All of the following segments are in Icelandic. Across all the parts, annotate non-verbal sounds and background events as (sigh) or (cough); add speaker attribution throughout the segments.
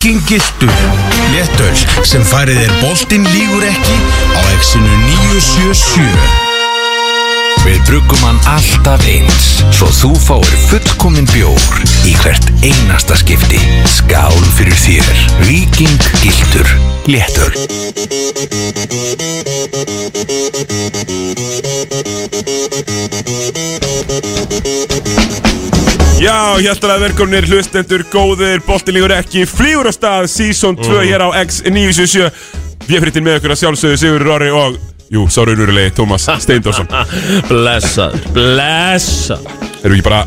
Speaker 1: Fucking gildur Léttöls sem færið er boltinn lígur ekki á exinu 977
Speaker 2: Við bruggum hann alltaf eins svo þú fáir fullkominn bjór í hvert einasta skipti. Skál fyrir þér. Viking Gildur. Léttöl.
Speaker 3: Já, hjartalega velkomnir hlustendur, góðir, boltinlíkur ekki, flýgur á stað, season 2
Speaker 4: Mm.
Speaker 3: hér á X977 Við frittin með ykkur að sjálfsögðu Sigur Rorri og, jú, sárunurulegi,
Speaker 4: (laughs)
Speaker 3: Tómas Steindorsson
Speaker 4: Blessaður, blessaður
Speaker 3: Erum við ekki bara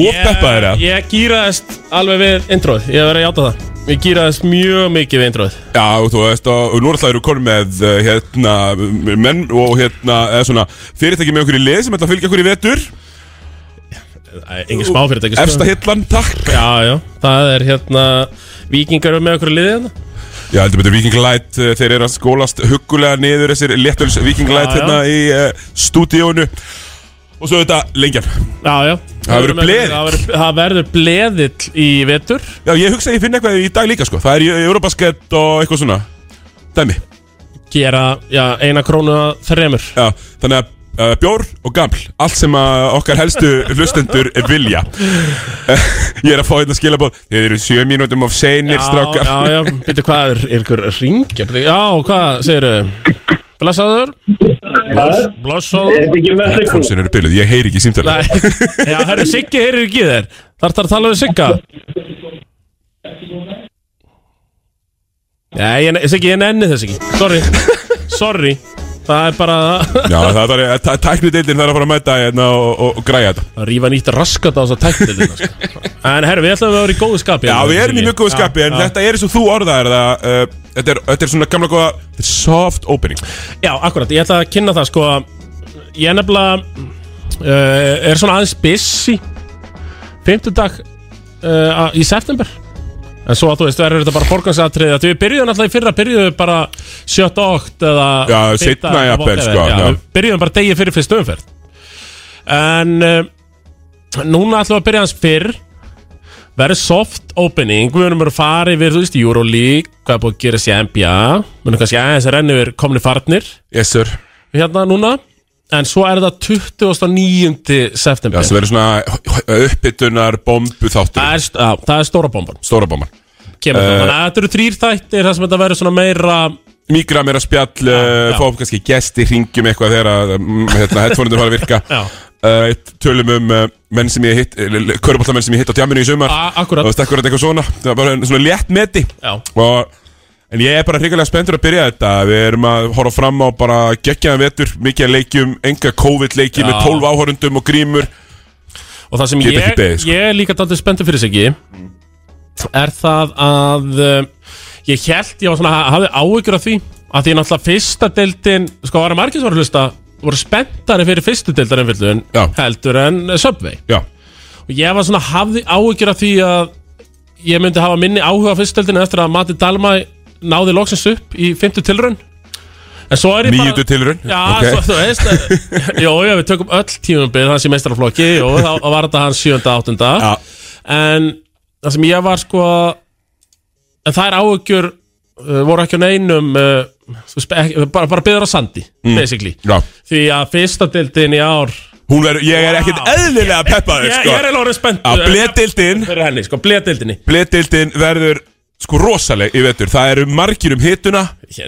Speaker 3: ópeppaðir eða?
Speaker 4: Ég gýraðist alveg við introð, ég verið að játa það Ég gýraðist mjög mikið við introð
Speaker 3: Já, og þú veist, og og nú alltaf eru konum með, uh, hérna, menn og hérna, eða svona, fyrirtæki með okkur í lið sem ætla að fylgja okkur í vetur
Speaker 4: Engin smá fyrirtæki sko.
Speaker 3: Efsta hillan, takk
Speaker 4: Já, já, það er hérna Víkingar eru með okkur í liðið hérna
Speaker 3: Já, heldur betur Viking Light, uh, þeir eru að skólast huggulega niður þessir léttöls Viking Light
Speaker 4: Já, já.
Speaker 3: hérna í uh, stúdíónu Og svo þetta lengjan
Speaker 4: Já, já
Speaker 3: Það verður bleðill.
Speaker 4: Það verður- Það verður bleðill í vetur
Speaker 3: Já, ég hugsa að ég finn eitthvað í dag líka, sko. Það er Eu- Eurobaskett og eitthvað svona. Dæmi.
Speaker 4: Gera, já, eina krónu að þremur
Speaker 3: Já, þannig að uh, bjór og gaml. Allt sem að okkar helstu hlustendur vilja. Eh, ég er að fá hérna skilabóð. Þeir eru sjö mínútum of seinir, strákar.
Speaker 4: Já, já, já, býttu hvað er ykkur ringja Já, hvað segirðu? Blessaður Bless- Blessaður
Speaker 3: Hálsinn eru byrjuð, ég heyri ekki símtalið.
Speaker 4: Nei, já, herru, Siggi heyrir ekki í þér Þar þar að tala við Sigga Nei, ég, Siggi, ég nenni þess ekki Sorry, sorry Það er bara
Speaker 3: Já, það er bara, eh, tæ- tæknideildin þarf að fara að mæta hérna og, og, og græja þetta.
Speaker 4: að rífa nýtt raskat á þess að tækni til þetta En herru, við ætlum að vera í góðu skapi
Speaker 3: Já, við erum í mjög góðu skapi, en
Speaker 4: já.
Speaker 3: þetta er eins og þú orðaðir það. Uh, þetta, er, þetta er svona gamla góða, þetta er soft opening.
Speaker 4: Já, akkurat, ég ætla að kynna það sko Ég er nefnilega uh, Er svona aðeins busy Fimmtudag uh, Í september En svo að þú veist, verður þetta bara forgangsatriði að Við byrjuðum alltaf í fyrra, byrjuðum við bara 7. okt eða
Speaker 3: Já,
Speaker 4: fimmta
Speaker 3: seinna
Speaker 4: eða
Speaker 3: jafnvel,
Speaker 4: whatever.
Speaker 3: sko, já.
Speaker 4: já, Við byrjuðum bara degi fyrir fyrstu umferð En uh, Núna ætlum við að byrja hans fyrr verður soft opening við verðum að fara yfir, þú veist, Euroleague hvað er búið að gera sér NBA við verðum kannski aðeins að renna yfir komni farnir
Speaker 3: Yes, sir.
Speaker 4: hérna núna en svo er það 29.
Speaker 3: Já,
Speaker 4: september
Speaker 3: það verður svona uppbytunar, bombu þáttur.
Speaker 4: það, er, st- já, það er stóra bomban
Speaker 3: Stóra bomban. Eh,
Speaker 4: kemur það, þannig að þetta eru þrýr þættir þar sem þetta verður svona meira
Speaker 3: Mígra meira spjall, uh,
Speaker 4: já.
Speaker 3: fáum kannski gesti, ringjum eitthvað þegar að mm, hérna, headphoneindur fara að virka.
Speaker 4: Já.
Speaker 3: Uh, tölum um uh, menn sem ég hitt, körbállamenn sem ég hitt á tjáminu í sumar.
Speaker 4: a-
Speaker 3: Það
Speaker 4: akkurat
Speaker 3: var stakkurat eitthvað svona. Það var bara svona létt meti.
Speaker 4: já,
Speaker 3: Og, en ég er bara hrikalega spenntur að byrja þetta. Við erum að horfa fram á bara geggjaðan vetur, mikið af leikjum, enga COVID-leiki með
Speaker 4: Já.
Speaker 3: 12 áhorundum og grímur.
Speaker 4: og það sem
Speaker 3: Get
Speaker 4: ég,
Speaker 3: ekki beðið, sko.
Speaker 4: ég er líka daldið spenntur fyrir sig ekki er það að uh, ég held, ég var svona, hafði áhyggjur af því að því náttúrulega fyrsta deildin sko, var að margir sem var að hlusta voru spenntari fyrir fyrstu deildar umfyllun
Speaker 3: Já.
Speaker 4: heldur en eh, Subway
Speaker 3: Já,
Speaker 4: og ég var svona hafði áhyggjur af því að ég myndi hafa minni áhuga á fyrstöldinu eftir að Mati Dalmæ náði loksins upp í 50 tilraun en svo er ég bara
Speaker 3: nýjutu tilurinn.
Speaker 4: Já, svo, þú veist eh, (laughs) Jó, já, við tökum öll tímumbið hans í meistraflokki og þá var þetta hans 7. og 8.
Speaker 3: Já.
Speaker 4: En það sem ég var sko en þær áhyggjur uh, voru ekki á neinum uh, þú veist, ekki, bara, bara byður á sandi basically
Speaker 3: Mm. Já.
Speaker 4: því að fyrsta deildin í ár
Speaker 3: Hún verður, ég er ekkert
Speaker 4: Vá.
Speaker 3: eðlilega peppaður,
Speaker 4: Ég,
Speaker 3: sko.
Speaker 4: ég er alveg spennt
Speaker 3: Að bledildin
Speaker 4: fyrir henni, sko, bledeildinni
Speaker 3: Bledildin verður sko rosaleg í vetur Það eru margir um hituna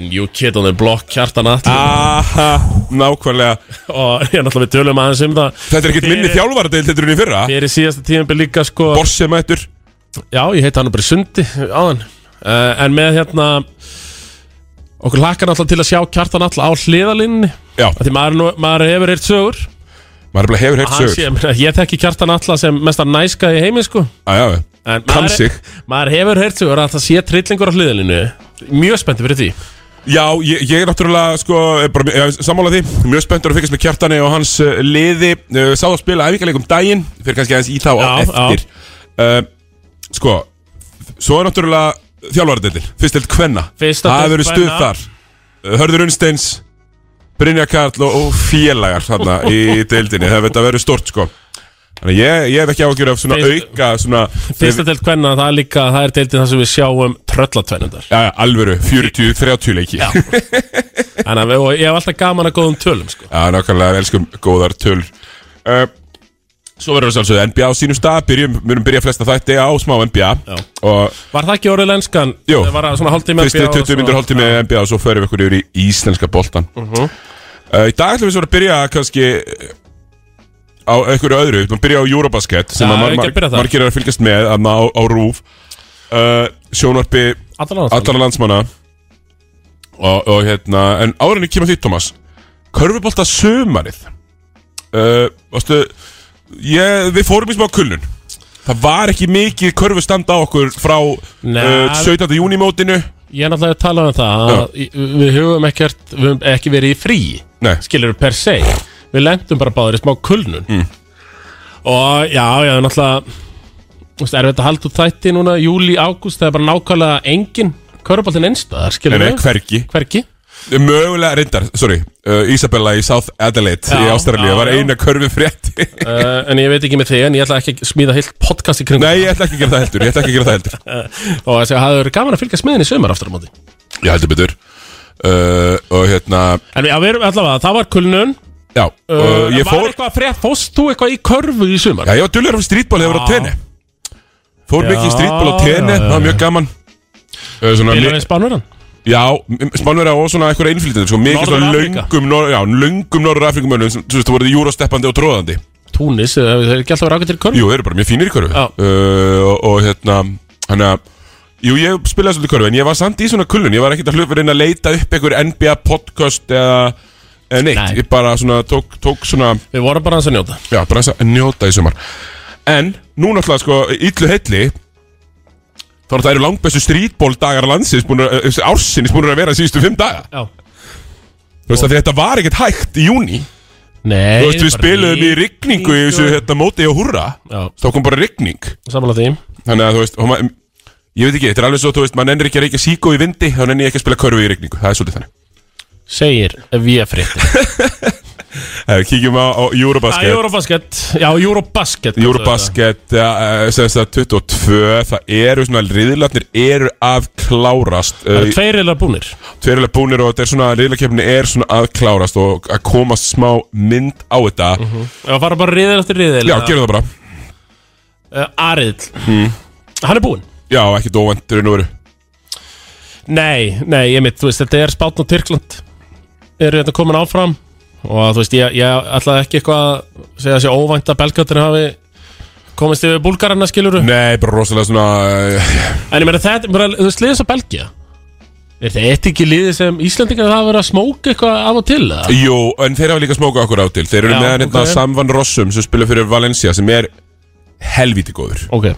Speaker 4: New Kid on the Block, Kjartan Atli
Speaker 3: Ah. Aha, nákvæmlega
Speaker 4: og ég náttúrulega við tölum aðeins um það
Speaker 3: Þetta er ekkert minni þjálfaradeild Þetta er unni fyrra
Speaker 4: Fyrir síðasta tíðanbyrð líka sko
Speaker 3: Borsi mættur
Speaker 4: Já, ég heiti hann bara í sundi áðan uh, En með hérna Okkur lakar náttúrulega til að sjá Kjartan Atli á hliðalinni
Speaker 3: Já,
Speaker 4: Því maður, er nú- maður hefur eitt sögur
Speaker 3: maður er bara hefur heyrt
Speaker 4: Hann
Speaker 3: sögur
Speaker 4: sé, meina, Ég þekki Kjartan Atla sem mestar næska í heimi sko
Speaker 3: Já, já,
Speaker 4: En
Speaker 3: Kann
Speaker 4: maður,
Speaker 3: sig.
Speaker 4: maður hefur heyrt sögur að það sé trillingur á hliðalinnu Mjög spenntið fyrir því
Speaker 3: já ég, ég er náttúrulega sko er bara, ég, Sammála því, mjög spenntur að fyrkast með kjartani Og hans uh, liði uh, Sáðu að spila æfingarleikum daginn Fyrir kannski aðeins í þá á
Speaker 4: Já, já.
Speaker 3: eftir uh, Sko Svo er náttúrulega þjálfaradeildin Fyrst held kvenna
Speaker 4: Fyrsta
Speaker 3: Það
Speaker 4: deild
Speaker 3: hefur verið stuð
Speaker 4: kvenna.
Speaker 3: þar Eh, Hörður Unnsteins Brynja Karl og, og félagar þarna
Speaker 4: (laughs)
Speaker 3: í deildinni Það hefur verið stort sko Þannig að ég, ég hef ekki ágjörð af svona
Speaker 4: Fyrst-
Speaker 3: auka svona,
Speaker 4: Fyrsta deild kvenna, það er líka, það er deildin þar sem við sjáum tröllatvenndar
Speaker 3: Já, já, alvöru, 40-30 leiki Já,
Speaker 4: Þannig að við- og ég hef alltaf gaman að góðum tölum sko.
Speaker 3: nákvæmlega, við elskum góðar töl uh, Svo verður við sjálfsögðu NBA á sínum stað Byrjum, við erum byrjað flesta þætti á smá NBA
Speaker 4: Já.
Speaker 3: Og
Speaker 4: Var það ekki orðið lenskan?
Speaker 3: Jú.
Speaker 4: Það var að svona hálftíma
Speaker 3: fyrstu 20 myndur hólti með NBA Og svo förum við ykkur yfir í íslenska boltan
Speaker 4: Mhm.
Speaker 3: uh, Í dag ætlum við svo að byrja kannski eh, Á einhverju öðru, við ætlum að byrja á Eurobasket Sem
Speaker 4: Já,
Speaker 3: að mar
Speaker 4: við getum
Speaker 3: mar
Speaker 4: byrjað þar.
Speaker 3: margir er að fylgjast með Þannig á, á RÚV uh, Sjónvarpi
Speaker 4: Allan ástæðan
Speaker 3: allra landsmanna og, og hérna en áraðinu kemur því Thomas körfubolta sömarið uh, varstu ég, við fórum í smá kulnun það var ekki mikið körfustand á okkur frá
Speaker 4: Nei.
Speaker 3: uh, 17. júni mótinu
Speaker 4: Ég er náttúrulega að tala um það að í- Við höfum ekkert, við höfum ekki verið í frí
Speaker 3: Nei.
Speaker 4: Skilur per se Við lendum bara báður í smá kulnun mm. Og já, já, náttúrulega Þú veist, erfitt að halda út þætti núna Júli, ágúst, það er bara nákvæmlega engin Köruboltin einstæðar, skilur
Speaker 3: en hvergi Eh,
Speaker 4: Hvergi
Speaker 3: mögulega reyndar, sorry, uh, Isabella í South Adelaide í
Speaker 4: Já,
Speaker 3: Ástralíu
Speaker 4: já,
Speaker 3: var
Speaker 4: já.
Speaker 3: eina körfufrétti
Speaker 4: uh, En ég veit ekki með þig En ég ætla ekki að smíða heilt podcast í kringum
Speaker 3: (laughs) nei, ég ætla ekki að gera það heldur ég ætla ekki að gera það heldur
Speaker 4: Og þessi, það hefur verið gaman að fylgjast með henni í sumar aftur á móti
Speaker 3: ég heldur betur uh, og hérna
Speaker 4: En já, við erum allavega, það var kulnun
Speaker 3: já, uh, ég
Speaker 4: Var
Speaker 3: fór
Speaker 4: eitthvað frétt, fórst þú eitthvað í körfu í sumar?
Speaker 3: Já, ég var dullur um strítból þegar ég var á tenni
Speaker 4: Já.
Speaker 3: Fór mikið í
Speaker 4: Já,
Speaker 3: strítból á tenni,
Speaker 4: já, já,
Speaker 3: það var mjög gaman Eh, svona,
Speaker 4: Bílar
Speaker 3: mi-
Speaker 4: við spánverðan?
Speaker 3: Já, spánverða og svona einhverja innflýtandi sko, Mikið
Speaker 4: Norður
Speaker 3: svona
Speaker 4: Afríka.
Speaker 3: löngum, nor, já, löngum norður Afrikumönnum sem þú veist, þú voruð júrasteppandi og tróðandi
Speaker 4: Túnis, eh, þau eru ekki alltaf að vera ágætt til körfu
Speaker 3: Jú, þeir eru bara mjög fínir í körfu
Speaker 4: Já.
Speaker 3: uh, og, og hérna, hann að Jú, ég spilaði svolítið körfu, en ég var samt í svona kulun Ég var ekkert að hlupa reyna að leita upp einhver NBA podcast eða, eða neitt
Speaker 4: Nei.
Speaker 3: Ég bara svona, tók, tók svona
Speaker 4: Við vorum bara hans að njóta
Speaker 3: Já, bara þess að njóta í sumar En, nú náttúrulega sko, illu heilli Þá er það eru langbestu strítból dagar landsins búin að, eh, ársins búin að vera síðustu fimm daga
Speaker 4: Já
Speaker 3: Þú veist að þetta var ekkert hægt í júni
Speaker 4: Nei
Speaker 3: Þú veist, við
Speaker 4: bara
Speaker 3: spiluðum í rigningu í þessu hérna, móti og hurra
Speaker 4: Já,
Speaker 3: Þá kom bara rigning
Speaker 4: samanlega því
Speaker 3: Þannig að þú veist, og ma- ég veit ekki, þetta er alveg svo, þú veist, maður nennir ekki að reykja síkó í vindi Þá nennir ég ekki að spila körfu í rigningu, það er svolítið þannig
Speaker 4: Segir við fréttir
Speaker 3: Herra, Eh, Kíkjum á, á
Speaker 4: Já,
Speaker 3: Eurobasket
Speaker 4: Eurobasket Já, Eurobasket
Speaker 3: Eurobasket uh, semst að 22 það eru svona riðlarnir eru að klárast
Speaker 4: Það
Speaker 3: uh,
Speaker 4: eru tveir eða búnir
Speaker 3: tverilega búnir og þetta er svona riðlarkeppni er svona að klárast og að komast smá mynd á þetta
Speaker 4: Já, fara bara riðil eftir riðil
Speaker 3: já, Hmm. gerum það bara
Speaker 4: uh, Ariðl Hann er búinn
Speaker 3: já, ekki dóvend raun og veru
Speaker 4: Nei, nei, ég mitt, þú veist, þetta er Spátn og Tyrkland Eru þetta komin áfram Og þú veist, ég, ég ætlaði ekki eitthvað að segja þessi óvænt að belgatir hafi komist yfir búlgarana skiluru
Speaker 3: nei, bara rosalega svona uh,
Speaker 4: En ég meina þetta, bara, þú veist, liðið svo Belgia Er þetta ekki liðið sem Íslandingar það að vera að smóka eitthvað af og til? eða?
Speaker 3: jú, en þeir hafa líka smóka okkur á til þeir eru
Speaker 4: Já,
Speaker 3: meðan hérna
Speaker 4: ok.
Speaker 3: Samvan Rossum sem spila fyrir Valencia sem er helvíti góður
Speaker 4: Ok,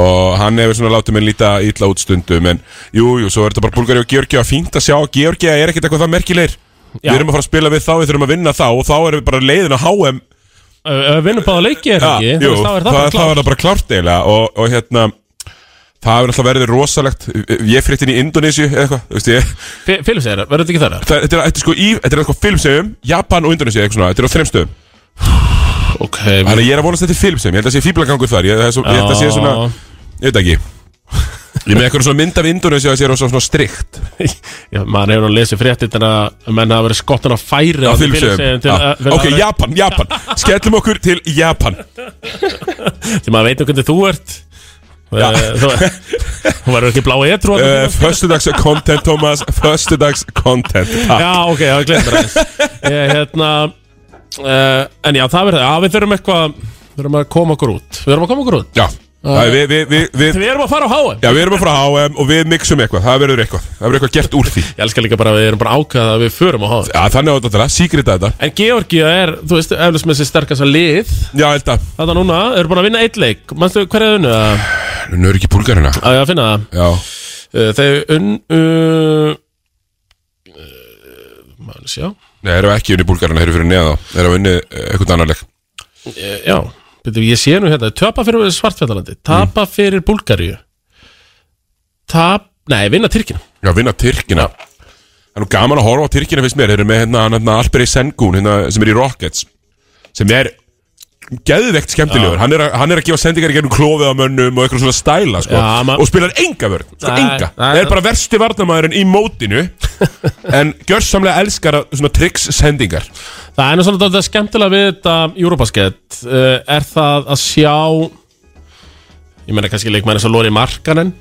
Speaker 3: og hann hefur svona látið mér líta ítla út stundum en jú, jú, svo er þetta bara Búlgari og Georgi og fínt að sjá að Georgi er ekkert eitthvað það merkilegir
Speaker 4: Já.
Speaker 3: við erum að fara að spila við þá, við þurfum að vinna þá og þá erum við bara leiðin að HM
Speaker 4: Ö, ö, vinnum báða leiki er það ekki?
Speaker 3: jú,
Speaker 4: Þú veist, þá er það
Speaker 3: það,
Speaker 4: bara
Speaker 3: það
Speaker 4: klart
Speaker 3: var það bara klárt eiginlega og, og hérna það hefur alltaf verið rosalegt ég frétt inn í Indonésiu eða eitthvað þú veist ég
Speaker 4: Fi- Filips er það, verður þetta ekki þar?
Speaker 3: það, þetta, er, þetta er sko í, þetta er eitthvað filmsegum Japan og Indonésiu eitthvað svona, þetta er á þremstöðum
Speaker 4: Mm. Ok,
Speaker 3: þannig að ég er að vonast þetta er filmsegum, ég held að sé fíblagangur þar ég, það er svo, ég held að sé svona, ég veit ekki ég er með eitthvað svona mynd af Indonésiu að sé rosa svona strikt
Speaker 4: (laughs) Já, maður hefur nú lesið fréttir þannig að menn hafa verið skottan á færi
Speaker 3: á
Speaker 4: þarna í Filippseyjum
Speaker 3: Filipseyjum
Speaker 4: til
Speaker 3: Já.
Speaker 4: að- fyrir
Speaker 3: ok,
Speaker 4: að-
Speaker 3: Japan, Japan skellum okkur til Japan
Speaker 4: Því maður veit nú hvernig þú ert
Speaker 3: Já.
Speaker 4: Eh, Þú þú verður ekki blá etru
Speaker 3: uh, Föstudags content, Thomas Föstudags content Takk.
Speaker 4: Já, ok, það glemur aðeins Ég, hérna uh, En já, það verður, já, við þurfum eitthvað Við þurfum að koma okkur út Við þurfum að koma okkur út
Speaker 3: Já, það er við, við, við, við
Speaker 4: Við erum að fara á HM
Speaker 3: Já, við erum að fara á HM og við mixum eitthvað, það verður eitthvað Það verður eitthvað gert úr því
Speaker 4: Ég elskar líka bara að við erum bara ákveðað að við förum á HM
Speaker 3: Já, þannig á þetta að tala, síkrita þetta
Speaker 4: En Georgía er, þú veist, eflust með sér sterkast að lið
Speaker 3: Já, held að,
Speaker 4: Þetta núna, eru búin að vinna eitt leik Manstu hverja þau unnu að,
Speaker 3: nú eru ekki búlgarina
Speaker 4: að ég að finna það
Speaker 3: Já,
Speaker 4: Eh, Þau unnu uh, Maður sjá
Speaker 3: Nei, erum ekki unni búlgarina, þeir eru fyrir neða þá Erum unni eitthvað annarleg
Speaker 4: Eh, Já, betur ég sé nú hérna Töpa fyrir Svartfjallalandi, tapa
Speaker 3: Mm.
Speaker 4: fyrir Búlgaríu Tap, nei, vinna Tyrkina
Speaker 3: Já, vinna Tyrkina Það er nú gaman að horfa á Tyrkina fyrst mér Þeir eru með hérna, hérna Alperi Sengun hérna, sem er í Rockets sem er geðvegt skemmtilegur hann er, að, hann er að gefa sendingar í gennum klófið á mönnum og eitthvað svona stæla sko.
Speaker 4: Já, ma-
Speaker 3: og spilar enga vörn sko,
Speaker 4: Nei,
Speaker 3: enga.
Speaker 4: nei,
Speaker 3: það er
Speaker 4: nei.
Speaker 3: bara versti varnamæðurinn í
Speaker 4: (laughs)
Speaker 3: mótinu en gjörsamlega elskar að- svona tricks sendingar
Speaker 4: Það er nú svona þetta skemmtilega við þetta Eurobasket uh, er það að sjá ég meina kannski leikmæri eins og Lóri Markanen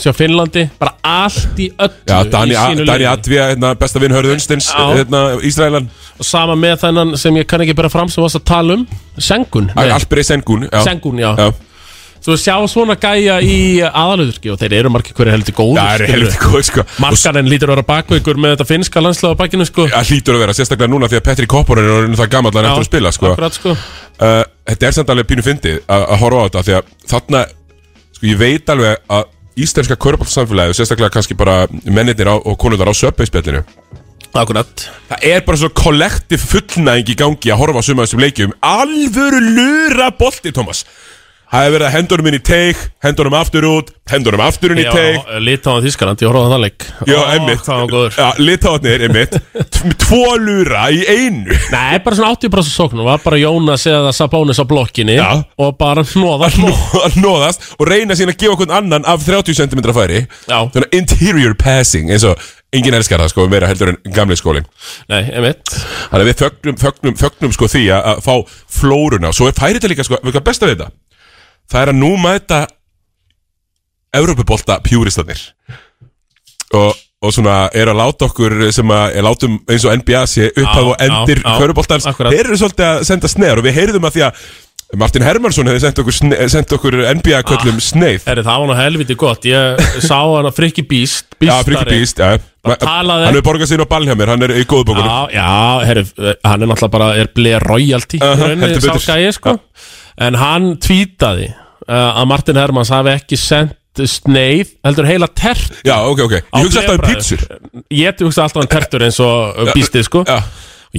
Speaker 4: sjá Finnlandi, bara allt í öllu
Speaker 3: Já,
Speaker 4: í
Speaker 3: Dani,
Speaker 4: sínu
Speaker 3: Dani
Speaker 4: liði.
Speaker 3: Advia, hérna, besta vinn Hörðu Unstins,
Speaker 4: Já.
Speaker 3: hérna, Ísraelan
Speaker 4: og sama með þennan sem ég kann ekki bera fram sem varst að tala um, Sengun Nei,
Speaker 3: Alperi Sengun já.
Speaker 4: Sengun, já,
Speaker 3: Já,
Speaker 4: þú sjá svona gæja í aðalöðurki og þeir eru margir hverju heldur góður
Speaker 3: það er
Speaker 4: skilurðu.
Speaker 3: helviti góð sko. Og s-
Speaker 4: Markanen lítur að vera baku ykkur með þetta finnska landslega á bakinu sko
Speaker 3: Það hlýtur að vera, sérstaklega núna því að Petri Kopporin er orðinn það gamall að hann eftir að spila sko.
Speaker 4: akkurat, sko.
Speaker 3: uh, Þetta er samt alveg pínu fyndið að að horfa á þetta því að þarna, sko ég veit alveg að íslenska körbáltsamfélagi og sérstaklega kannski bara mennirnir á, og konundar á söpveispjallinu
Speaker 4: akkurat
Speaker 3: Það er bara svo kollektiv fullnæðing í gangi að horfa á suma af þessum leikjum Alvöru lura bolti, Thomas Það hefur verið að hendunum inn í teik, hendunum aftur út, hendunum aftur inn í teik
Speaker 4: Litáðan Þískaland, ég horfði á það leik
Speaker 3: Já,
Speaker 4: Ó,
Speaker 3: einmitt
Speaker 4: Það var góður
Speaker 3: Já, litáðnir, einmitt T- Tvo lura í einu
Speaker 4: Nei, bara svona 80% sóknum var bara Jónas eða Sabonis á blokkinni
Speaker 3: Já.
Speaker 4: og bara (laughs) hnoða
Speaker 3: Nó- (laughs) að nóðast og reyna síðan að gefa okkur annan af 30 cm færi
Speaker 4: Já.
Speaker 3: Svona interior passing eins og enginn elskar það sko meira heldur en gamli skólin
Speaker 4: Nei, einmitt
Speaker 3: Þannig að við fögnum, fögnum, fögnum sko því að, að fá flóruna og svo er færið þetta líka sko, við hvað besta við þetta það er að nú mæta Evrópubolta pjúristanir og, og svona er að láta okkur sem að er látum eins og NBA sé upphaf
Speaker 4: Já,
Speaker 3: og endir
Speaker 4: já, já,
Speaker 3: köruboltans,
Speaker 4: akkurat.
Speaker 3: þeir eru svolítið að senda sneðar og við heyrðum að því að Martin Hermansson hefði sendt okkur, sne- sendt okkur NBA köllum
Speaker 4: Ah,
Speaker 3: sneið
Speaker 4: Herri, það var nú helviti gott Ég sá hann að Frikki Bíst
Speaker 3: Já, Friki Bíst, já
Speaker 4: talaði-
Speaker 3: Hann hefur borgað sér á ball hjá mér, hann er í góðbókunum
Speaker 4: Já, já, herri, hann er náttúrulega bara er bleið royalty í
Speaker 3: Aha,
Speaker 4: rauninni,
Speaker 3: heldur
Speaker 4: sá
Speaker 3: betur.
Speaker 4: gæi, sko En hann tvítaði uh, að Martin Hermans hafi ekki sendt sneið, heldur heila tertu
Speaker 3: Já, ok, ok,
Speaker 4: á
Speaker 3: ég hugsa alltaf um
Speaker 4: bréfbræður.
Speaker 3: pítsur
Speaker 4: Ég hugsa alltaf um tertur eins og uh, býstið, sko
Speaker 3: (laughs) Já,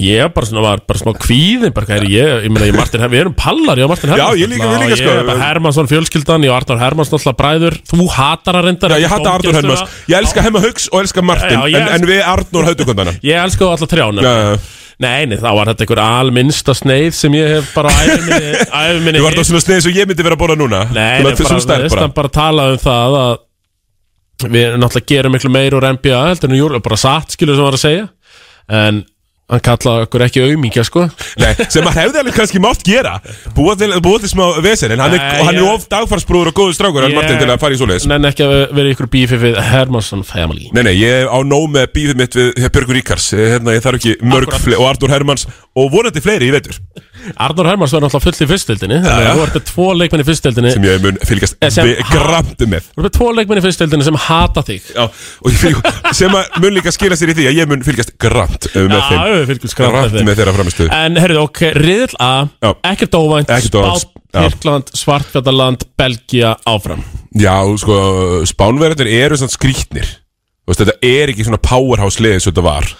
Speaker 4: Ég bara svona var bara smá kvíðin bara, herri, ég, ég meina, ég Martin, Her- við erum pallar ég og Martin Hermans
Speaker 3: ég líka-
Speaker 4: náttúrulega,
Speaker 3: við líka,
Speaker 4: og
Speaker 3: sko.
Speaker 4: Ég er bara Hermansson fjölskyldan, ég og Arnar Hermansson alltaf bræður, þú hatar að reynda
Speaker 3: Já, ég hata Arnur
Speaker 4: sko.
Speaker 3: Helmas Ég elska Hemma Hauks og elska Martin
Speaker 4: Já, já, ég
Speaker 3: en, en
Speaker 4: elska-
Speaker 3: við Arnur Hautukondana
Speaker 4: Ég elska þú alltaf trjánum
Speaker 3: Ég
Speaker 4: Nei, nei, þá var þetta einhver alminnsta sneið sem ég hef bara
Speaker 3: (laughs)
Speaker 4: æfum minni
Speaker 3: var það svona sniðið sem ég myndi vera að borða núna
Speaker 4: Nei,
Speaker 3: Þú
Speaker 4: nei,
Speaker 3: veist,
Speaker 4: bara,
Speaker 3: svona stærð
Speaker 4: veist,
Speaker 3: bara
Speaker 4: hann bara talaði um það að við náttúrulega gerum miklu meir úr NBA heldur en júr, bara satt skilur sem hann var að segja en hann kallaði okkur ekki auðmíkja sko
Speaker 3: Nei, sem maður hefði alveg kannski mátt gera Búa til, búa til smá vesen En hann er,
Speaker 4: Nei,
Speaker 3: og hann er
Speaker 4: ég-
Speaker 3: of dagfarsbrúður og góður strákur En
Speaker 4: Ég-
Speaker 3: Martin til að fara í svoleiðis
Speaker 4: Nenni ekki að vera ykkur bífi við Hermansson Family
Speaker 3: Nei, nei, ég á nóg með bífið mitt við Björgur Ríkars Hérna, ég þarf ekki mörg fle- Og Arnur Hermans Og vonandi fleiri, ég veitur
Speaker 4: Arnur Hermansson er náttúrulega full í fyrstildinni þannig
Speaker 3: já.
Speaker 4: að þú ert með tvo leikmenn í fyrstildinni
Speaker 3: Sem ég mun fylgjast
Speaker 4: Eh, sem-
Speaker 3: vi- grannt með
Speaker 4: Þú ert með tvo leikmenn í fyrstildinni sem hata þig
Speaker 3: Já, og ég fylg- sem að mun líka skila sér í því að ég mun fylgjast grannt eh, með
Speaker 4: Já,
Speaker 3: þeim
Speaker 4: við fylgjumst grannt með
Speaker 3: Grannt
Speaker 4: þeim.
Speaker 3: með þeirra framistöðu
Speaker 4: En herruðu, ok, riðil A
Speaker 3: Já.
Speaker 4: Ekkert óvænt,
Speaker 3: Ekkert óvænt,
Speaker 4: Spán,
Speaker 3: já.
Speaker 4: Tyrkland, Svartfjallarland, Belgia áfram
Speaker 3: Já, sko, spánverðarnir eru svona skrýtnir Þú veist, Þetta er ekki svona powerhouse lið eins og þetta var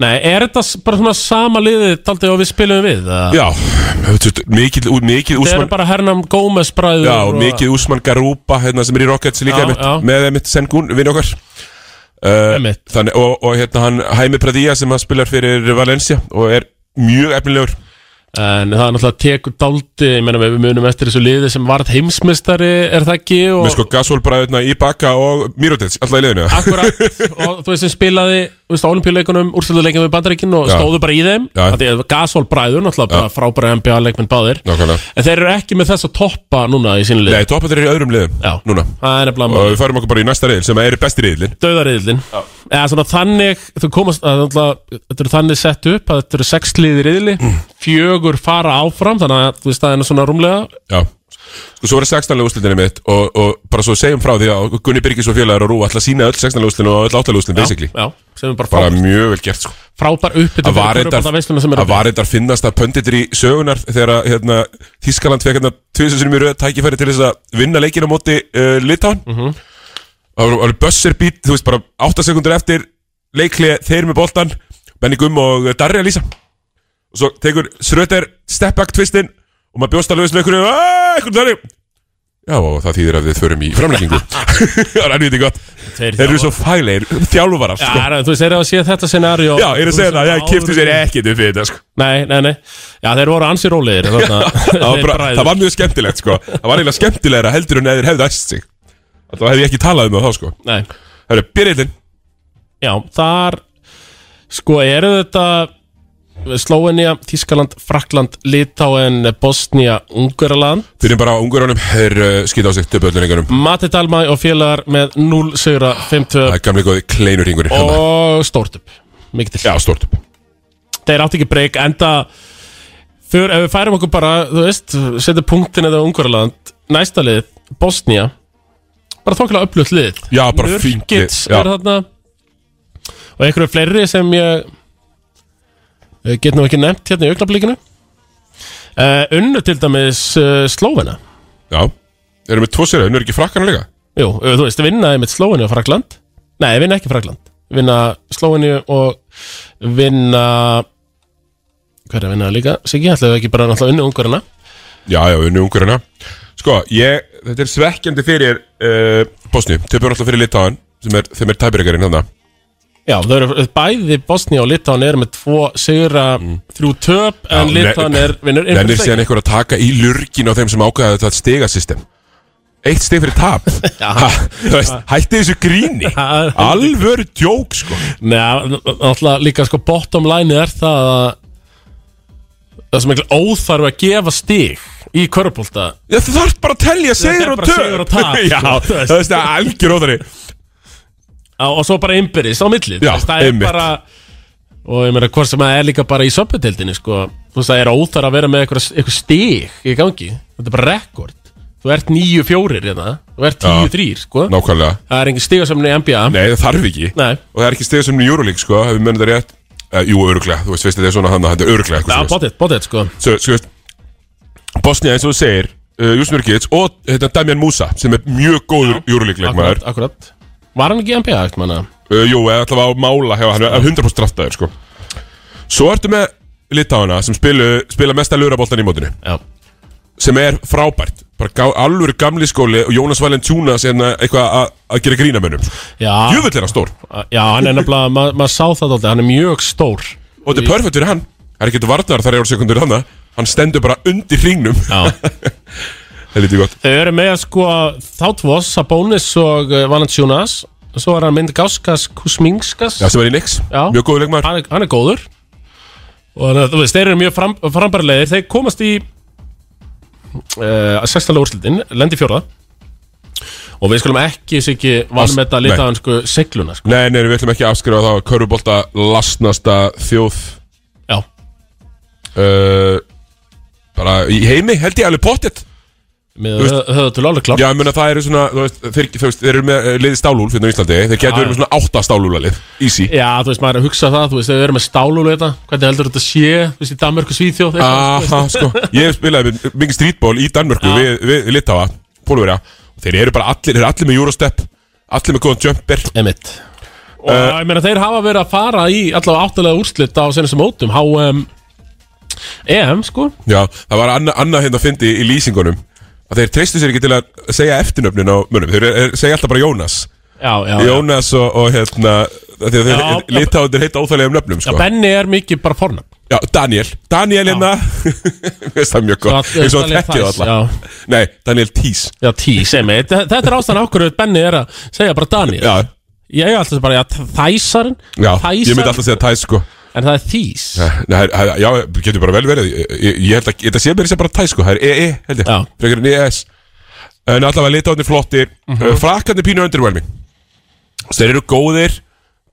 Speaker 4: Nei, er þetta s- bara svona sama liðið taldið og við spilum við? Það
Speaker 3: Já, þú veist, mikið, ú- mikið
Speaker 4: eru
Speaker 3: úsmann
Speaker 4: bara Hernán Gómez bræður
Speaker 3: Já,
Speaker 4: og-
Speaker 3: mikið úsmann Garupa hérna, sem er í Rockets líka
Speaker 4: Já,
Speaker 3: mitt,
Speaker 4: já.
Speaker 3: með mitt Sengun, vinn okkar uh,
Speaker 4: Einmitt.
Speaker 3: þannig, og, og hérna hann Hæmi Pradía sem að spilar fyrir Valencia og er mjög efnilegur
Speaker 4: En það er náttúrulega tekur daldi Ég meina við munum eftir þessu liði sem varð heimsmystari Er það ekki? Og,
Speaker 3: með sko Gasol bræðurna í baka og Mirotic, alltaf í liðinu
Speaker 4: Akkurat Og þú veist sem spilaði Þú veist á olimpíuleikunum Úrstölduleikunum við Bandaríkin Og
Speaker 3: Já.
Speaker 4: stóðu bara í þeim
Speaker 3: Já.
Speaker 4: Af því að Gasol bræður Náttúrulega bara frábæra NBA leikmenn báðir
Speaker 3: Nákvæmlega
Speaker 4: En þeir eru ekki með þess að toppa núna í sínu liði
Speaker 3: Nei, toppatir eru í öðrum liðum
Speaker 4: Já.
Speaker 3: núna
Speaker 4: Það er nefnilega
Speaker 3: og
Speaker 4: málið.
Speaker 3: við færum okkur bara í næsta riðil sem er besti riðilin
Speaker 4: dauðariðlin eða svona þannig þú komast að náttúrulega- þetta eru þannig sett upp að þetta eru sex liðir riðli
Speaker 3: Mm.
Speaker 4: fjögur fara áfram þannig að þú veist það er nú svona rúmlega
Speaker 3: Já Sko, svo er 16 löguslinni mitt og, og bara svo segjum frá því að Gunni Birgis og félagar og Rú ætla að sína öll 16 löguslinni og öll 8 löguslinni, basically
Speaker 4: já, sem er bara
Speaker 3: Bara
Speaker 4: frábær,
Speaker 3: mjög vel gert, sko
Speaker 4: frábær uppbytun
Speaker 3: Að var
Speaker 4: það veisluna sem
Speaker 3: reyndar-
Speaker 4: er
Speaker 3: að var reyndar finnast að pönditir í sögunar þegar að, hérna, Þískaland fekk hérna tviðsinsinum í röð tækifæri til þess að vinna leikina móti uh, Litáin Það
Speaker 4: Mhm.
Speaker 3: -hmm. var bössir bít, þú veist, bara 8 sekundur eftir leikli þeir með boltan Benny Gumm og eh, Darri að lýsa og svo tekur Sröter step back twistin og maður bjóst alveg svona einhverju "Ah, einhverju Darri Já, og það þýðir að við förum í
Speaker 4: (laughs)
Speaker 3: framlengingu Það er helviti gott
Speaker 4: Þeir
Speaker 3: Þeir eru svo fæleir, þjálfarar
Speaker 4: Já,
Speaker 3: sko.
Speaker 4: er, þú veist, þeir eru að sé þetta scenario
Speaker 3: Já, ég er að segja það, ég kipti sér ekkert upp við þetta sko.
Speaker 4: Nei, nei, nei Já, þeir voru ansi rólegir
Speaker 3: (laughs)
Speaker 4: þarna.
Speaker 3: það, var
Speaker 4: Þeir
Speaker 3: bara,
Speaker 4: bræður.
Speaker 3: það var mjög skemmtilegt sko. Það var eiginlega skemmtilegra heldur en eða þeir hefði æst sig Þá hefði ég ekki talað um það þá sko.
Speaker 4: Nei,
Speaker 3: Hörru, byrjillin
Speaker 4: já, þar Sko, eru þetta Slóenia, Þískaland, Frakland, Litáen, Bosnia, Ungverland
Speaker 3: Byrjum bara á ungurunum, þeir uh, skýta á sig töpöldlendingunum
Speaker 4: Mati Dalmæ og félagar með 0 sigra 5-2
Speaker 3: Það er gamlega góði kleinurringurinn hérna.
Speaker 4: og stórt upp Mikið til
Speaker 3: Já, stort
Speaker 4: Þeir átti ekki breyk enda Fyrir, ef við færum okkur bara, þú veist Setja punktin eða Ungverland Næsta lið, Bosnia Bara þókilega upplutt lið
Speaker 3: Já, bara fínt lið,
Speaker 4: Nurkits
Speaker 3: já.
Speaker 4: er þarna Og einhverju fleiri sem ég eh, Get nú ekki nefnt hérna í augnablikinu uh, Unnu til dæmis uh, Slóvena
Speaker 3: Já, erum við tvo sér Nú er ekki frakkan líka
Speaker 4: Jú, eh, þú veist, vinna einmitt Slóveni og Frakland Nei, vinna ekki Frakland Vinna Slóveni og vinna Hver er að vinna líka? Siggi, ætlaðu ekki bara náttúrulega unni ungurina
Speaker 3: Já, já, unni ungurina Sko, ég, þetta er svekkjandi fyrir uh, Bosni, töpur alltaf fyrir Litáin sem er, þeim er tæbyrgarinn hann
Speaker 4: Já, þau eru eh, bæði Bosnia og Litáin eru með tvo sigra þrjú töp en Litáin er
Speaker 3: Mm.
Speaker 4: vinnur
Speaker 3: Nennir
Speaker 4: innbyrðis leik.
Speaker 3: síðan einhver að taka í lurgin á þeim sem ákvæða þetta stegasystem Eitt steg fyrir
Speaker 4: (laughs)
Speaker 3: tap ha, þú veist, Hætti þessu gríni
Speaker 4: Já.
Speaker 3: Alvöru djók sko
Speaker 4: Nei, náttúrulega líka sko bottom line er það að það er sem ekki óþarf að gefa stig í körpulta
Speaker 3: Já, Þú þarft bara að telja
Speaker 4: er
Speaker 3: segur og
Speaker 4: bara
Speaker 3: töp
Speaker 4: sigur og tap, sko.
Speaker 3: (laughs) Já,
Speaker 4: Þú veist.
Speaker 3: það veist það er algjör óþari
Speaker 4: og svo bara innbyrðis á milli þú
Speaker 3: Já,
Speaker 4: veist, það er
Speaker 3: einmitt.
Speaker 4: bara og ég meina hvort sem það er líka bara í söpudildinni sko, þú veist það er óþarf að vera með eitthvað, eitthvað stig í gangi þetta er bara rekord, þú ert 9-4 hérna, þú ert 10-3 sko
Speaker 3: Nákvæmlega
Speaker 4: það er engin stigasemni í NBA
Speaker 3: Nei, það þarf ekki
Speaker 4: Nei.
Speaker 3: Og það er ekki steg sem í Euroleague sko Hefur mönnum það rétt uh, Jú, öruglega Þú veist, veist þetta er svona hann Þetta er öruglega
Speaker 4: Já,
Speaker 3: eitthvað svoleiðis.
Speaker 4: bótið, bótið sko
Speaker 3: Svo, sko veist Bosnia eins og þú segir uh, Júsnur Gitts og hérna, Damian Musa sem er mjög góður Euroleague leikmaður
Speaker 4: Akkurat, akkurat Var hann ekki í NBA, eftir manna?
Speaker 3: Uh, jú, eða allavega á mála hefur hann er 100% draftaður sko. Svo ertu með Litána sem spilu, spila mesta luraboltan í mótinu
Speaker 4: Já,
Speaker 3: sem er frábært bara gá, alvöru gamli skóli og Jónas Valentúna sem eitthvað að- að gera grínamönnum
Speaker 4: já
Speaker 3: Jöfull er hann stór og
Speaker 4: Já, hann er nefnilega, ma- maður sá það alltaf, hann er mjög stór
Speaker 3: þetta er perfekt fyrir hann Það er ekkert vartar þar eru sekundur hann hann stendur bara undir hringnum
Speaker 4: Já.
Speaker 3: Það er lítið gott
Speaker 4: (laughs) Þau eru með sko Þátvos, Sabonis og uh, Valanciunas Svo er hann mynd Gauskas Kusminskas
Speaker 3: Já, sem er í Nix,
Speaker 4: Já.
Speaker 3: mjög góður leikmaður
Speaker 4: hann, er- hann er góður Og hann, er- þú veist, þeir eru mjög fram, frambærilegir Þeir komast í uh, sextalega úrslitin, lendi fjóra Og við skulum ekki Siggi vanmeta
Speaker 3: Nei.
Speaker 4: litaðansku segluna sko.
Speaker 3: Nei, nei, við ætlum ekki að afskrifa þá Körfubolta lasnasta þjóð
Speaker 4: Já,
Speaker 3: uh, bara í heimi, held ég alveg pottet
Speaker 4: með höfðu til alveg klart
Speaker 3: Já, ég meina það eru svona, þú veist, þeir, þú veist, þeir eru með eh, liði stálúl fyrir á Íslandi, þeir getur
Speaker 4: Já,
Speaker 3: verið með svona átta stálúlalið, easy.
Speaker 4: Já, þú veist, maður er að hugsa það, þú veist, þau eru með stálulega þetta, hvernig heldur þetta sé, þú veist, í Danmörku Svíþjóð, eitthvað,
Speaker 3: Aha, sko, ég spilaði með- mikið streetball í Danmörku við, við Litáa, Pólverja, og þeir eru bara allir, þeir eru allir með Eurostep, allir með góðan jumper,
Speaker 4: Emitt Og
Speaker 3: Eh.
Speaker 4: ég meina þeir hafa verið að fara í allavega áttalega úrslit á senast mótum HM EM sko
Speaker 3: já, það var annað anna hérna að fyndi í lýsingunum, að þeir treystu sér ekki til að segja eftirnöfnin á mönnum, þeir er, segja alltaf bara Jónas,
Speaker 4: Já, já, já.
Speaker 3: Jónas og, og hérna, af því að
Speaker 4: Já,
Speaker 3: þeir Litáanir heita óþægilegum nöfnum, sko.
Speaker 4: Benni er mikið bara fornafn
Speaker 3: Já, Daniel, Daniel hérna (laughs) Mér finnst það mjög gott
Speaker 4: Svo að-
Speaker 3: Eins og hann
Speaker 4: Daniel
Speaker 3: þekkið
Speaker 4: Tice,
Speaker 3: alla Nei, Daniel Tís
Speaker 4: Já, tís, emitt Þetta þetta er ástæðan okkur að Benni er að segja bara Daniel
Speaker 3: Já,
Speaker 4: Ég er alltaf bara, já, þæsarinn
Speaker 3: já ég myndi
Speaker 4: Þæsarinn,
Speaker 3: alltaf segja Tís sko
Speaker 4: en það er þís
Speaker 3: Nei, hæ- hæ- Já, getur bara vel verið Ég, ég- ég held að þetta sé mér sem bara Tís sko Það er EE, held ég
Speaker 4: Já.
Speaker 3: Frekar en ES En allavega litáðnir flottir mm
Speaker 4: Mhm.
Speaker 3: -hmm. Frakkandi pínu underwhelming Þeir eru góðir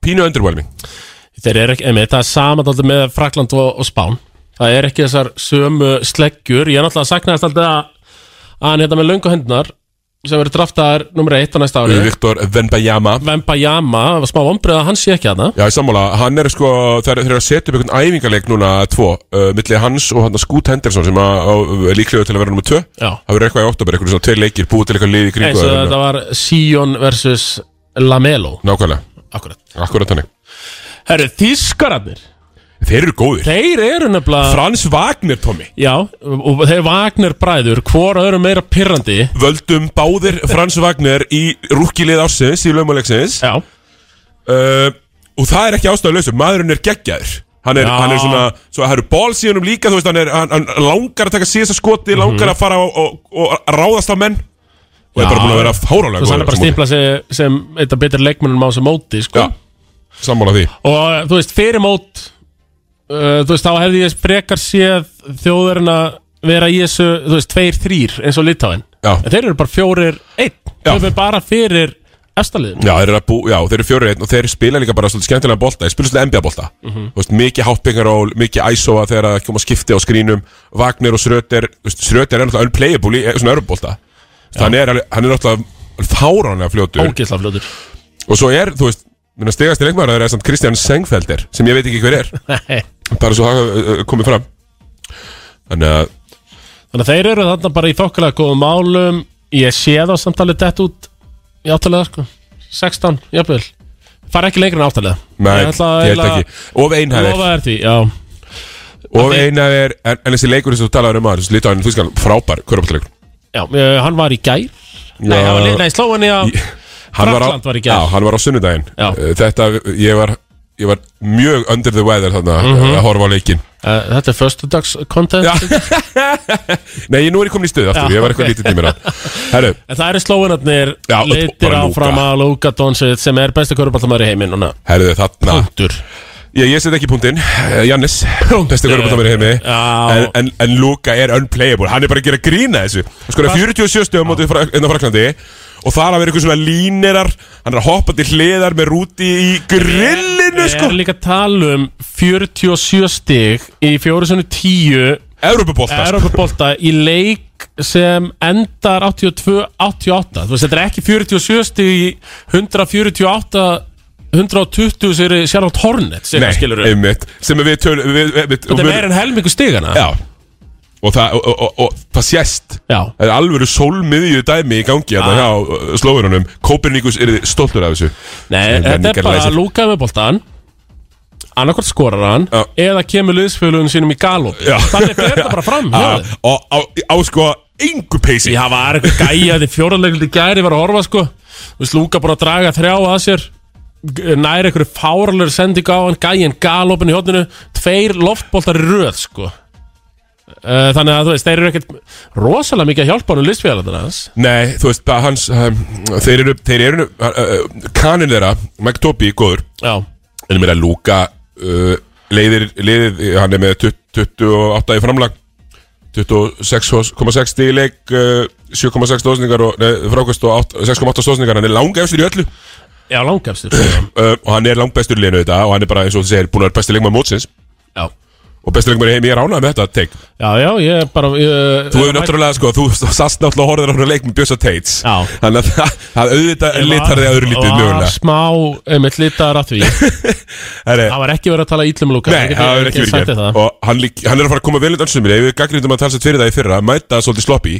Speaker 3: Pínu underwhelming
Speaker 4: Þeir eru ekki, emitt, það er samandaldi með Frakland og, og Spán Það er ekki þessar sömu sleggjur Ég er náttúrulega saknaðist alltaf að að hann hérna með löngu hendunar sem eru draftaðar nummer eitt á næsta ári
Speaker 3: Viktor Venbayama
Speaker 4: Vemba Jama, það var smá vombrið að hann sé ekki aðna
Speaker 3: Já, ég sammála, hann er sko, þeir, þeir eru að setja upp einhvern æfingarleik núna tvo, uh, milli hans og hann Skút Henderson sem að, að, er líklegur til að vera nummer tvö
Speaker 4: Já.
Speaker 3: Það verður eitthvað í oktober, eitthvað svona tveir leikir, búið til eitthvað lið í kringu
Speaker 4: eins og
Speaker 3: þeirra.
Speaker 4: þetta var Sion versus Lamelo
Speaker 3: Nákvæmlega,
Speaker 4: Akkurat
Speaker 3: akkurat þannig
Speaker 4: Herru, þýskararnir
Speaker 3: Þeir eru góðir
Speaker 4: Þeir eru nefnilega
Speaker 3: Frans Wagner, Tommy
Speaker 4: Já, og þeir Vagner bræður Hvor öðru meira pirrandi
Speaker 3: Völdum báðir Frans Wagner í rúkilið ásins í laumaleiksins
Speaker 4: Já,
Speaker 3: uh, Og það er ekki ástæðulegsum Maðurinn er geggjaður Hann er,
Speaker 4: Já.
Speaker 3: hann er svona, svo það eru ból síðanum líka, þú veist, hann, er, hann, hann langar að taka síðasta skoti,
Speaker 4: Mhm.
Speaker 3: langar að fara og, og, og ráðast á menn og er
Speaker 4: Já.
Speaker 3: bara búin að vera fárálega
Speaker 4: þannig að bara stifla sig sem eitt af betri leikmennum á þessu móti sko.
Speaker 3: Já, sammála því
Speaker 4: og þú veist, fyrir mót uh, þú veist, þá hefði ég frekar séð þjóðurinn að vera í þessu, þú veist, tveir, þrýr eins og litáin,
Speaker 3: Já.
Speaker 4: en þeir eru bara fjórir einn,
Speaker 3: Já.
Speaker 4: þau eru bara fyrir efstaliðin,
Speaker 3: Já, þeir eru, að bú, já, þeir eru fjóri einn og þeir spila líka bara svolítið skemmtilega bolta Þeir spila svolítið NBA bolta
Speaker 4: Mhm.
Speaker 3: Þú veist, Mikið hátbyggaról, mikið æsóa þegar það koma skipti á skrínum Wagner og Schröter þú veist, Schröter er náttúrulega unplayable í eh, svona örbolta Þannig er, alveg- hann er náttúrulega fáránlega fljótur
Speaker 4: ógisla (laughs) fljótur
Speaker 3: Og svo er, þú veist, minna stegast í leikmaður er samt Kristján Sengfelder sem ég veit ekki hver er
Speaker 4: þannig
Speaker 3: Bara svo það uh, uh, komið fram Þannig að,
Speaker 4: að þeir eru þarna bara í þokkalega góðum málum ég sé þá samtalið dett út í áttalega, sko, 16 jafnvel, fara ekki lengra en áttalega
Speaker 3: nei,
Speaker 4: ég ætla
Speaker 3: ég held
Speaker 4: eiginlega
Speaker 3: ekki Of
Speaker 4: að
Speaker 3: einhæðir
Speaker 4: lofa þér því, já
Speaker 3: Og
Speaker 4: þeir-
Speaker 3: einhæðir, en, en þessi leikur sem þú talaður um aður Þessi litáinn, þú veist, frábær, körfaltilegur
Speaker 4: Já, eh, hann var í gær Nei, hann var, li- nei Slóvenia
Speaker 3: hann var, á,
Speaker 4: Frakkland var í gær.
Speaker 3: já, hann var á sunnudaginn
Speaker 4: Já.
Speaker 3: Eh, Þetta, ég var, ég var mjög under the weather þarna
Speaker 4: Mhm.
Speaker 3: að horfa á leikin
Speaker 4: uh, Þetta er föstudags content
Speaker 3: Já. Nei, ég nú er ég komin í stuð aftur,
Speaker 4: Já,
Speaker 3: ég var
Speaker 4: ok.
Speaker 3: eitthvað lítið tímur á Herru,
Speaker 4: En það eru Slóvenarnir
Speaker 3: Já, og
Speaker 4: Litir
Speaker 3: bara
Speaker 4: áfram
Speaker 3: Luka.
Speaker 4: að Luka Doncic sem er besti körubáltamæður í heiminn núna.
Speaker 3: herru þarna
Speaker 4: Punktur
Speaker 3: Ég, ég set ekki punktinn, Eh, Jannis (laughs) Besti kvörubantar mér heimi
Speaker 4: Já.
Speaker 3: en, en, en Luka er unplayable, hann er bara að gera grína þessu Skora 47 stöðum mótið fra- inn á Fraklandi Og þar að vera eitthvað svona línerar Hann er að hoppa til hliðar með rúti í grillinu
Speaker 4: Við
Speaker 3: sko
Speaker 4: erum líka að tala um 47 stig í 410
Speaker 3: Európa
Speaker 4: Europabólta í leik sem endar 82-88 Þú veist, þetta er ekki 47 stig í 148 120 sigri Charlotte Hornets eitthvað, skilurðu.
Speaker 3: Nei, um- einmitt Sem við tölum við, við, við,
Speaker 4: Þetta er meira en helmingu stigana
Speaker 3: Já Og það, og, og, og, og, það sést
Speaker 4: Já.
Speaker 3: Það er alvöru sólmiðju dæmi í gangi Þetta
Speaker 4: Ah.
Speaker 3: hjá uh, slóðunum Kopernikus er stoltur af þessu
Speaker 4: Nei,
Speaker 3: Sem
Speaker 4: þetta er bara
Speaker 3: menningarlæsi.
Speaker 4: Luka með boltan annarkort skorar hann
Speaker 3: Já.
Speaker 4: eða kemur liðsfélugum sínum í galop
Speaker 3: Já.
Speaker 4: þannig fer þetta bara (laughs) fram hjá þeim.
Speaker 3: Ah, Og á, á sko engu peysi
Speaker 4: Já, var eitthvað gæja því fjóraleglið í gæri var að horfa sko Þú veist, Luka bara að draga þrjá að sér g- nær einhverju fáralegur sendingu á hann gæjin galopin í hodninu tveir loftboltar í röð sko Eh, Þannig að þú veist, þeir eru ekkert rosalega mikið að hjálpa hann um liðsfélagana hans
Speaker 3: Nei, þú veist, bara hans um, Þeir eru, þeir eru uh, uh, Kanin þeirra, Mike Tobi, góður
Speaker 4: Já,
Speaker 3: En ég meina Luka uh, leiðir, leiðir, hann er með 20 28 í framlag 26,6 stig í leik uh, 7,6 stóðsningar og nei, frákvæmst og átt- 6,8 stóðsningar, hann er langefstur í öllu
Speaker 4: já (clears throat) langefstur sko.
Speaker 3: uh, og hann er langbestur í liðinu þetta og hann er bara eins og þú segir búin að vera besti leikmaður mótsins
Speaker 4: Já,
Speaker 3: og besti leikmaður í heimi, ég er ánað með þetta teik
Speaker 4: já, já, ég er bara ég,
Speaker 3: Þú hefur náttúrulega, sko, þú sast náttúrulega og horfður á hann leik með Bjösa Teits
Speaker 4: Já.
Speaker 3: Þannig að það- það auðvitað litar þig öðru lítið
Speaker 4: Var
Speaker 3: mögulega
Speaker 4: smá, einmitt litar að því Það
Speaker 3: Herri,
Speaker 4: var ekki verið að tala um ítlum lúka
Speaker 3: Nei, það hefur ekki verið
Speaker 4: það.
Speaker 3: gert Og hann, lík, hann er að fara að koma vel undan sumri Ef við gaggrindum um að tala sér fyrir það í fyrra Mæta svolítið sloppy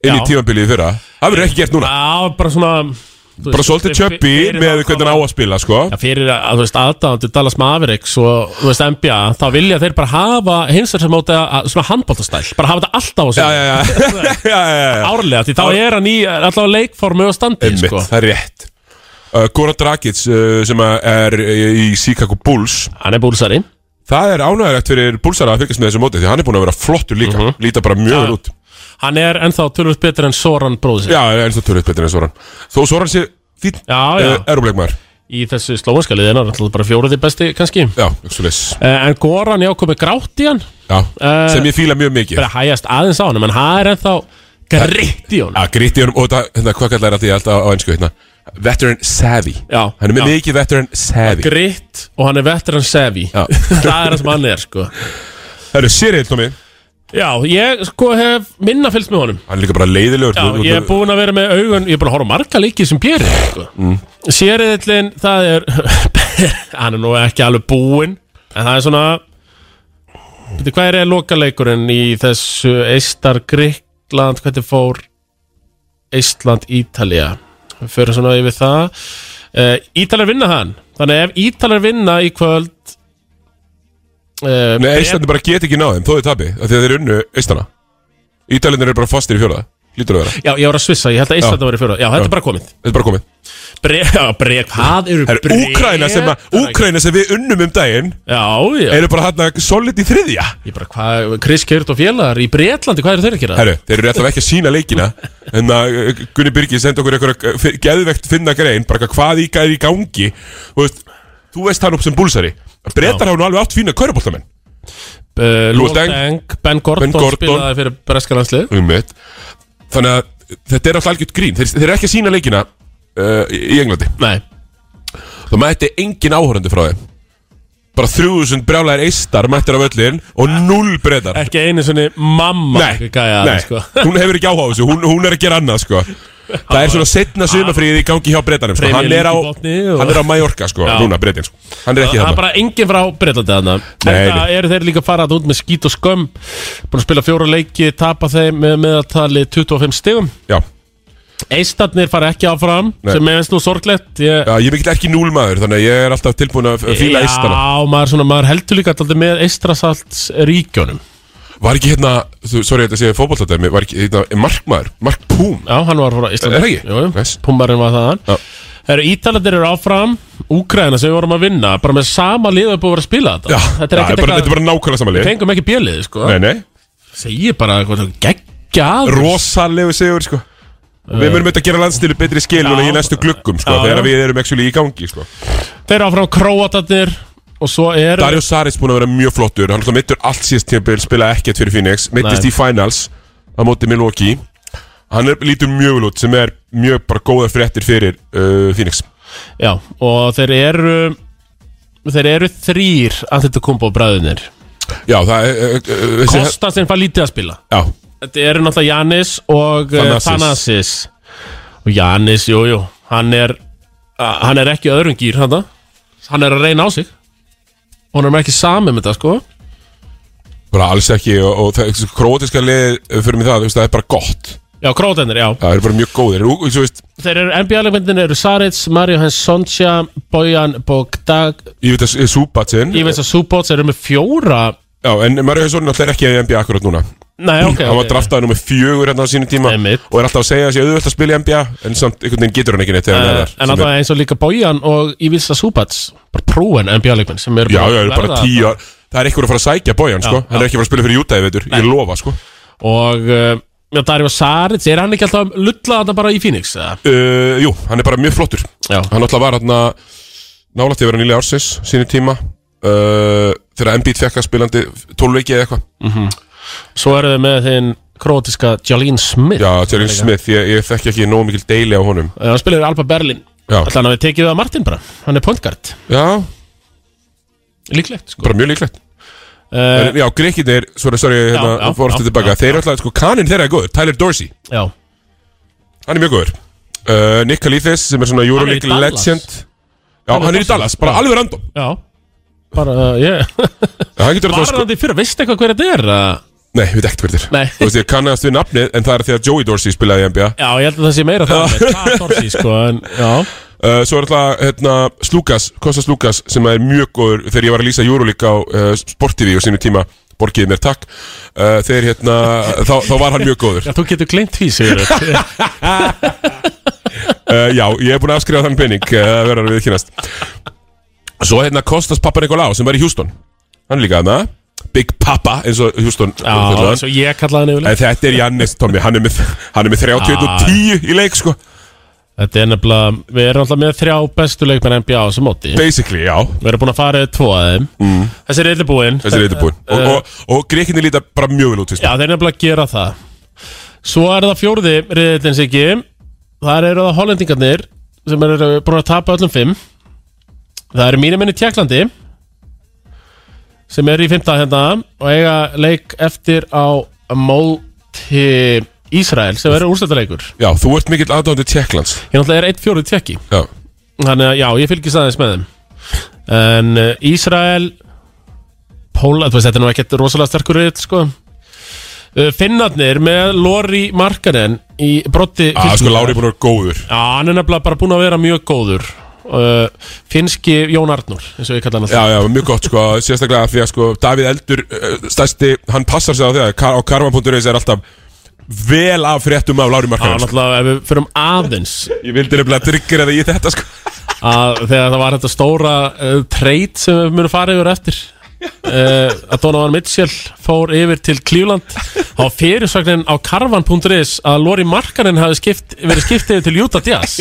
Speaker 3: Inn í
Speaker 4: Já.
Speaker 3: tímanbilið í fyrra Það verður ekki gert núna
Speaker 4: Já, bara svona þú
Speaker 3: Bara
Speaker 4: veist,
Speaker 3: svolítið
Speaker 4: fyrir-
Speaker 3: tjöppi
Speaker 4: fyrir
Speaker 3: með
Speaker 4: nákvæmlega-
Speaker 3: hvernig hann á að spila sko.
Speaker 4: Já, fyrir að, að, þú veist, aðdáðandi Dallas Mavericks og, þú veist, NBA þá vilja þeir bara hafa hinsar sem átti að, svona handbóltastæl bara hafa þetta
Speaker 3: Já,
Speaker 4: alltaf á sig
Speaker 3: já, já (laughs) Já, já, já, já.
Speaker 4: árlega, því þá er hann í allavega leikformu og standi,
Speaker 3: Einmitt,
Speaker 4: sko
Speaker 3: það er rétt uh, Goran Dragic uh, sem að er í Chicago Bulls
Speaker 4: Hann er búlsari
Speaker 3: Það er ánægilegt fyrir Bullsara að fylgjast með þessu móti Því hann er búin að vera flottur líka
Speaker 4: Mhm.
Speaker 3: Líta bara mjög vel út
Speaker 4: Hann er ennþá tölvöld betur en Soran bróðsir
Speaker 3: Já, eins og törrið betur en Soran Þó Soran sé eh, fín
Speaker 4: Já, já.
Speaker 3: Erumleikmaður
Speaker 4: Í þessu slóanska liðin er hann alltaf bara fjóruði besti, kannski
Speaker 3: Já, ekki svo leys
Speaker 4: Eh, En Goran, já, komið grátt í hann
Speaker 3: Já,
Speaker 4: Eh,
Speaker 3: sem ég fíla mjög mikið
Speaker 4: fyrir að hægjast aðeins á hann en hann er ennþá gritt í hann
Speaker 3: Já, gritt í honum og þetta, hérna, hvað kallar þetta ég alltaf á einsku hérna Veteran savvy
Speaker 4: Já,
Speaker 3: Hann er með
Speaker 4: já.
Speaker 3: mikið veteran savvy
Speaker 4: gritt og hann er veteran savvy
Speaker 3: Já.
Speaker 4: (laughs) það er það sem hann er sko
Speaker 3: Það eru Cyril, Tómi Hann
Speaker 4: já, ég sko hef minna fylgst með honum
Speaker 3: er líka bara leiðilegur
Speaker 4: já,
Speaker 3: Þú- þú-
Speaker 4: ég er búinn að vera með augun ég er búinn að horfa á marga leikið sem Björn sko. mm. sériðillin, það er (laughs) hann er nú ekki alveg búinn en það er svona Veitir, hvað er lokaleikurinn í þessu Eistar, Gríkland, hvernig fór Eistland, Ítalía við förum svona yfir það Eh, uh, Ítalar vinna hann þannig að ef Ítalar vinna í kvöld uh,
Speaker 3: Nei, Íslandi bara get ekki náðum, þó þið tapi af Því að þeir unnu Íslana Ítalindir eru bara fastir í fjóraða Lítur að vera,
Speaker 4: Já, ég var að svissa, ég held að Íslanda
Speaker 3: Já.
Speaker 4: var í fjóra Já, þetta
Speaker 3: Já.
Speaker 4: er bara komið
Speaker 3: þetta er bara komið
Speaker 4: Bre (laughs) já, breg, hvað eru
Speaker 3: Það
Speaker 4: breg?
Speaker 3: er Úkraina sem, að, Úkraina sem við unnum um daginn
Speaker 4: Já, já,
Speaker 3: Eru bara hann solid í þriðja
Speaker 4: ég bara, hvað, Chris Kjört og félagar í Breitlandi, hvað eru þeir að gera?
Speaker 3: Herru, þeir eru alltaf ekki að sína leikina En að uh, Gunni Birgir sendi okkur eitthvað Geðvegt finna grein, bara eitthvað hvað í gæði í gangi Þú veist, þú veist hann upp sem búlsari Bretar hafa nú alveg átt fína kaurabóltamenn
Speaker 4: Uh,
Speaker 3: Lewis
Speaker 4: Lúl
Speaker 3: Deng,
Speaker 4: Deng, Ben Gordon,
Speaker 3: Ben Gordon.
Speaker 4: spilaði fyrir Breskalandslið
Speaker 3: Ummitt Þannig að þetta er alltaf algjört grín Þeir, þeir eru ekki að sína leikina uh, í í Englandi
Speaker 4: Nei,
Speaker 3: Það mætti engin áhorandi frá þeim Bara 3000 brjálæðir eistar mættir af öllin Og 0 breytar
Speaker 4: ekki einu svona mamma
Speaker 3: Nei,
Speaker 4: gæja,
Speaker 3: nei,
Speaker 4: Sko.
Speaker 3: (laughs) hún hefur ekki áhuga á þessu hún, hún er að gera annað sko Það er svona setna sumafríði í gangi hjá breytanum sko.
Speaker 4: Premier
Speaker 3: hann, er á,
Speaker 4: League í botni og-
Speaker 3: hann er á Mallorca sko
Speaker 4: Já.
Speaker 3: Núna breytin sko Hann er ekki
Speaker 4: Það er
Speaker 3: þarna
Speaker 4: bara enginn frá Breitlandi þarna
Speaker 3: Nei,
Speaker 4: Þetta
Speaker 3: nei.
Speaker 4: eru þeir líka farað út með skít og skömm Búin að spila fjóra leiki, tapa þeim með meðaltali 25 stigum
Speaker 3: Já,
Speaker 4: Eistarnir fara ekki áfram
Speaker 3: Nei.
Speaker 4: sem er veist nú sorglegt Ég,
Speaker 3: Já, ég er mikill ekki núlmaður Þannig að ég er alltaf tilbúin að fíla eistana
Speaker 4: Já, maður, svona, maður heldur líka alltaf með Eistrasalts ríkjónum
Speaker 3: Var ekki hérna, þú- sorry þetta séu fótbolladæmi Var ekki hérna, markmaður, Mark Púm
Speaker 4: Já, hann var frá Íslandi
Speaker 3: Er það ekki?
Speaker 4: Jú,
Speaker 3: Nice.
Speaker 4: Pumbarinn var þaðan
Speaker 3: Já.
Speaker 4: Herru, Ítalandir eru áfram Úkraina sem við vorum að vinna Bara með sama liðu búið að vera að spila þetta
Speaker 3: Já,
Speaker 4: Þetta er
Speaker 3: já,
Speaker 4: ekkert
Speaker 3: bara, þetta er
Speaker 4: eitthvað
Speaker 3: bara nákvæmlega
Speaker 4: Við
Speaker 3: samanlega
Speaker 4: fengum ekki bjölið, sko
Speaker 3: Nei, nei,
Speaker 4: Segir bara eitthvað geggjað
Speaker 3: rosalegu sigur sko Og Við mörum þetta að gera landstilu betri skil núna í næstu gluggum sko,
Speaker 4: Eh. Já,
Speaker 3: þegar
Speaker 4: já.
Speaker 3: við erum actually í gangi sko.
Speaker 4: Þeir eru áfram Króatarnir Og svo eru
Speaker 3: Dario Saric búin að vera mjög flottur Hann er mittur allt síðast tímabil, spilaði ekkert fyrir Phoenix Mittist
Speaker 4: Nei.
Speaker 3: í finals á móti Milwaukee Hann er lítur mjög vel út sem er mjög bara góða fréttir fyrir uh, Phoenix
Speaker 4: Já, og þeir eru Þeir eru þrýr Antetokumbo bræðinir
Speaker 3: Já, það er uh, uh, þessi-
Speaker 4: Kostas sem fær lítið að spila
Speaker 3: Já,
Speaker 4: Þetta eru náttúrulega Janis og eh,
Speaker 3: Thanasis.
Speaker 4: Thanasis Og Janis, jú, jú Hann er, a- hann er ekki í öðrum gýr hann, hann er að reyna á sig Hún er ekki sami með þetta, sko
Speaker 3: bara alls ekki og, og það, krótiska lið uh, fyrir mig það, þú veist, það er bara gott
Speaker 4: Já, krótennir, já
Speaker 3: Það er bara mjög góðir Ú, Þú veist,
Speaker 4: Þeir eru, NBA-leikmyndin eru Saric, Mario Hensonsja Bojan Bogdag
Speaker 3: ég veit að Súbatsinn
Speaker 4: Ég veist að Subots eru með fjóra
Speaker 3: Já, en Mario Hesson er alltaf ekki í NBA akkurat núna
Speaker 4: Nei, ok,
Speaker 3: (clears throat) hann var
Speaker 4: ok
Speaker 3: draftaði nummer fjögur hérna á sínum tíma
Speaker 4: Einmitt.
Speaker 3: og er alltaf að segja að sé auðvöld að spila í NBA en samt einhvern veginn getur hann ekki neitt þegar hann
Speaker 4: Eh,
Speaker 3: er þar
Speaker 4: En
Speaker 3: Sem
Speaker 4: alltaf
Speaker 3: er-
Speaker 4: eins og líka Bojan og Ívisa Subats Bara próen NBA-leikmenn sem eru
Speaker 3: Já, já,
Speaker 4: að
Speaker 3: er bara
Speaker 4: verða
Speaker 3: tíu ár Það er einhver að fara að sækja bójan, sko Hann er
Speaker 4: já.
Speaker 3: ekki að fara að spila fyrir Utah, ég veitur Ég lofa, sko
Speaker 4: Og uh, já, Dario Saric, er hann ekki alltaf lullað þetta bara í Phoenix? eða?
Speaker 3: uh, Jú, hann er bara mjög flottur
Speaker 4: Já,
Speaker 3: Hann alltaf var hann að Nálætti að vera nýlega ársins, sínu tíma uh, Þegar Embiid fekk að spilandi 12 leiki eða eitthvað
Speaker 4: svo eru þau með þinn krótiska Jalín Smith
Speaker 3: Já, Jalen Smith, ég, ég þekki ekki nóg mikil deili á honum
Speaker 4: Eh, Hann spilaði í Alba Berlin
Speaker 3: Já,
Speaker 4: Þannig að við tekið það Martin bara, hann er pointguard
Speaker 3: já
Speaker 4: Líklegt, sko
Speaker 3: bara mjög líklegt
Speaker 4: uh,
Speaker 3: en, Já, greikinir, sorry, sorry, hérna,
Speaker 4: já,
Speaker 3: fór aftur
Speaker 4: já,
Speaker 3: tilbaka
Speaker 4: já,
Speaker 3: Þeir eru alltaf, sko, kaninn þeirra er góður Tyler Dorsey,
Speaker 4: Já,
Speaker 3: hann er mjög góður uh, Nick Kalithis, sem er svona Euroleague
Speaker 4: Dallas.
Speaker 3: legend Já, hann er í Dallas, bara alveg random
Speaker 4: já Bara, uh, (laughs) yeah
Speaker 3: Hann getur
Speaker 4: Var
Speaker 3: alltaf, sko,
Speaker 4: hann því fyrir, veistu eitthvað hver þetta er? Uh,
Speaker 3: Nei, við veit ekkert hverðir
Speaker 4: Nei.
Speaker 3: Þú veist, ég kannast við nafnið En það er því að Joey Dorsey spilaði í NBA
Speaker 4: já, ég held að það sé meira það með Hvað Dorsey, sko, en já
Speaker 3: uh, Svo er alltaf, hérna, Slúkas Kostas Slúkas, sem er mjög góður Þegar ég var að lýsa Euroleague á uh, Sport TV á sínu tíma, borgið mér takk uh, Þegar, hérna, þá, þá var hann mjög
Speaker 4: (laughs)
Speaker 3: góður
Speaker 4: Já, þú getur gleymt því, sigur
Speaker 3: uh, Já, ég er búin að afskrifa þann penning uh, Það verður að við kynast Svo, hérna, Kostas Papa Nikolá, sem var í Houston Hann er líka þarna Big Papa, eins og Houston kallar
Speaker 4: (laughs) Já,
Speaker 3: hann.
Speaker 4: svo ég kallaði hann yfirlega
Speaker 3: En þetta er Jannis, Tommy, hann er með, hann er með 31 og
Speaker 4: Ah.
Speaker 3: 10 í leik, sko
Speaker 4: Þetta er nefnilega, við erum alltaf með þrjá bestu leikmenn NBA á þessu móti
Speaker 3: Basically, já
Speaker 4: Við erum búin að fara yfir tvo að þeim mm. Þessi er eitthvað búinn
Speaker 3: Þessi er eitthvað búinn Og,
Speaker 4: Eh,
Speaker 3: og, og greikinni líta bara mjög vel út fyrst
Speaker 4: Já, þeir nefnilega að gera það Svo er það fjórði riðillins ekki Þar eru það hollendingarnir sem eru búin að tapa öllum fimm Það eru mínir minni Tjekklandi sem eru í fimmta hérna og eiga leik eftir á móti Ísrael sem eru úrstættaleikur
Speaker 3: Já, þú ert mikill aðdóndi Tjekklands
Speaker 4: Ég náttúrulega er eitt fjórði tjekki
Speaker 3: Já,
Speaker 4: Þannig að já, ég fylgist aðeins með þeim En uh, Ísrael Póla, þú veist, þetta er nú ekkert rosalega sterkur reyð, sko uh, Finnarnir með Lori Markanen í brotti
Speaker 3: að sko
Speaker 4: fylkingar.
Speaker 3: Lári er búin að vera góður
Speaker 4: Já, hann er nefnilega bara búin að vera mjög góður uh, Finnski Jón Arnur eins og ég kalla hann
Speaker 3: Já, já, mjög gott sko, sérstaklega því að sko Davíð Eldur, uh, stærsti, hann passar sig á því að kar- á karma.is er alltaf vel af fréttum af Lári
Speaker 4: Já,
Speaker 3: Markarins
Speaker 4: náttúrulega ef við fyrir aðeins
Speaker 3: Ég vildi nefnilega tryggir að í þetta sko
Speaker 4: að þegar það var þetta stóra uh, treyt sem við munum fara yfir eftir uh, að Donovan Mitchell fór yfir til Cleveland á fyrirsögnin á karvan.is að Lori Markanen hafi skipt, verið skipt yfir til Utah Jazz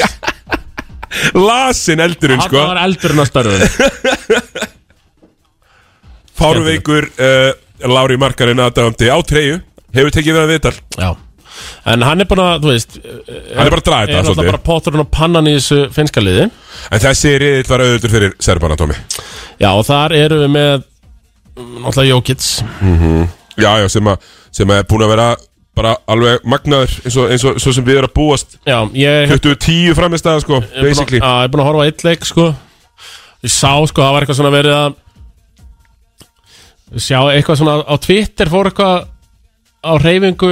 Speaker 3: (laughs) Lasin Eldurinn
Speaker 4: það
Speaker 3: sko,
Speaker 4: var eldurinn að störfum
Speaker 3: fáruveikur uh, Lári Markarinn aðdæfandi á treyju Hefur tekið við að viðtal
Speaker 4: Já En hann er bara, þú veist Hann
Speaker 3: er bara að draga þetta,
Speaker 4: Er alltaf
Speaker 3: svolítið.
Speaker 4: bara potturinn og pannan í þessu finnska liði
Speaker 3: En þessi riðill var auðvöldur fyrir Serbana, Tómi
Speaker 4: Já, og þar eru við með mm, Náttúrulega Jókits
Speaker 3: Já, já, sem, að, sem að er búin að vera bara alveg magnaður eins og, eins og svo sem við erum að búast
Speaker 4: Já, ég
Speaker 3: 2010 framistæða sko,
Speaker 4: Ég er
Speaker 3: basically
Speaker 4: búinn að- Já, ég er búin að horfa á eitt leik sko Ég sá sko, það var eitthvað svona verið að Sjá eitthvað svona Á Twitter fór eitthvað Á reyfingu,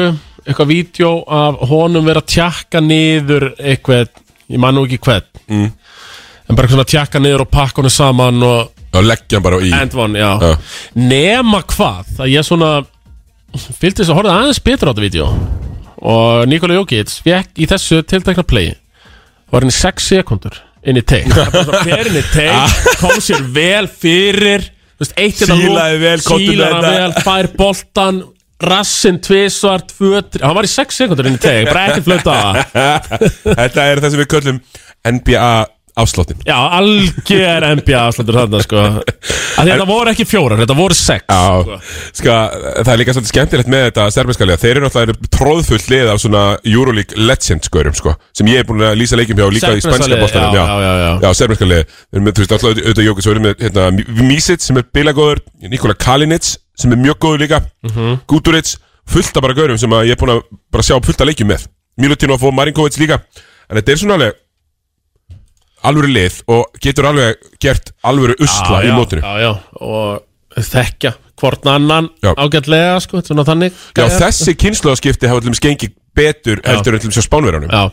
Speaker 4: eitthvað vídeo Af honum verið að tjakka niður Eitthvað, ég man nú ekki hvern mm. En bara eitthvað svona tjakka niður Og pakka honum saman og
Speaker 3: Já, leggja hann bara í
Speaker 4: End one, já
Speaker 3: Já.
Speaker 4: Nema hvað, að ég svona Fylgdi þess að horfa aðeins betur á þetta vídeo Og Nikola Jokic Fekk í þessu tiltekna play Var henni 6 sekundur inn í teik Fyrir inn í teik Kom sér vel fyrir þú veist, eitt hérna nú,
Speaker 3: Ah. Sílaði vel, komdu með
Speaker 4: sílar hann
Speaker 3: þetta.
Speaker 4: vel, fær boltan Rassin tvisvart, fötri Hann var í 6 sekundur inn í teik, bara ekki flöta á það
Speaker 3: (laughs) Þetta er það sem við köllum NBA afslóttin
Speaker 4: Já, algjör NBA afslutur þarna sko Að því Þetta voru ekki fjórar, þetta voru sex
Speaker 3: Já,
Speaker 4: sko.
Speaker 3: ska, það er líka svolítið skemmtilegt með þetta serbinskalja Þeir eru náttúrulega tróðfullt lið af svona Euroleague legend skoðurum sko Sem ég er búin að lýsa leikjum hjá líka í
Speaker 4: Serbneska
Speaker 3: spænska
Speaker 4: liðið,
Speaker 3: bóttanum
Speaker 4: já, já, já, já.
Speaker 3: já serbinskalja Við erum með, þú veist, alltaf auðvitað Jókis Við erum með hérna, Mísic sem er bilagóður Nikola Kalinic sem er mjög góður líka
Speaker 4: Mhm.
Speaker 3: Guturic, fullt af bara gaurum sem að ég er búin að bara sjá fullt af leikjum með Milutinov og Marinkovic líka En þetta er svona alveg alvöru lið og getur alveg gert alvöru usla í
Speaker 4: Ah, já,
Speaker 3: mótinu
Speaker 4: Já, já, og þekkja hvorn annan
Speaker 3: Já.
Speaker 4: ágætlega sko, svona þannig
Speaker 3: Já,
Speaker 4: gæjar.
Speaker 3: þessi kynnslóðskipti hafa til dæmis gengið betur heldur en til dæmis á spánverjanum.
Speaker 4: Já,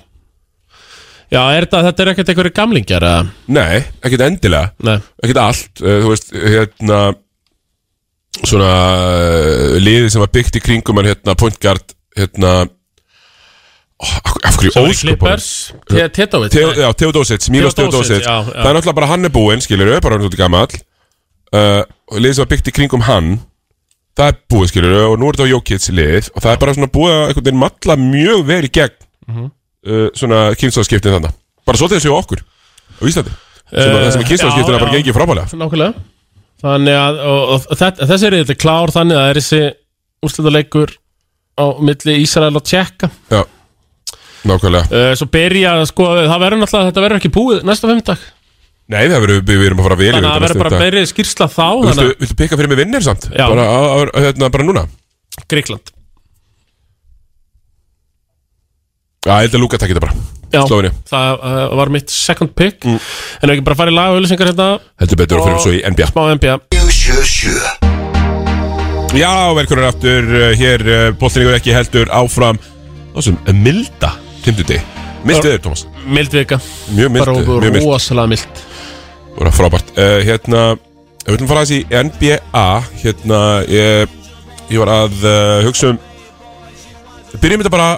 Speaker 4: já er þetta, þetta er ekkert einhverju gamlingjar eða?
Speaker 3: Nei, ekkert endilega,
Speaker 4: Nei,
Speaker 3: ekkert allt, uh, þú veist, hérna, svona uh, liðið sem var byggt í kringum en hérna, point guard, hérna, oh, af af hverju
Speaker 4: Sorry,
Speaker 3: óskupunum?
Speaker 4: Clippers Te- Tetovit
Speaker 3: Teo, já, Teodosic, Milos Teodosic,
Speaker 4: Teodosic, já, já.
Speaker 3: það er náttúrulega bara hann er búinn, skilur við, bara hann er út í gamall, uh, og liðið sem var byggt í kringum hann, það er búið, skilur við, og nú er þetta á Jókits lið, og það er bara svona búið að einhvern veginn matla mjög vel í gegn,
Speaker 4: Mhm.
Speaker 3: uh, svona kynnslóðskiptin þannig, bara svolítið þessu á okkur, á Íslandi, sem að
Speaker 4: Eh,
Speaker 3: það sem er kynnslóðskiptin
Speaker 4: já,
Speaker 3: að bara
Speaker 4: já.
Speaker 3: gengið frábælega.
Speaker 4: Nákvæmlega Þannig að, og, og þetta, þessi er þetta klár þannig að það er þessi úrslitaleikur á milli Ísrael og Tjekka
Speaker 3: Já, nákvæmlega.
Speaker 4: uh, Svo byrja, sko, það verður náttúrulega, þetta verður ekki búið næsta fimmtak
Speaker 3: Nei, það verður, við við erum að fara að velja
Speaker 4: Þannig að það verður bara meiri skýrsla þá Þannig
Speaker 3: Viltu, viltu pikka fyrir mig vinnir samt?
Speaker 4: Já.
Speaker 3: Bara, á, á, hérna, bara núna?
Speaker 4: að Gríkland
Speaker 3: Já, ég held að Luka takk þetta bara.
Speaker 4: Já,
Speaker 3: Slóvenía.
Speaker 4: það uh, var mitt second pick mm. En ef ekki bara farið laga auðlýsingar hérna
Speaker 3: Heldur betur og fyrir svo í NBA.
Speaker 4: Smá NBA
Speaker 2: 977
Speaker 3: Já, velkominn aftur uh, hér uh, Bóttinningur ekki heldur áfram Þessum milda Fymtuti Milt
Speaker 4: Já.
Speaker 3: viður, Tómas
Speaker 4: Mild vika
Speaker 3: Mjög milt
Speaker 4: Bara
Speaker 3: viður,
Speaker 4: okkur
Speaker 3: mjög milt
Speaker 4: rosalega mild
Speaker 3: Bara frábært uh, Hérna Við viljum fara aðeins í NBA Hérna Ég, ég var að uh, hugsa um Við Byrjum þetta bara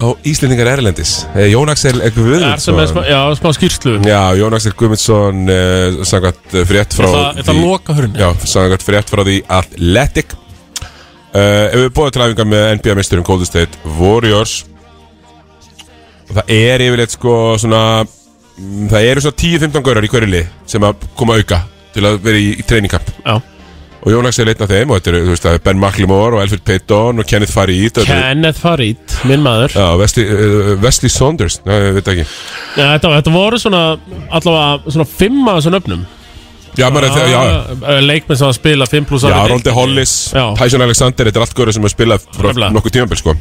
Speaker 3: Á Íslendingar Erlendis uh, Jón Axel
Speaker 4: Er sem er smá,
Speaker 3: Guðmundsson
Speaker 4: já, smá skýrslu
Speaker 3: Já, Jón Axel Guðmundsson uh, Sangat uh, frétt frá
Speaker 4: Það er
Speaker 3: því-
Speaker 4: loka hörni
Speaker 3: Já, sagðan frétt frá því Athletic uh, Ef við bóðum til æfinga með NBA-misturum Golden State Warriors og það er yfirleitt sko svona mm, það eru svona 10-15 gaurar í hverju lið sem að koma auka til að vera í, í treyningamp
Speaker 4: Já
Speaker 3: og Jónaks er leitna þeim og þetta eru, þú veist, það er Ben McLemore og Alfred Payton og Kenneth Farid og þetta eru-
Speaker 4: Kenneth Farid, minn maður
Speaker 3: Já, Wesley, uh, Wesley Saunders, Nei, ég veit ekki
Speaker 4: Já, þetta, þetta voru svona allavega svona fimm af þessum öfnum
Speaker 3: Já, maður er þegar, já,
Speaker 4: Leikmenn sem að spila 5 pluss
Speaker 3: Já, Rondi Hollis,
Speaker 4: Já.
Speaker 3: Tyson Alexander Þetta er allt góður sem er spilað frá
Speaker 4: Nefnilega.
Speaker 3: nokkuð tímambil sko.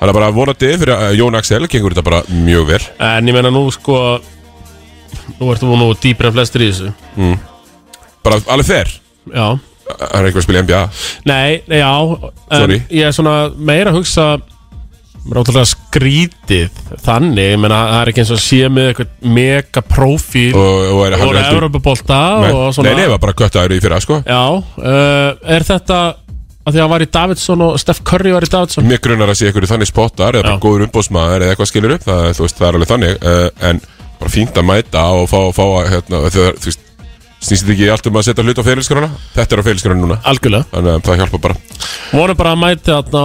Speaker 3: Þannig að bara vonandi fyrir að Jón Axel Gengur þetta bara mjög vel
Speaker 4: En ég meina nú sko Nú ertu nú dýpir en flestir í þessu
Speaker 3: Bara alveg Eh, fer
Speaker 4: Já
Speaker 3: Það er einhver að spila í NBA
Speaker 4: Nei, nei, já en
Speaker 3: Sorry.
Speaker 4: Ég er svona meira að hugsa Ráttalega skrítið Þannig, ég meina, það er ekki eins og að sé með eitthvað mega prófíl
Speaker 3: Og, og er
Speaker 4: Það
Speaker 3: hann
Speaker 4: voru
Speaker 3: heldur
Speaker 4: Evropabolta
Speaker 3: Nei,
Speaker 4: og
Speaker 3: nei,
Speaker 4: svona
Speaker 3: nei, var bara köttaður í fyrra sko
Speaker 4: Já, uh, er þetta að því að hann var í Davidsson og Steph Curry var í Davidsson
Speaker 3: Mér grunar að sé einhverju þannig spottar eða bara
Speaker 4: Já.
Speaker 3: góður umbóðsmaður eða eitthvað skilur upp það, þú veist, það er alveg þannig uh, en bara fínt að mæta og fá, fá að hérna, þegar, þú veist, snýst þetta ekki allt um að setja hlut á ferilskrona þetta er á ferilskrona núna
Speaker 4: Algjörlega
Speaker 3: þannig að það hjálpa bara
Speaker 4: Voru bara að mæti þarna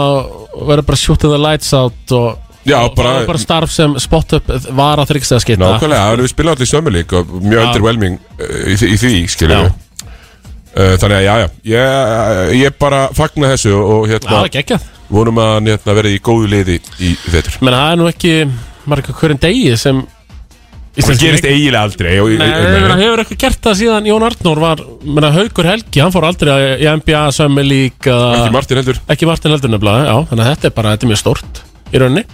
Speaker 4: og vera bara shooting the lights out og
Speaker 3: Já,
Speaker 4: og
Speaker 3: bara-
Speaker 4: það var bara starf sem spot up var að þryggstæða skita
Speaker 3: Nákvæmlega, það er við spilað allir sömulík og mjög underwhelming uh, í, þi- í því, skiljum
Speaker 4: Já.
Speaker 3: við Uh, Þannig að já, já, ég, eh, ég bara fagna þessu og hérna,
Speaker 4: Það er geggjað
Speaker 3: vonum að hann hérna, verði í góðu liði í vetur.
Speaker 4: Menna það er nú ekki marga hverjum degi sem
Speaker 3: Það
Speaker 4: íslenski
Speaker 3: gerist
Speaker 4: leik-
Speaker 3: eiginlega aldrei. Og,
Speaker 4: Nei, ég meina, hefur eitthvað gert það síðan Jón Arnór var, menna Haugur Helgi hann fór aldrei að- í NBA sömmi lík
Speaker 3: Ekki Martin heldur.
Speaker 4: ekki Martin heldur nefnilega, já þannig að þetta er bara, þetta er mjög stórt í rauninni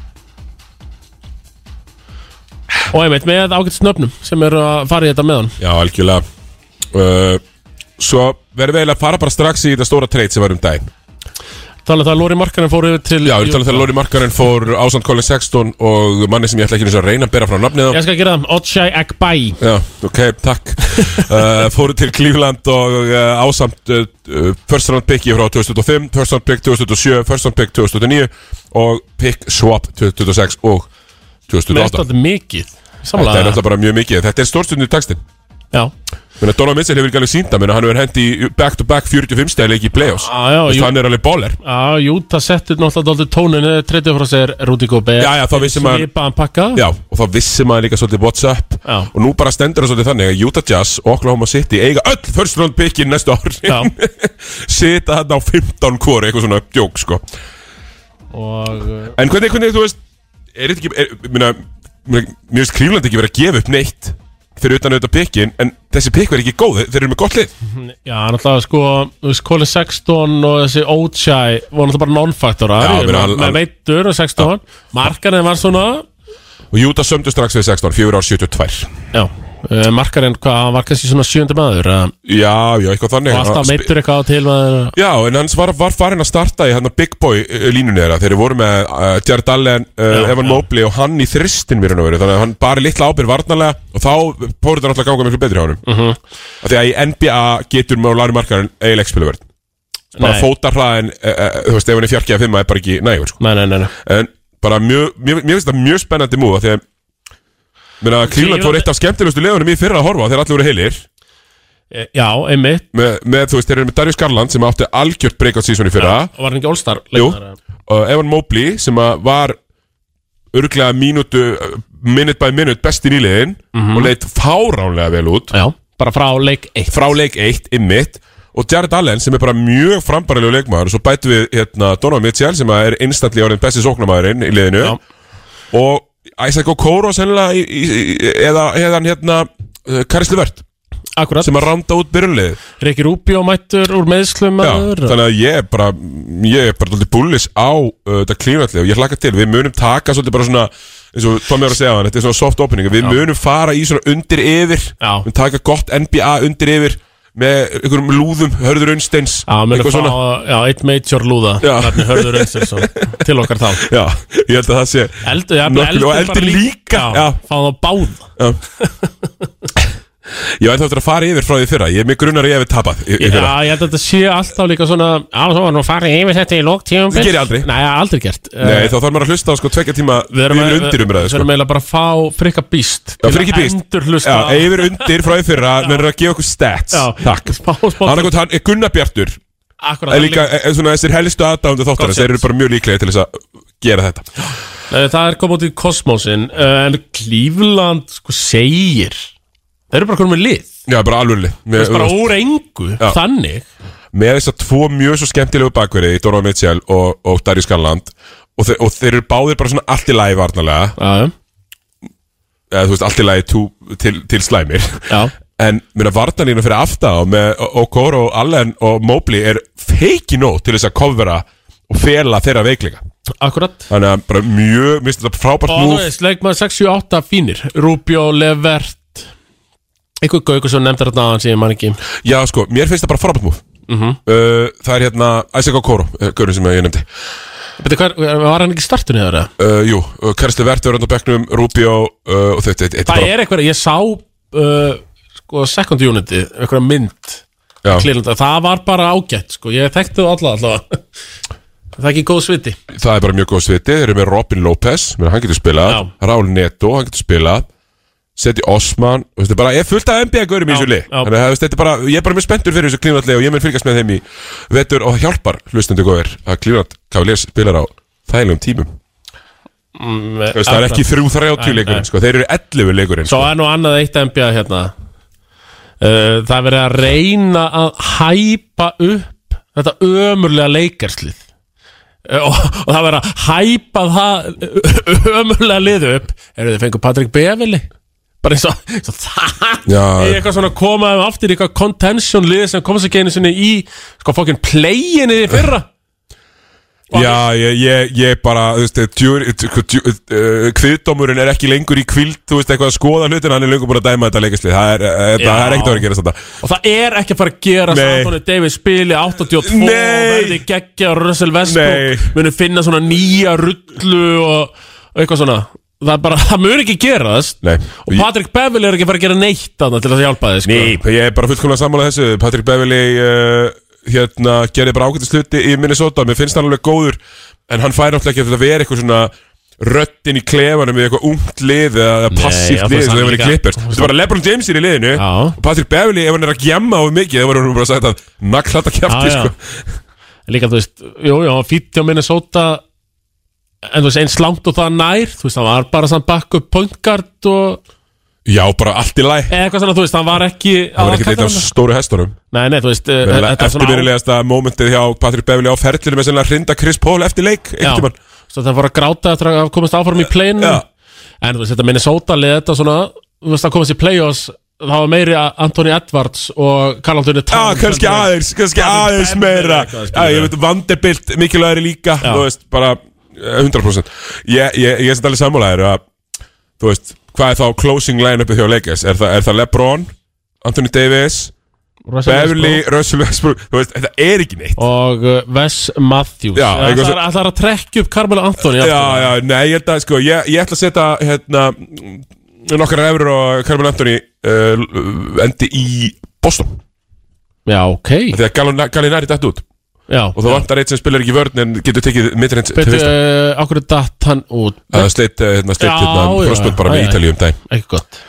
Speaker 4: og einmitt með ágætt snöfnum sem eru að fara í þetta með hann
Speaker 3: Já, algjörlega. Uh, svo verðum við eiginlega að fara bara strax í þetta stóra treyt sem var um daginn.
Speaker 4: Þannig að um það Lóri Markanen fór yfir til
Speaker 3: Já, við talaðum þegar Lóri Markarinn fór ásand Colin Sexton og manni sem ég ætla ekki einu sinni að reyna að bera frá nafnið á.
Speaker 4: Ég skal gera það, Otsjæ Ekbæ
Speaker 3: Já, ok,
Speaker 4: (laughs)
Speaker 3: takk uh, Fóru til Cleveland og uh, ásamt uh, uh, First round picki frá 2005 First round pick 2007, first round pick 2009 Og pick swap 2026 og
Speaker 4: Mér er
Speaker 3: 2028
Speaker 4: þetta mikið
Speaker 3: Þetta er
Speaker 4: Samlega,
Speaker 3: náttúrulega bara mjög mikið Þetta er stórstundu takstin
Speaker 4: já
Speaker 3: Menna, Donald Mitchell hefur ekki alveg sínda Menna, hann hefur hendi back-to-back 45 stæði leik í playoffs
Speaker 4: Ah, Já, já,
Speaker 3: Þannig
Speaker 4: jú,
Speaker 3: hann er alveg bóler
Speaker 4: já, jú, það settur náttúrulega dálítið tóninu, treytið frá sér Rúti Góbe,
Speaker 3: Já, já, þá vissi maður
Speaker 4: svipaðan pakka
Speaker 3: Já, og þá vissi maður líka svolítið what's up
Speaker 4: Já.
Speaker 3: Og nú bara stendur það svolítið þannig að Utah Jazz og Oklahoma City eiga öll first round pickin næstu ári
Speaker 4: Já.
Speaker 3: (laughs) Sita þarna á 15 kori, eitthvað svona djók sko
Speaker 4: og uh,
Speaker 3: En hvernig, hvernig, þú veist, er þetta ekki, er, minna, minna, mér veist Cleveland ekki verið að gefa upp neitt Fyrir utan auðvitað pickin, en þessi pick verið ekki góð, þeir, þeir eru með gott lið
Speaker 4: já, náttúrulega sko, þú veist, Colin Sexton og þessi Otsjæ voru náttúrulega bara non-faktorar,
Speaker 3: Já, meina, hann-
Speaker 4: með
Speaker 3: hann-
Speaker 4: veitur og Sexton, Markanen var svona,
Speaker 3: Og Utah sömdu strax við 16, 4 ár 72
Speaker 4: já, uh, Markanen, hvað, hann var kannski svona sjöndi maður, uh,
Speaker 3: Já, já, eitthvað þannig
Speaker 4: og alltaf
Speaker 3: Sp-
Speaker 4: meitur eitthvað á til maður,
Speaker 3: Já, en hans var, var farin að starta í hérna Big Boy uh, línunni þeirra Þeir voru með uh, Jared Allen, uh,
Speaker 4: Já,
Speaker 3: Evan
Speaker 4: já.
Speaker 3: Mobley og hann í þristin mér hann að vera Þannig að hann bari litla ábyrð varnarlega og þá fóru þetta náttúrulega að ganga miklu betri á hann uh
Speaker 4: Mhm.
Speaker 3: Því að í NBA getur mjög Larry Markarinn eiginlega ekki spilaverð Bara
Speaker 4: Nei.
Speaker 3: fóta hraðin, uh, uh, þú veist, ef hann er fjarkið að fimma er bara ekki nægur sko.
Speaker 4: nei, nei, nei, nei.
Speaker 3: En bara mjög, mér, mér finnst þetta mjög spennandi múð Því að, meina, Kríland fór eitt af skemmtilegustu leðunum í fyrra að horfa á Þegar allir voru heilir
Speaker 4: Eh, Já, einmitt,
Speaker 3: með, með, þú veist, þeir eru með Darius Garland sem átti algjört breakout season í fyrra
Speaker 4: var hann ekki All-Star
Speaker 3: Jú,
Speaker 4: leikmaður, eh?
Speaker 3: og Evan Mobley sem að var örglega mínútu, uh, minute by minute best í nýliðin og leitt fáránlega vel út
Speaker 4: Já, bara frá leik 1
Speaker 3: frá leik 1 í mitt og Jared Allen sem er bara mjög frambarilegu leikmaður og svo bætu við hérna, Donovan Mitchell sem að er instantly orðin besti sóknamaðurinn í liðinu
Speaker 4: Já.
Speaker 3: og Isaac Okoro sennilega í, í, í, eða, eða hann hérna Karisli Vert
Speaker 4: Akkurat,
Speaker 3: sem að randa út byrjunliðið
Speaker 4: Rikki Rúbjó mættur úr meðslum
Speaker 3: Já,
Speaker 4: maður.
Speaker 3: þannig að ég er bara ég er bara alltaf bullis á uh, þetta klínalli og ég hlakka til, við munum taka svolítið bara svona, eins og Tommi var að segja hann þetta er svona soft opening, við munum fara í svona undir yfir,
Speaker 4: Já.
Speaker 3: við taka gott NBA undir yfir með einhverjum lúðum, hörður unnsteins
Speaker 4: Já, mennum fá já, eitt major lúða
Speaker 3: Já.
Speaker 4: Nafni Hörður Önsinsson Til okkar þá
Speaker 3: Já, ég held að það sé
Speaker 4: Eldur, já,
Speaker 3: Nokkuð- og
Speaker 4: bara
Speaker 3: eldur líka, já.
Speaker 4: Já, fá þá báð (laughs)
Speaker 3: Já Ég var eftir að fara yfir frá því fyrra Ég er mig grunar að ég hefði tapað í, í
Speaker 4: Já,
Speaker 3: fyrra
Speaker 4: ég held að þetta sé alltaf líka svona Já, svo var nú farið yfir þetta í lóktíum
Speaker 3: Það geri ég aldrei.
Speaker 4: Nei, aldrei gert Eh,
Speaker 3: Nei, þá þarf maður að hlusta á sko tvekja tíma
Speaker 4: Við erum,
Speaker 3: yfir
Speaker 4: að-
Speaker 3: undir umræðu
Speaker 4: við
Speaker 3: sko
Speaker 4: erum eiginlega bara að fá frikka býst
Speaker 3: Já, Frikki Beast.
Speaker 4: Endur hlusta
Speaker 3: Já, yfir undir frá því fyrra, mennur að gefa okkur stats Takk
Speaker 4: Spá, spá,
Speaker 3: Hann er gott, hann er Gunnar Bjartur
Speaker 4: akkurat,
Speaker 3: En líka, en svona þessir helstu aðdándu þáttarins
Speaker 4: Gott
Speaker 3: Þeir eru bara mjög líklega til þess að gera þetta
Speaker 4: Eh, Það er komið út í kosmósin eh, En Cleveland sko segir Þeir eru bara konum með lið
Speaker 3: Já, bara alvörli
Speaker 4: Það er bara
Speaker 3: Með,
Speaker 4: úr engu Þannig
Speaker 3: með þess að tvo mjög svo skemmtilegu bakverið Donovan Mitchell og, og Darius Garland og, þe og þeir eru báðir bara svona allt í lagi varnarlega
Speaker 4: Já,
Speaker 3: eða þú veist, allt í lagi tú, til, til slæmir
Speaker 4: já
Speaker 3: En minna varnarlínu fyrir aftá með Okoro, Allen og Mobley er feiki nóg til þess að kofvera og fela þeirra veiklinga
Speaker 4: Akkurat
Speaker 3: Þannig að bara mjög, mér finnst þetta frábært
Speaker 4: Og þú
Speaker 3: múf
Speaker 4: veist, leikmaður 68 fínir Rubio, Levert Einhver gaukur sem nefndar þetta aðan sem ég man ekki
Speaker 3: Já,
Speaker 4: Mhm.
Speaker 3: sko, mér finnst það bara frábært múf uh, Það er hérna Isaac Okoro, uh, gaurinn sem ég nefndi
Speaker 4: Beti, hver, var hann ekki startun í það?
Speaker 3: uh, Jú, uh, Karstu Verður á bekknum, Rubio uh, og þetta þetta
Speaker 4: Það er eitthvað, ég sá uh, sko second unity, eitthvað mynd
Speaker 3: bara, já,
Speaker 4: klirlanda, það var bara ágætt sko, ég þekkti það alla allavega (laughs) það er ekki góð sviti
Speaker 3: Það er bara mjög góð sviti, þeir eru með Robin Lopez menn, hann getur spilað,
Speaker 4: Já.
Speaker 3: Raúl Neto hann getur spilað Seti Osman, og þetta er bara, ég er fullt af NBA-görum í
Speaker 4: Já,
Speaker 3: þessu lið
Speaker 4: já.
Speaker 3: Þannig að þú veist, þetta er bara, ég er bara mjög spenntur fyrir þessu klínvallega og ég mun fylgjast með þeim í vetur og það hjálpar hlustendu góðir að klínvald Cavaliers spilar á þægilegum tímum
Speaker 4: Mm,
Speaker 3: Þú veist, það er ekki þrjú þrjátjú
Speaker 4: Nei, nei.
Speaker 3: leikurinn, sko, þeir eru 11 leikurinn
Speaker 4: Svo
Speaker 3: sko.
Speaker 4: er nú annað eitt NBA hérna uh, Það er verið að reyna að hæpa upp þetta ömurlega leikarslið uh, og, og það er verið að hæpa það ömurlega liðu upp Eru þið fengur Patrik Beveli? Bara eins og, eins og það
Speaker 3: Já.
Speaker 4: er eitthvað svona að koma þeim aftur í eitthvað contention lið sem komast ekki einu sinni í sko fokkin play-inni í fyrra
Speaker 3: Já, ég, ég, ég bara, þú veist, djúr, djú- djú- uh, kviðdómurinn er ekki lengur í kvild, þú veist, eitthvað að skoða hlutin, hann er lengur búin að dæma þetta leikaslið, það er, eh, þetta- það er ekkert að vera að gera þetta.
Speaker 4: og það er ekki að fara að gera
Speaker 3: Nei.
Speaker 4: Anthony Davis spili 82
Speaker 3: Nei.
Speaker 4: og verði geggja og Russell Westbrook
Speaker 3: Nei.
Speaker 4: muni finna svona nýja rullu og, og eitthvað svona það, er bara, (laughs) það mun ekki gerast
Speaker 3: Nei.
Speaker 4: og Patrick Bevel er ekki að fara að gera neitt þarna til að hjálpa þið sko.
Speaker 3: Nei, ég er bara fullkomlega sammála þessu, Patrick Beverly, uh, hérna, gerði bara ágættist hluti í Minnesota, mér finnst hann alveg góður, en hann fær náttúrulega ekki að vera eitthvað svona röttin í klefanum við eitthvað ungt lið eða eða passíft
Speaker 4: já, þú
Speaker 3: lið
Speaker 4: veist,
Speaker 3: sem
Speaker 4: hann
Speaker 3: það verið
Speaker 4: líka-
Speaker 3: klippert.
Speaker 4: þú veist,
Speaker 3: Þetta er bara Lebron James er í liðinu
Speaker 4: Já.
Speaker 3: og Patrick Beverly, ef hann er að gjemma á mikið, þá verður hann bara að segja þetta naglata kjæfti,
Speaker 4: Já, já.
Speaker 3: sko.
Speaker 4: líka þú veist, jú, jú, hann fýtti á Minnesota en þú veist, eins langt og það nær þú veist, hann var bara samt bakku point guard og
Speaker 3: Já, bara allt í læg.
Speaker 4: eða eitthvað svona, þú veist, hann var ekki
Speaker 3: Það var ekkert eitt af stóru hestunum
Speaker 4: nei, nei, þú veist, eh, þetta er svona á-
Speaker 3: Eftirverulegasta momentið hjá Patrick Beverly á ferlinu með sennilega að hrinda Chris Paul eftir leik
Speaker 4: Já,
Speaker 3: einhvern tímann.
Speaker 4: svo það fór að gráta eftir að komast áfram í play-inu
Speaker 3: Já.
Speaker 4: En þú veist, þetta Minnesota leði þetta svona Þú veist, það komast í play-offs Það var meiri að Anthony Edwards og Karl Anthony
Speaker 3: Já,
Speaker 4: Towns
Speaker 3: kannski aðeins, kannski aðeins
Speaker 4: Beverly
Speaker 3: meira
Speaker 4: eitthvað
Speaker 3: Já,
Speaker 4: að spila.
Speaker 3: ég veit, Vanderbilt mikilvægri líka, þú veist, bara eh, 100% Ég, ég, ég er þetta alveg sammálaðir að, þú veist, hvað er þá closing line-upið hjá leikis? Er, það- er það LeBron, Anthony Davis,
Speaker 4: Russell
Speaker 3: Beverly, Russell Westbrook Þú veist, þetta er ekki neitt
Speaker 4: Westbrook Og uh, Wes Matthews
Speaker 3: Já,
Speaker 4: Það
Speaker 3: eitthvað
Speaker 4: er að, að trekja upp Carmelo Anthony
Speaker 3: Já,
Speaker 4: aftur.
Speaker 3: já, nei, ég held að, sko, ég, ég ætla að setja, hérna, mm, nokkrar efrur og Carmel Anthony uh, endi í Boston
Speaker 4: já, ok
Speaker 3: Því að Gallon- Gallinari dætt út Og
Speaker 4: Já,
Speaker 3: það vantar eitt sem spilar ekki vörn en getur tekið mittrennt til
Speaker 4: betur
Speaker 3: fyrsta
Speaker 4: uh, Akkur datt hann út
Speaker 3: Það sleitt, eh, hérna, sleitt,
Speaker 4: Já,
Speaker 3: hérna,
Speaker 4: já,
Speaker 3: crossbund bara
Speaker 4: já,
Speaker 3: með
Speaker 4: já.
Speaker 3: Ítalíu um daginn
Speaker 4: Ekki gott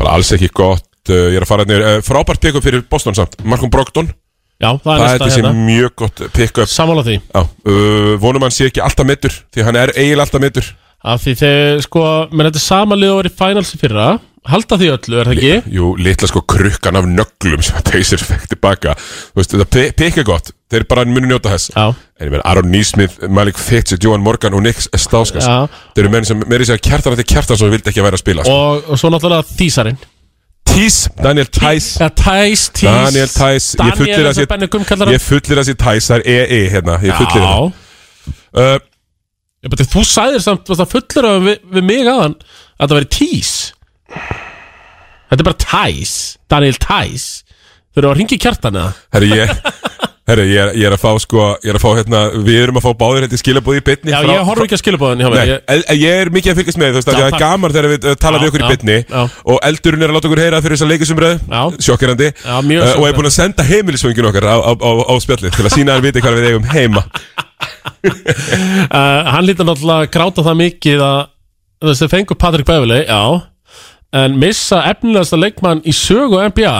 Speaker 3: Bara alls ekki gott, uh, ég er að fara hérna uh, Frábært pick-up fyrir Boston samt, Malcolm Brogdon
Speaker 4: Já, það er
Speaker 3: Það er
Speaker 4: næsta
Speaker 3: þessi
Speaker 4: hérna
Speaker 3: mjög gott pick-up
Speaker 4: Sammála því
Speaker 3: Já, uh, vonum hann sé ekki alltaf mittur Því hann er eiginlega alltaf mittur
Speaker 4: Af því þegar, sko, menn þetta er sama lið og var í finals í fyrra Halda því öllu, er það ekki?
Speaker 3: Jú, litla sko krukkan af nöglum sem að Pacers fekk tilbaka Þú veist, það pe- pikk er gott, þeir bara munu njóta þess
Speaker 4: Já.
Speaker 3: En ég menn, Aron Neesmith, Malik Fitz, Johan Morgan og Nick Stauskas
Speaker 4: Já.
Speaker 3: Þeir eru menn sem, meiri segja kjartan eftir kjartan sem vildi ekki að vera að spila sko.
Speaker 4: og, og svo náttúrulega Þísarin
Speaker 3: Tís, Daniel Tæs
Speaker 4: ja, Tæs, Tís
Speaker 3: Daniel Tæs, ég fullir
Speaker 4: Daniel
Speaker 3: að
Speaker 4: sem Benny Gum kallar
Speaker 3: sér
Speaker 4: hann
Speaker 3: Ég fullir að sér Tæs, það er EE hérna Ég fullir það
Speaker 4: Já,
Speaker 3: uh,
Speaker 4: ég beti, þú sæðir samt varst það fullir að við, við mig aðan að það væri Tís Þetta er bara Tæs Daniel Tæs Þau eru að ringi kjartan eða
Speaker 3: Herri,
Speaker 4: (laughs)
Speaker 3: ég Herri, ég er, ég er að fá sko, ég er að fá hérna Við erum að fá báðir hérna í skilabúði í bytni
Speaker 4: Já, ég horf ekki að skilabóðin hjá
Speaker 3: Nei,
Speaker 4: mig
Speaker 3: ég,
Speaker 4: ég,
Speaker 3: ég er mikið að fylgjast með þú veist, af því
Speaker 4: Já,
Speaker 3: að það er
Speaker 4: takk.
Speaker 3: gaman þegar við uh, tala
Speaker 4: Já,
Speaker 3: við okkur í
Speaker 4: já,
Speaker 3: bytni
Speaker 4: já.
Speaker 3: og eldurinn er að láta okkur heyra fyrir þessa
Speaker 4: Já.
Speaker 3: leikisumröð sjokkerandi
Speaker 4: Já,
Speaker 3: uh, og
Speaker 4: mjög
Speaker 3: er
Speaker 4: sjokkerandi.
Speaker 3: búin að senda heimilisföngin okkar á, á, á, á spjallið til að sína hann viti hvað við eigum
Speaker 4: (laughs)
Speaker 3: heima
Speaker 4: uh, Hann lítur náttúrulega að gráta það mikið að þú veist, þau fengur Patrik Beveli, já en missa efnilegasta leikmann í sögu (laughs) NBA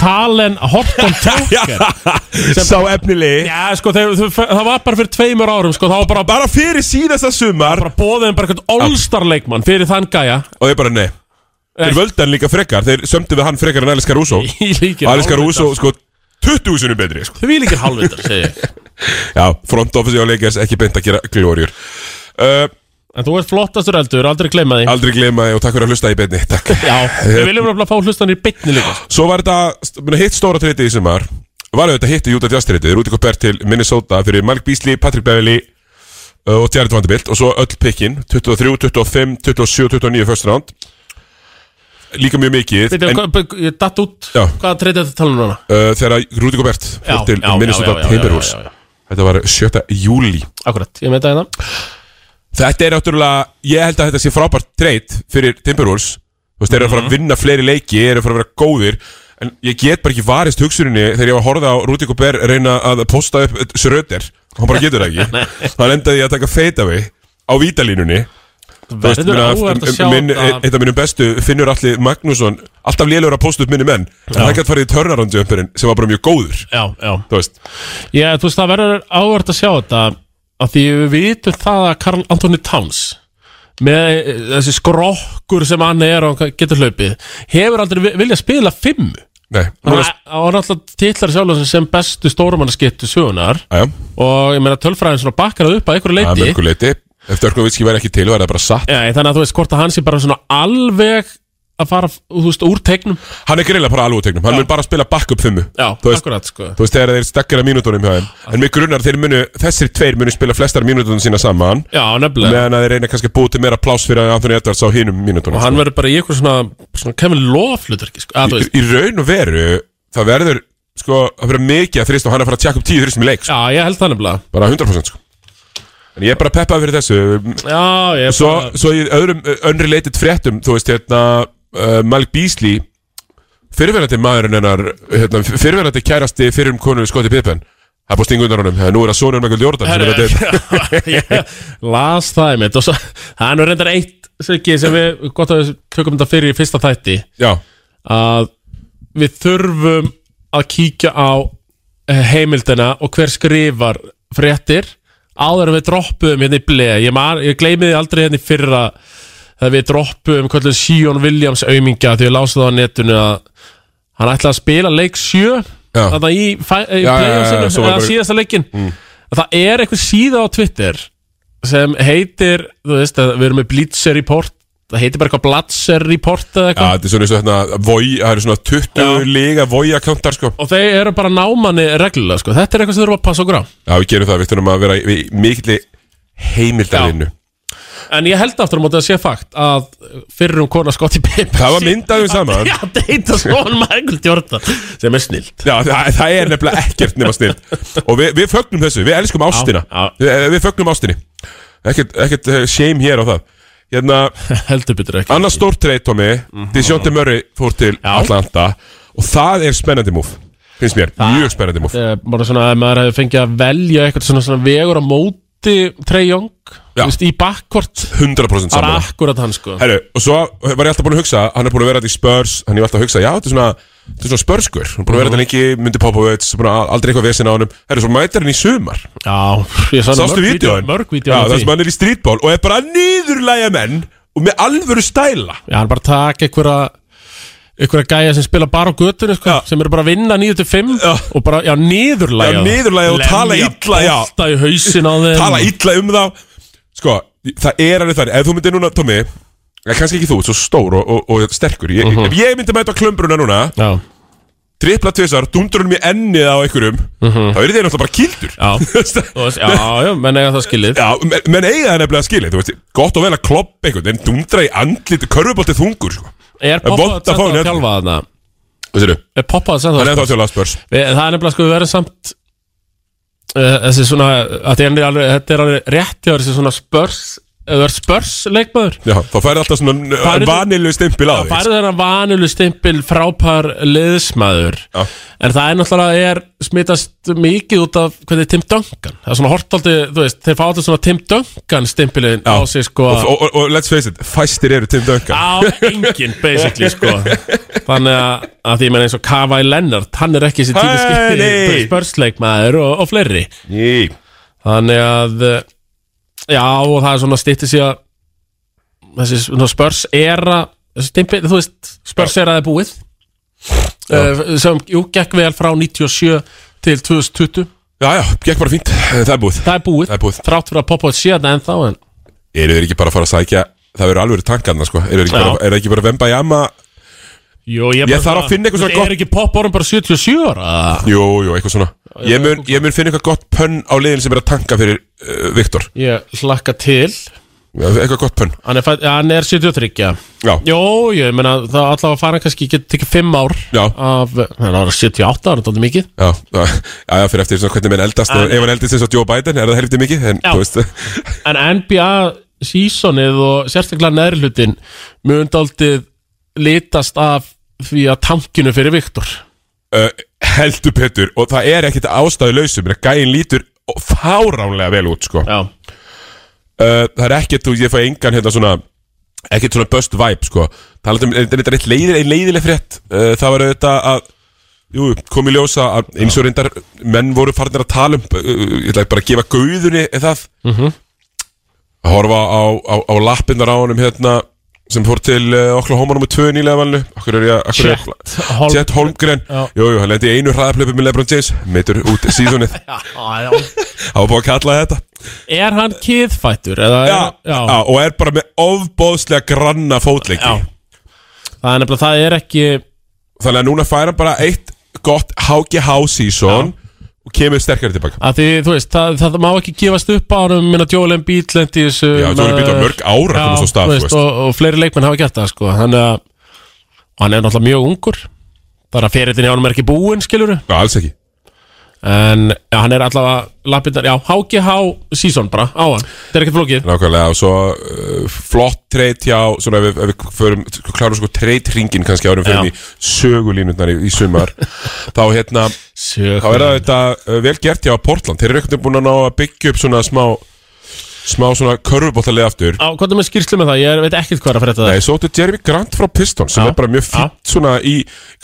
Speaker 4: Talen (laughs) Horton Tucker
Speaker 3: (laughs) sá efnilegi
Speaker 4: Já, sko, þeir, þeir, það var bara fyrir tveimur árum sko, það var bara
Speaker 3: bara fyrir síðasta sumar
Speaker 4: bara bóðin bara eitthvað allstar leikmann fyrir þann gæja
Speaker 3: og ég bara nei þeir
Speaker 4: Nei.
Speaker 3: völdu hann líka frekar þeir sömdu við hann frekar en Alice Caruso
Speaker 4: Í líkir
Speaker 3: Alice Caruso sko 20 sinni betri sko.
Speaker 4: Þau við líkir hálfvitar, segi
Speaker 3: (laughs)
Speaker 4: ég
Speaker 3: já front office og leikers ekki beint að gera glóriur uh,
Speaker 4: En þú ert flottastur eldur, aldrei gleyma því
Speaker 3: aldrei gleyma þið og takk fyrir að hlusta í betni takk
Speaker 4: Já, við viljum bara fá hlustanir í bytni líka
Speaker 3: Svo var þetta st- meina, hitt stóra treytið í sumar Var þetta hitt í Utah Jazz treytið Rúti Kopert til Minnesota fyrir Malik Beasley, Patrick Beverly uh, og Jared Vanderbilt og svo öll pikkin 23, 25, 27, 29 first round Líka mjög mikið
Speaker 4: Bíddu,
Speaker 3: en,
Speaker 4: hvað- b- Ég datt út,
Speaker 3: Já.
Speaker 4: hvað treytið þetta tala um núna?
Speaker 3: uh, Þegar Rúti Kopert
Speaker 4: Já,
Speaker 3: fyrir til
Speaker 4: já, já,
Speaker 3: Minnesota
Speaker 4: já, já, já,
Speaker 3: Timberwolves
Speaker 4: já, já.
Speaker 3: Þetta var 7. júli
Speaker 4: Akkurat, ég meita hérna
Speaker 3: Þetta er náttúrulega, ég held að þetta sé frábært treyt fyrir Timberwolves Þú veist, þeir eru að fara
Speaker 4: Mhm.
Speaker 3: að vinna fleiri leiki, þeir eru að fara að vera góðir En ég get bara ekki varist hugsuninni þegar ég var að horfa á Rúti Kuber reyna að posta upp Sröder Hann bara getur það
Speaker 4: (laughs)
Speaker 3: ekki Hann endaði ég að taka feitavi á vítalínunni Þú veist,
Speaker 4: Verður
Speaker 3: meina, um,
Speaker 4: áhverð að sjá
Speaker 3: minn,
Speaker 4: þetta.
Speaker 3: eitt af minnum bestu Finnur Alli Magnússon Alltaf lélegur að posta upp minni menn En hann gætt farið í törnarandsjöfumperinn sem var bara mjög góður
Speaker 4: Já, já
Speaker 3: Þú veist,
Speaker 4: Já, þú veist, það verður áhverð að sjá þetta að því við vitum það að Karl Anthony Towns með eh, þessi skrokkur sem hann er og hvað getur hlaupið hefur aldrei vi- viljað spila fimm
Speaker 3: nei,
Speaker 4: og
Speaker 3: núna,
Speaker 4: hann alltaf titlar sjálf sem- sem bestu stórumannaskittu sögunar
Speaker 3: aðja,
Speaker 4: og ég meina tölfræðin svona bakkar það upp að
Speaker 3: að
Speaker 4: einhverju leiti
Speaker 3: mörgu leiti Eftir örkunarvitski væri ekki til, var það bara satt
Speaker 4: Já, þannig að þú veist hvort að hann sé bara svona alveg að fara, þú veist, úr tegnum
Speaker 3: Hann er greinlega bara alveg úr tegnum, hann mun bara spila back-up fimmu
Speaker 4: Já,
Speaker 3: þú veist,
Speaker 4: akkurat, sko
Speaker 3: þú veist, þegar þeir stakkar að mínútonum hjá þeim En mig grunnar þeir munu, þessir tveir munu spila flestar mínútonum sína saman
Speaker 4: Já, nefnilega
Speaker 3: Meðan að þeir reyna kannski að búi til meira pláss fyrir Anthony Edwards á hinum sko. mínútonum
Speaker 4: Og hann verður bara í eitthvað svona, svona kemur lofluturki, sko
Speaker 3: sko.
Speaker 4: að,
Speaker 3: í,
Speaker 4: þú veist,
Speaker 3: í raun og veru, það verður, sko, það verður mikið að þrýst og hann er að fara að tjaka upp tíu þrýstum í leik sko.
Speaker 4: Já, ég held það nefnilega
Speaker 3: Bara 100% sko En ég er bara peppað fyrir þessu
Speaker 4: Já, ég
Speaker 3: Svo, svo í öðrum unrelated fréttum Þú veist hérna uh, Malik Beasley Fyrirverandi maðurinn hennar hérna, Fyrirverandi kærasti fyrirum konu Scottie Pippen Það er búið stingundan honum Nú er það sonur Michael Jordan sem er
Speaker 4: (laughs)
Speaker 3: að deyja.
Speaker 4: bara Ég las það einmitt og svo, það er nú reyndar eitt Siggi, sem við gott að við tökum þetta fyrir í fyrsta þætti
Speaker 3: Já,
Speaker 4: að við þurfum að kíkja á eh, heimildina og hver skrifar fréttir áður en við droppuðum hérna í bleið ég, man- ég gleymi því aldrei hérna í fyrra þegar við droppuðum hvernig Sion Williams aumingja því ég lása það á netinu að hann ætlaði að spila leik 7
Speaker 3: Já.
Speaker 4: þannig í, fæ-
Speaker 3: Já,
Speaker 4: í
Speaker 3: já, já,
Speaker 4: playoffsinu
Speaker 3: já, svo var
Speaker 4: eða
Speaker 3: bara- Mm.
Speaker 4: síðasta leikin það er einhver síða á Twitter sem heitir þú veist að við erum með Blitzer Report það heitir bara eitthvað Blatzer Report eða
Speaker 3: já,
Speaker 4: eitthvað
Speaker 3: þetta er svona eins og hérna voi, Það eru svona 20 liga voja kantar sko
Speaker 4: og þeir eru bara námanni reglulega sko. þetta er eitthvað sem þurfum að passa okkur á
Speaker 3: Já, við gerum það, við þurfum að vera í í mikilli heimildarvinnu
Speaker 4: en ég held aftur á móti að sé fakt að fyrrum kona Scotty Pippen
Speaker 3: Það var myndaðum saman
Speaker 4: (laughs) Já, deyta svona Michael Jordan sem er snilt
Speaker 3: Já, það, það er nefnilega ekkert nema snill Og við, við fögnum þessu, við elskum ástina
Speaker 4: Já, já.
Speaker 3: Við, við fögnum ástinni Ekkert, ekkert eh, shame hér á það Hérna,
Speaker 4: heldur betur ekki
Speaker 3: annars stórt treyt, Tommy Disjónti Murray fór til Atlanta Og það er spennandi múf Finnst mér, mjög spennandi múf
Speaker 4: Eh, bara svona að maður hefði fengið að velja eitthvað svona, svona vegur á móti Trey Young
Speaker 3: Já.
Speaker 4: þú veist, í bakkvort
Speaker 3: 100%
Speaker 4: það er
Speaker 3: saman
Speaker 4: akkurat hann sko
Speaker 3: Herru, og svo var ég alltaf búin að hugsa Hann er búin að vera þetta í Spurs Hann er alltaf að hugsa, já, þetta er svona Þetta er svona spörskur, hann er búin að vera
Speaker 4: Mhm.
Speaker 3: þetta lengi, myndi Popovits, búin að aldrei eitthvað vesina á honum Herru, svo mætir hann í sumar
Speaker 4: já, ég sá nú
Speaker 3: Sástu
Speaker 4: mörg vídeó-
Speaker 3: vídjóin?
Speaker 4: mörg
Speaker 3: Já,
Speaker 4: vídeo
Speaker 3: það sem hann er í streetball og er bara að niðurlægja menn og með alvöru stæla
Speaker 4: Já, hann bara taka einhverja einhverja gæja sem spila bara á götunni sko, sem eru bara að vinna 9-5
Speaker 3: Já.
Speaker 4: og bara, já, niðurlægja
Speaker 3: Já,
Speaker 4: þá.
Speaker 3: niðurlægja og tala
Speaker 4: Lemja
Speaker 3: illa, já.
Speaker 4: bolta í hausin á þeim
Speaker 3: Tala illa um þá Sko, það er alveg þannig Ef þú myndir núna, Tommy ja, Kannski ekki þú, svo stór og, og, og sterkur ég,
Speaker 4: Mhm.
Speaker 3: Ef ég myndi mæta á klömbruna núna
Speaker 4: Já,
Speaker 3: Tripla tvisar, dundur hún mér ennið á einhverjum Þá eru þeir náttúrulega bara kildur (laughs)
Speaker 4: Mhm. já, Þú veist, já, já, menn eiga það skilið
Speaker 3: Já, men, menn eiga það nefnilega skilið, þú veist Gott og vel að kloppa einhvern En dundra í andlit, körfubolti þungur sko.
Speaker 4: Er
Speaker 3: vont að fá hann
Speaker 4: poppað að setja
Speaker 3: hérna.
Speaker 4: þjálfa þarna?
Speaker 3: Hvað sérðu?
Speaker 4: Er poppað að
Speaker 3: Hann er
Speaker 4: setja
Speaker 3: þá til að spörs
Speaker 4: Það er nefnilega sko, við verðum samt uh, þessi svona að því hann er alveg, þetta er alveg rétt hjá þessi svona spörs eða verður spörs leikmaður
Speaker 3: Já, þá færði alltaf
Speaker 4: Það
Speaker 3: svona
Speaker 4: er-
Speaker 3: vanilu stimpil á
Speaker 4: Það
Speaker 3: því
Speaker 4: færði þennan vanulu stimpil frápar liðsmaður
Speaker 3: Já.
Speaker 4: En það er náttúrulega er smitast mikið út af hvernig Tim Duncan Það er svona hortaldi, þú veist, þeir fá alltaf svona Tim Duncan stimpilin á sig sko
Speaker 3: og, og, og, og let's face it, fæstir eru Tim Duncan
Speaker 4: Á enginn basically sko Þannig að, að því ég menn eins og Kawhi Leonard Hann er ekki þessi
Speaker 3: Hey,
Speaker 4: típiski
Speaker 3: nei.
Speaker 4: spörsleikmaður og, og fleiri
Speaker 3: Ný.
Speaker 4: Þannig að eh, Já og það er svona stýtti sig að Þessi svona spörs era stimpi, Þú veist spörs era er búið uh, Sem jú, gekk vel frá 97 til 2020
Speaker 3: Já, já, gekk bara fínt, Eh, það er búið
Speaker 4: Það er búið,
Speaker 3: Það er búið.
Speaker 4: Þrátt fyrir að poppa út síðan ennþá en
Speaker 3: Eru þeir ekki bara að fara að sækja Það verður alveg tankarna, sko Eru þeir ekki,
Speaker 4: Já.
Speaker 3: bara- eru þeir ekki bara að vemba í amma
Speaker 4: Jú,
Speaker 3: Ég þarf að finna eitthvað svona gott-
Speaker 4: Er ekki popporum bara 77 ára?
Speaker 3: Jú, jú, eitthvað svona Ég mun, ég mun finna eitthvað gott pönn á liðin sem er að tanka fyrir uh, Viktor
Speaker 4: Ég hlakka til
Speaker 3: eh, Eitthvað gott pönn
Speaker 4: Hann er, fædd- ja, hann er 73 já.
Speaker 3: Já,
Speaker 4: Jó, ég meina það er allavega að fara kannski Getur tekið 5 ár
Speaker 3: Já.
Speaker 4: af, Hann var 78 ára, þetta er mikið
Speaker 3: já, já, já, fyrir eftir svona hvernig menn eldast
Speaker 4: En-
Speaker 3: en, Ef hann eldist eins og Joe Biden, er það helviti mikið En
Speaker 4: Ah, Já.
Speaker 3: þú veist, (laughs)
Speaker 4: En NBA sísonið og sérstaklega næri hlutin Mjög undaldið litast af Því að tankinu fyrir Viktor
Speaker 3: uh, heldur Petur Og það er ekkit ástæðu lausum Gæin lítur fáránlega vel út sko. uh,
Speaker 4: Já,
Speaker 3: Eh, Það er ekkit, þú, ég fæ engan hérna svona Ekkit svona bust vibe sko. Talandi um, þetta er eitt leiðir, ein leiðileg frétt uh, Það var auðvitað að Jú, kom í ljósa að eins og reyndar menn voru farnir að tala um uh, ég ætla bara að gefa gauðunni eða það
Speaker 4: Mhm.
Speaker 3: að horfa á, á, á lappindar á honum hérna sem fór til uh, Oklahoma nummer 2 nýlega valinu akkur er ég akkur er ég-
Speaker 4: Chet Hol-
Speaker 3: Chet Holmgren
Speaker 4: Já.
Speaker 3: Jú, jú, hann lendi í einu hraðaplöpu með Lebron James meitur út
Speaker 4: (laughs)
Speaker 3: síðunni
Speaker 4: já, já.
Speaker 3: hann var búin að kalla þetta
Speaker 4: Er hann kiðfættur? eða er-
Speaker 3: já, já. og er bara með ofbóðslega granna fótleiki
Speaker 4: Já. Það er nefnilega, það er ekki
Speaker 3: þannig að núna fær hann bara eitt gott HGH season og kemur sterkari tilbaka
Speaker 4: að því, þú veist, það, það má ekki gefast upp á hann minna Joel Embiid lendi í þessu
Speaker 3: Já, Joel Embiid var mörg ár að
Speaker 4: Um, Já,
Speaker 3: komast á stað,
Speaker 4: þú
Speaker 3: þú veist.
Speaker 4: og, og fleiri leikmenn hafa gert það, sko hann, og hann er náttúrulega mjög ungur bara fyrirtin í honum er ekki búinn, skilur
Speaker 3: já, alls ekki
Speaker 4: en já, hann er allavega lappindar, já, HGH season bara á hann, þetta er ekki flókið
Speaker 3: Nákvæmlega og svo uh, flott treyt hjá svona ef, við- ef við förum, klárum sko treyt ringin kannski árum fyrir
Speaker 4: Já.
Speaker 3: í sögulínutnar í, í
Speaker 4: (laughs)
Speaker 3: sumar þá hérna, þá er það þetta uh, vel gert hjá Portland, þeir eru einhvern veginn búin að ná að byggja upp svona smá smá svona körfubóttalið aftur
Speaker 4: Á, hvað er með skýrslu með það? Ég er- veit ekkert hvað er að fyrir þetta
Speaker 3: Nei, svo þetta Jeremy Grant frá Pistons sem
Speaker 4: Já.
Speaker 3: er bara mjög
Speaker 4: Já.
Speaker 3: fínt svona í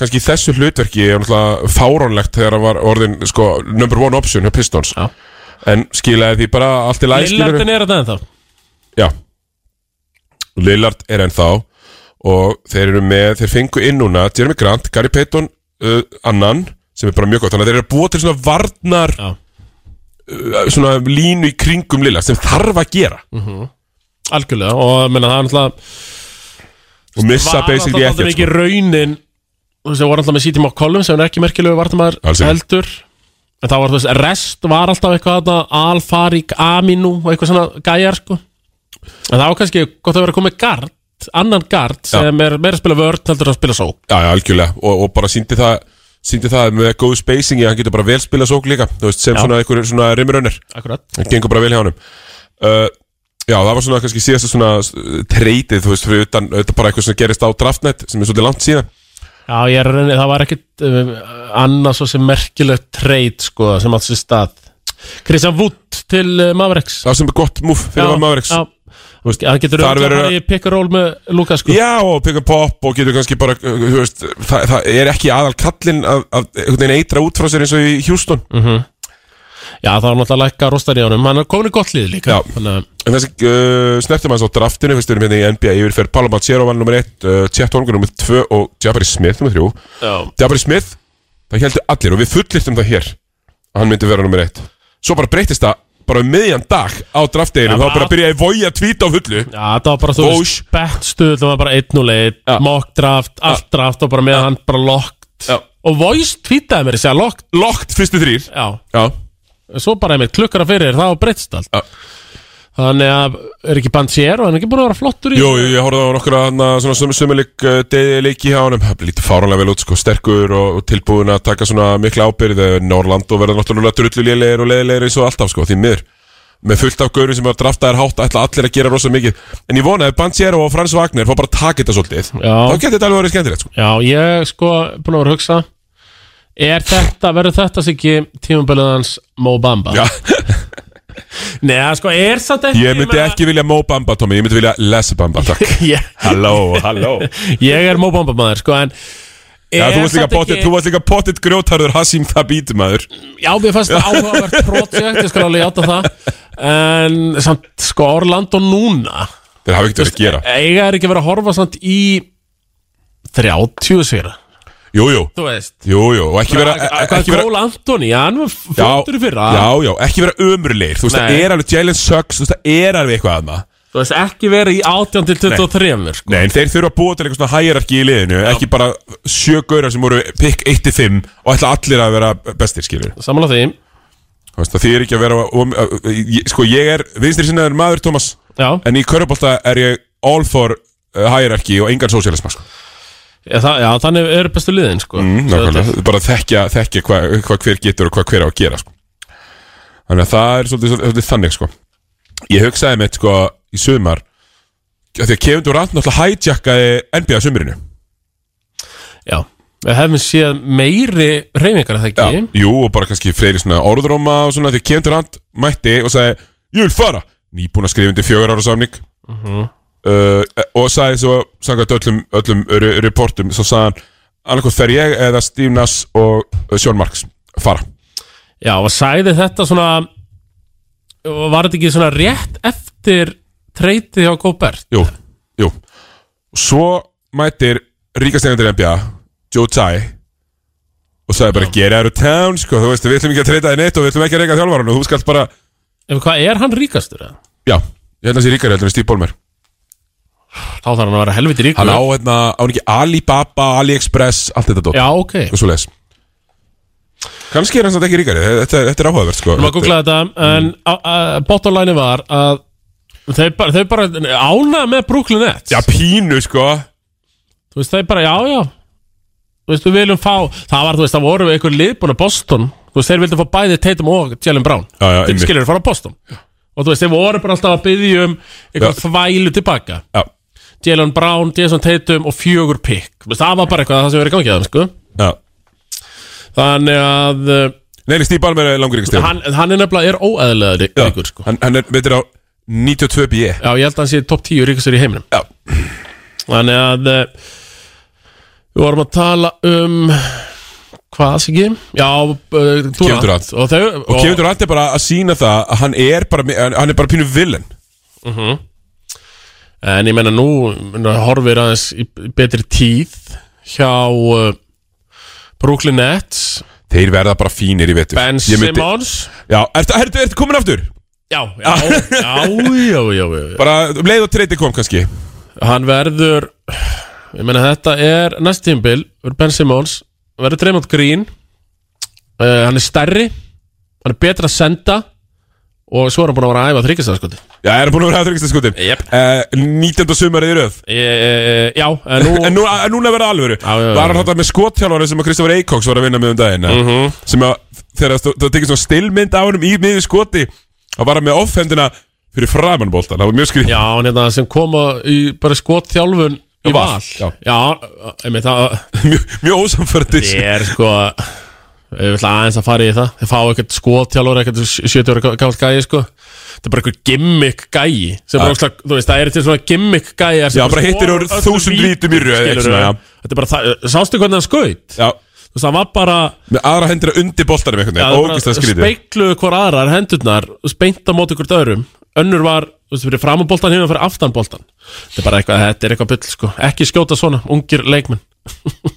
Speaker 3: kannski í þessu hlutverki er náttúrulega fáránlegt þegar hann var orðin sko number one option hjá Pistons
Speaker 4: Já.
Speaker 3: en skilaði því bara allt í læg
Speaker 4: Lillardin er þetta en þá
Speaker 3: Já Lillard er ennþá og þeir eru með, þeir fengu inn núna Jeremy Grant, Gary Payton uh, annan, sem er bara mjög gott þannig að þeir eru að búa til svona varnar
Speaker 4: Já.
Speaker 3: uh, svona línu í kringum Lillard sem þarf að gera
Speaker 4: Mhm. Algjörlega, og menna, það er náttúrulega
Speaker 3: og missa
Speaker 4: var
Speaker 3: basically
Speaker 4: náttúrulega
Speaker 3: ekkert
Speaker 4: ekki
Speaker 3: sko.
Speaker 4: raunin þú veist, það voru alltaf með City McCollum sem er ekki merkilegu vartamæður
Speaker 3: Alls ekki.
Speaker 4: heldur en það var þú veist, rest var alltaf eitthvað þarna, Al-Farik Aminu og eitthvað svona gæjar sko en það var kannski gott að vera komið gard annan gard sem er meira að spila vörn heldur en að spila sók
Speaker 3: Já, já, algjörlega, og, og bara síndi það síndi það með góð spacingi hann getur bara vel spila sók líka, þú veist, sem
Speaker 4: Já.
Speaker 3: svona einhverjum svona rimrunner,
Speaker 4: Akkurat.
Speaker 3: það gengur bara vel hjá hann uh, Já, það var svona kannski síðasta svona uh, treytið, þú veist, fyrir utan þetta bara eitthvað sem gerist á draftnet sem er svolítið langt síðan
Speaker 4: Já, ég er raunin, það var ekkit um, annað svo sem merkilegt treyt sko sem átt sér stað Christian Wood til uh, Mavericks
Speaker 3: það sem er gott múf fyrir
Speaker 4: Já,
Speaker 3: Van Mavericks
Speaker 4: já.
Speaker 3: veist,
Speaker 4: hann getur
Speaker 3: þar
Speaker 4: auðvitað
Speaker 3: verður-
Speaker 4: að fara í pick and roll með Lukas sko
Speaker 3: Já, og pick and pop og getur kannski bara uh, þú veist, það, það er ekki aðal kallinn að, að einhvern veginn eitra út frá sér eins og í Houston
Speaker 4: Já, það var náttúrulega lækka rostar í honum Hann er komin í gott lið líka
Speaker 3: Já.
Speaker 4: Þannig, að-
Speaker 3: En þessi uh, snertum hans á draftinu fyrst erum hérna í NBA yfirferð Paloma Chero var nummer 1, uh, Chet Holmgren nummer 2 og Jabari Smith nummer 3 Jabari Smith, það heldur allir og við fullirtum það hér að hann myndi vera nummer 1 Svo bara breytist það bara um miðjan dag á draftdeginu
Speaker 4: Já,
Speaker 3: þá bara
Speaker 4: bara-
Speaker 3: byrjaði að voja tvít á fullu
Speaker 4: Já, það var bara, þú
Speaker 3: Vósh.
Speaker 4: veist, bettstuð Það var bara 1-0-1,
Speaker 3: Já.
Speaker 4: mock draft Allt draft og bara með hann bara lockt
Speaker 3: Já.
Speaker 4: Og voice tweetaði mér, ég segja lockt
Speaker 3: Lokt fyrstu þrýr
Speaker 4: Já,
Speaker 3: Já,
Speaker 4: svo bara einmitt klukkara fyrir Það var breytst allt
Speaker 3: Já.
Speaker 4: Þannig að er ekki band sér og hann er ekki búin að vera flottur í
Speaker 3: Jú, jú, ég horfði á nokkra hana, svona sum- sumuleik uh, degi- leiki hjá honum, það lítið fáránlega vel út sko, sterkur og, og tilbúin að taka svona mikla ábyrð, eh, Norrland og verða náttúrulega drullulélegir og leiðilegir eins og alltaf sko, því miður með fullt af gaurum sem var draftaðir hátt ætla allir að gera rosa mikið, en ég vona ef Banchero og Frans Wagner fá bara að taka þetta svolítið
Speaker 4: Já.
Speaker 3: þá getur þetta alveg verið skemmtilegt sko.
Speaker 4: Já, ég sko búin að vera að hugsa Er þetta, verður þetta sig ekki tímabilið hans Mo Bamba?
Speaker 3: Já.
Speaker 4: Nei, sko, er samt ekki
Speaker 3: ég myndi
Speaker 4: meina-
Speaker 3: ekki vilja Mo Bamba, Tommy, ég myndi vilja Les Bamba, takk
Speaker 4: (laughs) Ég-
Speaker 3: (laughs) Halló, halló
Speaker 4: Ég er móbombamaður sko en
Speaker 3: Já,
Speaker 4: Er
Speaker 3: þú varst líka
Speaker 4: samt
Speaker 3: pottit-
Speaker 4: ekki-
Speaker 3: þú varst líka pottit grjótarður Hasim Thabit, maður
Speaker 4: Já, mér fannst það áhugavert projekt Ég skal alveg játa það En samt sko Orlando núna
Speaker 3: Þeir hafa ekkert verið að gera
Speaker 4: Eiga er ekki verið að horfa samt í 30 sigra
Speaker 3: Jú, jú,
Speaker 4: Þú veist
Speaker 3: jú, jú, og ekki vera
Speaker 4: Hvað
Speaker 3: ekki
Speaker 4: er
Speaker 3: vera-
Speaker 4: Cole Anthony? Já, hann var flottur í fyrra
Speaker 3: Já, já, ekki vera ömurleir Þú veist,
Speaker 4: Nei.
Speaker 3: það er alveg Jalen Sucks Þú veist, það er alveg eitthvað aðna
Speaker 4: Þú veist ekki verið í 18 til 23 sko.
Speaker 3: Nei, en þeir þurfa að búa til eitthvað svona hægjararki í liðinu Ekki bara sjö gaurar sem voru pick 1-5 Og ætla allir að vera bestir, skilur
Speaker 4: Samanlega því
Speaker 3: Þú veist, það þýðir ekki að vera um, uh, uh, ég- Sko, ég er vinstri sinnaður maður, Thomas
Speaker 4: Já,
Speaker 3: En í körubólta er ég all for uh, hierarki og engan sósíalisma sko.
Speaker 4: ég, það, já þannig eru bestu liðin sko.
Speaker 3: mm,
Speaker 4: Svo þetta
Speaker 3: nákvæmlega. Bara þekkja, þekkja hvað hva hver getur og hvað hver á að gera sko. Þannig að það er svolítið, svolítið þannig sko. Ég hugsaði mitt sko, í sumar af Því að Kevin Durant náttúrulega hijackaði NBA sumurinu
Speaker 4: er- Já, við hefum séð meiri reyfingar að það ekki
Speaker 3: Jú, og bara kannski fleiri svona orðróma og svona Því að Kevin Durant mætti og sagði Ég vil fara Nýbúin að skrifa undir fjögur ára samning uh, Og sagði svo Sangat öllum, öllum re- reportum Svo sagði hann Annarkoð fer ég eða Steve Nash og uh, Sean Marks Fara
Speaker 4: Já, og sagði þetta svona Var þetta ekki svona rétt eftir treytið hjá Góbert?
Speaker 3: Jú, jú Og Svo mættir ríkastegnendur NBA Joe Tsai Og sagði bara get out of town sko, Þú veist, við ætlum ekki að treyta þér neitt Og við ætlum ekki að reyka þjálfarun Og þú skalt bara
Speaker 4: Ef hvað, er hann ríkastur? eða?
Speaker 3: Já, ég held að sé ríkari heldur en Steve Ballmer
Speaker 4: Þá þarf hann að vera helviti ríkur
Speaker 3: Hann á hérna, á hann ekki Alibaba, AliExpress, allt þetta dótt
Speaker 4: Já, ok Við
Speaker 3: Svo leiðis Kanski er hann samt ekki ríkari, þetta, þetta er áhugavert sko
Speaker 4: erum að googla þetta En
Speaker 3: Mm.
Speaker 4: á- á- bottom line var að Þau bara, þau bara ánað með Brooklyn Nets
Speaker 3: Já, pínu sko
Speaker 4: Þú veist, þau bara, já, já Þú veist, við viljum fá Það var, þú veist, það voru einhver liðbúna Boston Þú veist, þeir vildu fá bæði Tatum og Jalen Brown
Speaker 3: Já, já,
Speaker 4: Þeir
Speaker 3: einmitt.
Speaker 4: skilur fara á Boston Og þú veist, þeir voru bara alltaf að byggja um Eitthvað þvælu tilbaka
Speaker 3: Já,
Speaker 4: Jalen Brown, Jason Tatum og fjögur pick Þú veist, Það var bara eitthvað það sem verið gangið að þeim sko.
Speaker 3: já
Speaker 4: Þannig að uh,
Speaker 3: Nei, nei, Steve Ballmer er langur ríkastig
Speaker 4: hann, hann er nefnilega er óæðilega ríkur sko.
Speaker 3: hann, hann er veitir á 92B Já,
Speaker 4: Já, ég held að hann sé topp 10 ríkustur í heiminum
Speaker 3: E. já,
Speaker 4: Þannig að uh, Við vorum að tala um Hvað sé ekki? Já, uh,
Speaker 3: Kevin
Speaker 4: Durant
Speaker 3: Durant.
Speaker 4: Og, þau,
Speaker 3: og Kevin Durant er bara að sína það að hann er bara, hann er bara pínu villen
Speaker 4: En ég menna nú menna, horfir aðeins í í betri tíð Hjá uh, Brooklyn Nets
Speaker 3: Þeir verða bara fínir í vetur
Speaker 4: Ben
Speaker 3: Ég myndi-
Speaker 4: Simmons
Speaker 3: Já, ertu, ertu, ertu komin aftur?
Speaker 4: Já,
Speaker 3: (laughs)
Speaker 4: já, já, já, já, já, já.
Speaker 3: Bara um leið og treyti kom kannski
Speaker 4: Hann verður Ég meina þetta er næst tímbil Ben Simmons Verður Tremont Green uh, Hann er stærri Hann er betra að senda Og svo er hann búin að vera að æfa sko. þryggjastafskoti
Speaker 3: Já, er hann búin að vera að þryggsta skutin
Speaker 4: Jep.
Speaker 3: uh, 19. sumarið í röð
Speaker 4: Eh, Já, (laughs) en nú
Speaker 3: En, nú, en núna verða alvöru
Speaker 4: já, já.
Speaker 3: Var hann þetta með skotthjálfari sem að Kristoffer Eikóks var að vinna með um daginn
Speaker 4: Mhm.
Speaker 3: -hmm. Sem að þegar það stó- það tekið svona stillmynd á honum í miður skoti Að var hann með offhendina fyrir framannbóltan Það var mjög skrið
Speaker 4: Já, hann hérna sem koma í bara skotþjálfun í
Speaker 3: Já, Val,
Speaker 4: val
Speaker 3: já.
Speaker 4: já ég meina það
Speaker 3: (laughs) Mjög, mjög ósamförðis
Speaker 4: Ég er sko Ég vil aðeins að fara í það Þeir fá ekkert skotþjálfur, ekkert 70 ára gammal gæi sko Það er bara eitthvað gimmick gæi sem bara, ósla, þú veist, það er til svona gimmick gæi
Speaker 3: Ah. Já, bara hittir úr 1000 vítum í röð, eitthvað svona, já.
Speaker 4: Þetta er bara, það, sástu hvernig hann skaut?
Speaker 3: Já,
Speaker 4: Þú veist, það var bara
Speaker 3: með aðra hendina undir bóltanum einhvern
Speaker 4: það
Speaker 3: veginn
Speaker 4: var
Speaker 3: Ógist að skriði
Speaker 4: Speikluðu hvar aðrar hendurnar Speinta mót ykkur dörum Önnur var, þú veist, fyrir framboltan hinn og fyrir aftanboltan Þetta er bara eitthvað, þetta er eitthvað bull sko Ekki skjóta svona, ungir leikmenn (laughs)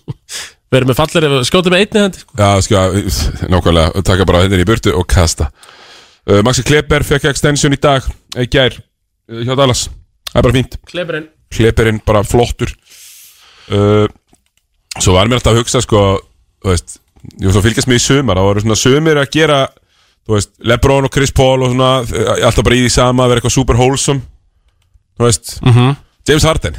Speaker 4: Verið með fallir, skjóta með einni hendi sko.
Speaker 3: Já, sko, nákvæmlega, taka bara hendina í burtu og kasta uh, Maxi Kleber fekk extension í dag, í gær, uh, hjá Dallas Það er bara fínt
Speaker 4: Kleberinn
Speaker 3: Kleberinn bara flottur uh, Svo var mér alltaf að hugsa sko, þú veist, ég var svo að fylgjast með í sumar þá voru svona sumir að gera þú veist, Lebron og Chris Paul og svona eh, alltaf bara í því sama að vera eitthvað super wholesome þú veist James Harden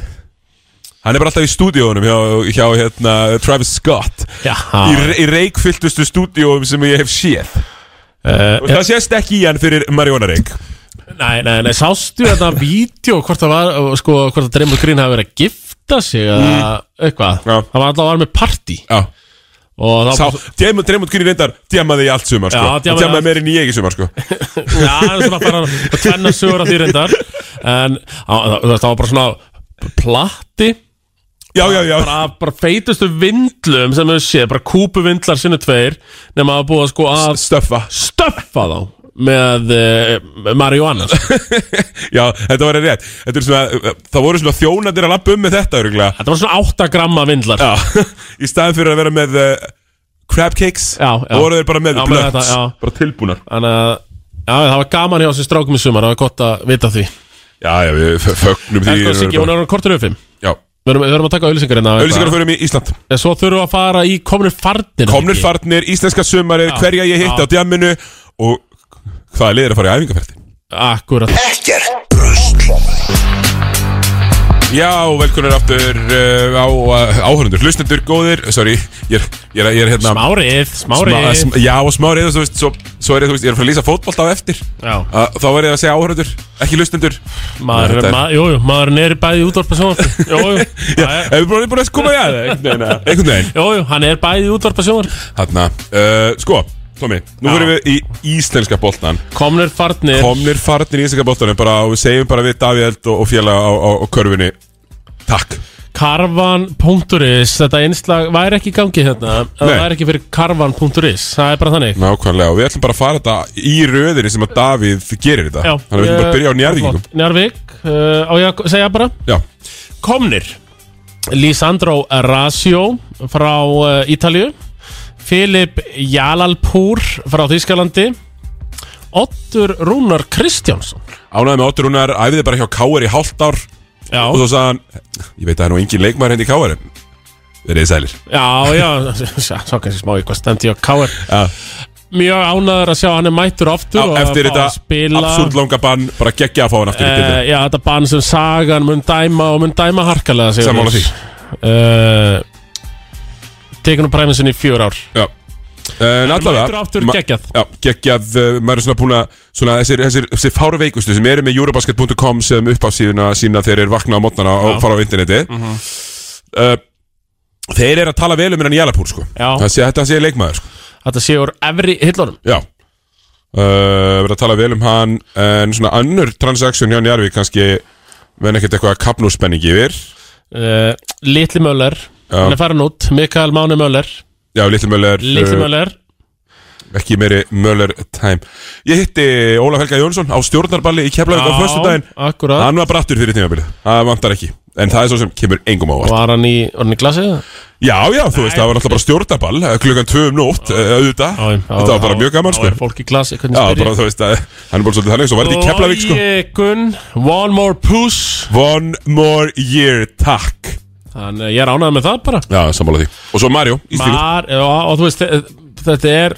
Speaker 3: hann er bara alltaf í stúdíónum hjá, hjá hérna, Travis Scott í,
Speaker 4: Jaha
Speaker 3: re- í reikfylltustu stúdíóum sem ég hef séð
Speaker 4: uh,
Speaker 3: og það sést ekki í hann fyrir Mariona Reik
Speaker 4: Nei, nei, nei, sástu
Speaker 3: (laughs)
Speaker 4: þetta vídeo hvort það var, uh, sko, hvort að Dreymur Green hafi verið að gifta sig eða eitthvað
Speaker 3: Mm. Já.
Speaker 4: Það var alltaf að var með party
Speaker 3: Já,
Speaker 4: og það
Speaker 3: sá,
Speaker 4: var
Speaker 3: Dreymund Dreymund Green reyndar djamaði í allt sumar sko.
Speaker 4: Já,
Speaker 3: Hann
Speaker 4: djamaði
Speaker 3: djamaði
Speaker 4: allt.
Speaker 3: meira en ég í sumar
Speaker 4: (laughs)
Speaker 3: sko.
Speaker 4: (laughs) Já, það er svona bara að tvenna sögur að því reyndar En á, það, það var bara svona platti
Speaker 3: Já, já, já
Speaker 4: bara, bara feitustu vindlum sem við séð, bara kúpuvindlar sinni tveir nema að búa sko að
Speaker 3: Stöffa (laughs)
Speaker 4: stöffa þá með uh, marihuana sko.
Speaker 3: Já, þetta var rétt Þetta er svona, Það voru svona þjónandir að lappa um með þetta örgulega
Speaker 4: Þetta var svona 8 gramma vindlar
Speaker 3: Já, (laughs) í staðin fyrir að vera með uh, crab cakes
Speaker 4: Já, já.
Speaker 3: þá voru þeir bara með
Speaker 4: Já, með
Speaker 3: blökt
Speaker 4: þetta, já.
Speaker 3: Bara tilbúnar
Speaker 4: Þannig að já, það var gaman hjá þessi strákum í sumar, það var gott að vita því
Speaker 3: Já, já, við f- fögnum því
Speaker 4: En hvað
Speaker 3: við
Speaker 4: Siggi,
Speaker 3: erum
Speaker 4: hún er orðin kortur yfir fimm
Speaker 3: bara- Já,
Speaker 4: Við erum, við erum að taka auðlýsingar hérna
Speaker 3: auðlýsingar fyrir mig í Ísland
Speaker 4: En Svo þurfum við að fara í komnir farnir
Speaker 3: Komnir farnir, íslenska sumarir, hverja ég hitt á djamminu Og hvaða lið er að fara í æfingarferði
Speaker 4: Akkurat
Speaker 2: Ekkert brösl
Speaker 3: Já, velkomnir aftur uh, á uh, áhörundur Hlustendur góðir, sorry, ég er, ég er, ég er hérna
Speaker 4: Smárið,
Speaker 3: Smá-
Speaker 4: smárið
Speaker 3: sm- Já, og smárið, þú veist, svo, svo er ég, þú veist, ég er að fara að lýsa fótbolt á eftir
Speaker 4: Já.
Speaker 3: uh, Þá verð ég að segja áhörundur, ekki hlustendur
Speaker 4: Maður,
Speaker 3: Þetta er-
Speaker 4: ma- jú, jú, maður er neri bæði útvarp og sjónvarp Jú, jú,
Speaker 3: (laughs) Já,
Speaker 4: já, já.
Speaker 3: hefur búin, búin að koma í að einhvern veginn, eða- einhvern veginn
Speaker 4: jú, jú, hann er bæði útvarp og sjónvarp
Speaker 3: Þarna, uh, sko, Tómi, nú
Speaker 4: Já.
Speaker 3: verðum við í íslenska boltan
Speaker 4: Komnir farnir
Speaker 3: Komnir farnir í íslenska boltanum bara og við segjum bara við Davíð og, og félaga á, á, á körfunni Takk
Speaker 4: Karvan.is Þetta einslag væri ekki í gangi hérna Það
Speaker 3: Nei.
Speaker 4: væri ekki fyrir karvan.is Það er bara þannig
Speaker 3: Nákvæmlega og við ætlum bara að fara þetta í röðinni sem að Davíð gerir þetta
Speaker 4: Já,
Speaker 3: Þannig að við ætlum bara að byrja á
Speaker 4: eh,
Speaker 3: njarðvíkingum
Speaker 4: flott. Njarðvík, uh, á ég að segja bara
Speaker 3: Já,
Speaker 4: Komnir Lisandro Rasio frá uh, Ítalju Filip Jalalpúr frá Þýskalandi Ottur Rúnar Kristjánsson
Speaker 3: ánæði með Otur Rúnar, æfiði bara hjá Káar í hálft ár
Speaker 4: Já,
Speaker 3: Og svo sagði hann, ég veit að það er nú engin leikmaður henni í Káar Verðið sælir
Speaker 4: já, já (laughs) Svo kannski smá eitthvað stendi á káir
Speaker 3: Já.
Speaker 4: Mjög ánæður að sjá hann er mættur
Speaker 3: Á,
Speaker 4: oftur og að
Speaker 3: Eftir
Speaker 4: fá að
Speaker 3: þetta
Speaker 4: spila.
Speaker 3: absúrt langa bann, bara geggja að fá hann aftur í
Speaker 4: uh,
Speaker 3: byrju
Speaker 4: Já, þetta bann sem sagan mun dæma og mun dæma harkalega
Speaker 3: Sammála því.
Speaker 4: uh, Tekin úr præminsin í fjör ár
Speaker 3: Já Eh, En allavega
Speaker 4: Mættur aftur,
Speaker 3: ma-
Speaker 4: geggjað.
Speaker 3: Já, geggjað uh, Maður er svona búin að Svona þessir, þessir, þessir fáru veikustu Sem eru með eurobasket.com Sem uppáfsíðuna sína Þeir eru vakna á mótnana Og fara á interneti
Speaker 4: Mhm.
Speaker 3: uh, Þeir eru að tala vel um hennan Jalapúr sko
Speaker 4: Já.
Speaker 3: Það sé, Þetta sé leikmaður sko
Speaker 4: Þetta sé úr efri hillunum
Speaker 3: Já Uh, verið að tala vel um hann en svona annur transaksjón hjá Njarvi kannski menn ekkert eitthvað að kapnú spenning yfir Eh,
Speaker 4: uh, Litli Möller Hann er farin út, Mikael Máni Möller
Speaker 3: já, Little Möller eh,
Speaker 4: Litli Möller
Speaker 3: ekki meiri Möller time ég hitti Ólaf Helga Jónsson á stjórnarballi í Keflavík á föstudaginn
Speaker 4: akkurat
Speaker 3: hann var brattur fyrir tímabilið, það vantar ekki en það er svo sem kemur engum á óvart
Speaker 4: Var hann í, var hann í glasið?
Speaker 3: já, já, þú veist, það var náttúrulega bara stjórnarball eh, klukkan 2 um nótt, eh, auðvitað þetta var bara mjög gaman,
Speaker 4: Já,
Speaker 3: sko
Speaker 4: er fólk í glasið,
Speaker 3: já,
Speaker 4: hvernig
Speaker 3: bara þú veist, að hann er bara svolítið þannig svo var þetta í Keflavík, sko
Speaker 4: Logi Gunn, one more push
Speaker 3: one more year, takk
Speaker 4: Þannig að ég er ánægð með það bara
Speaker 3: já, sammála því, og svo Mario, Íslingur
Speaker 4: Mar, já, og þú veist þe- þetta er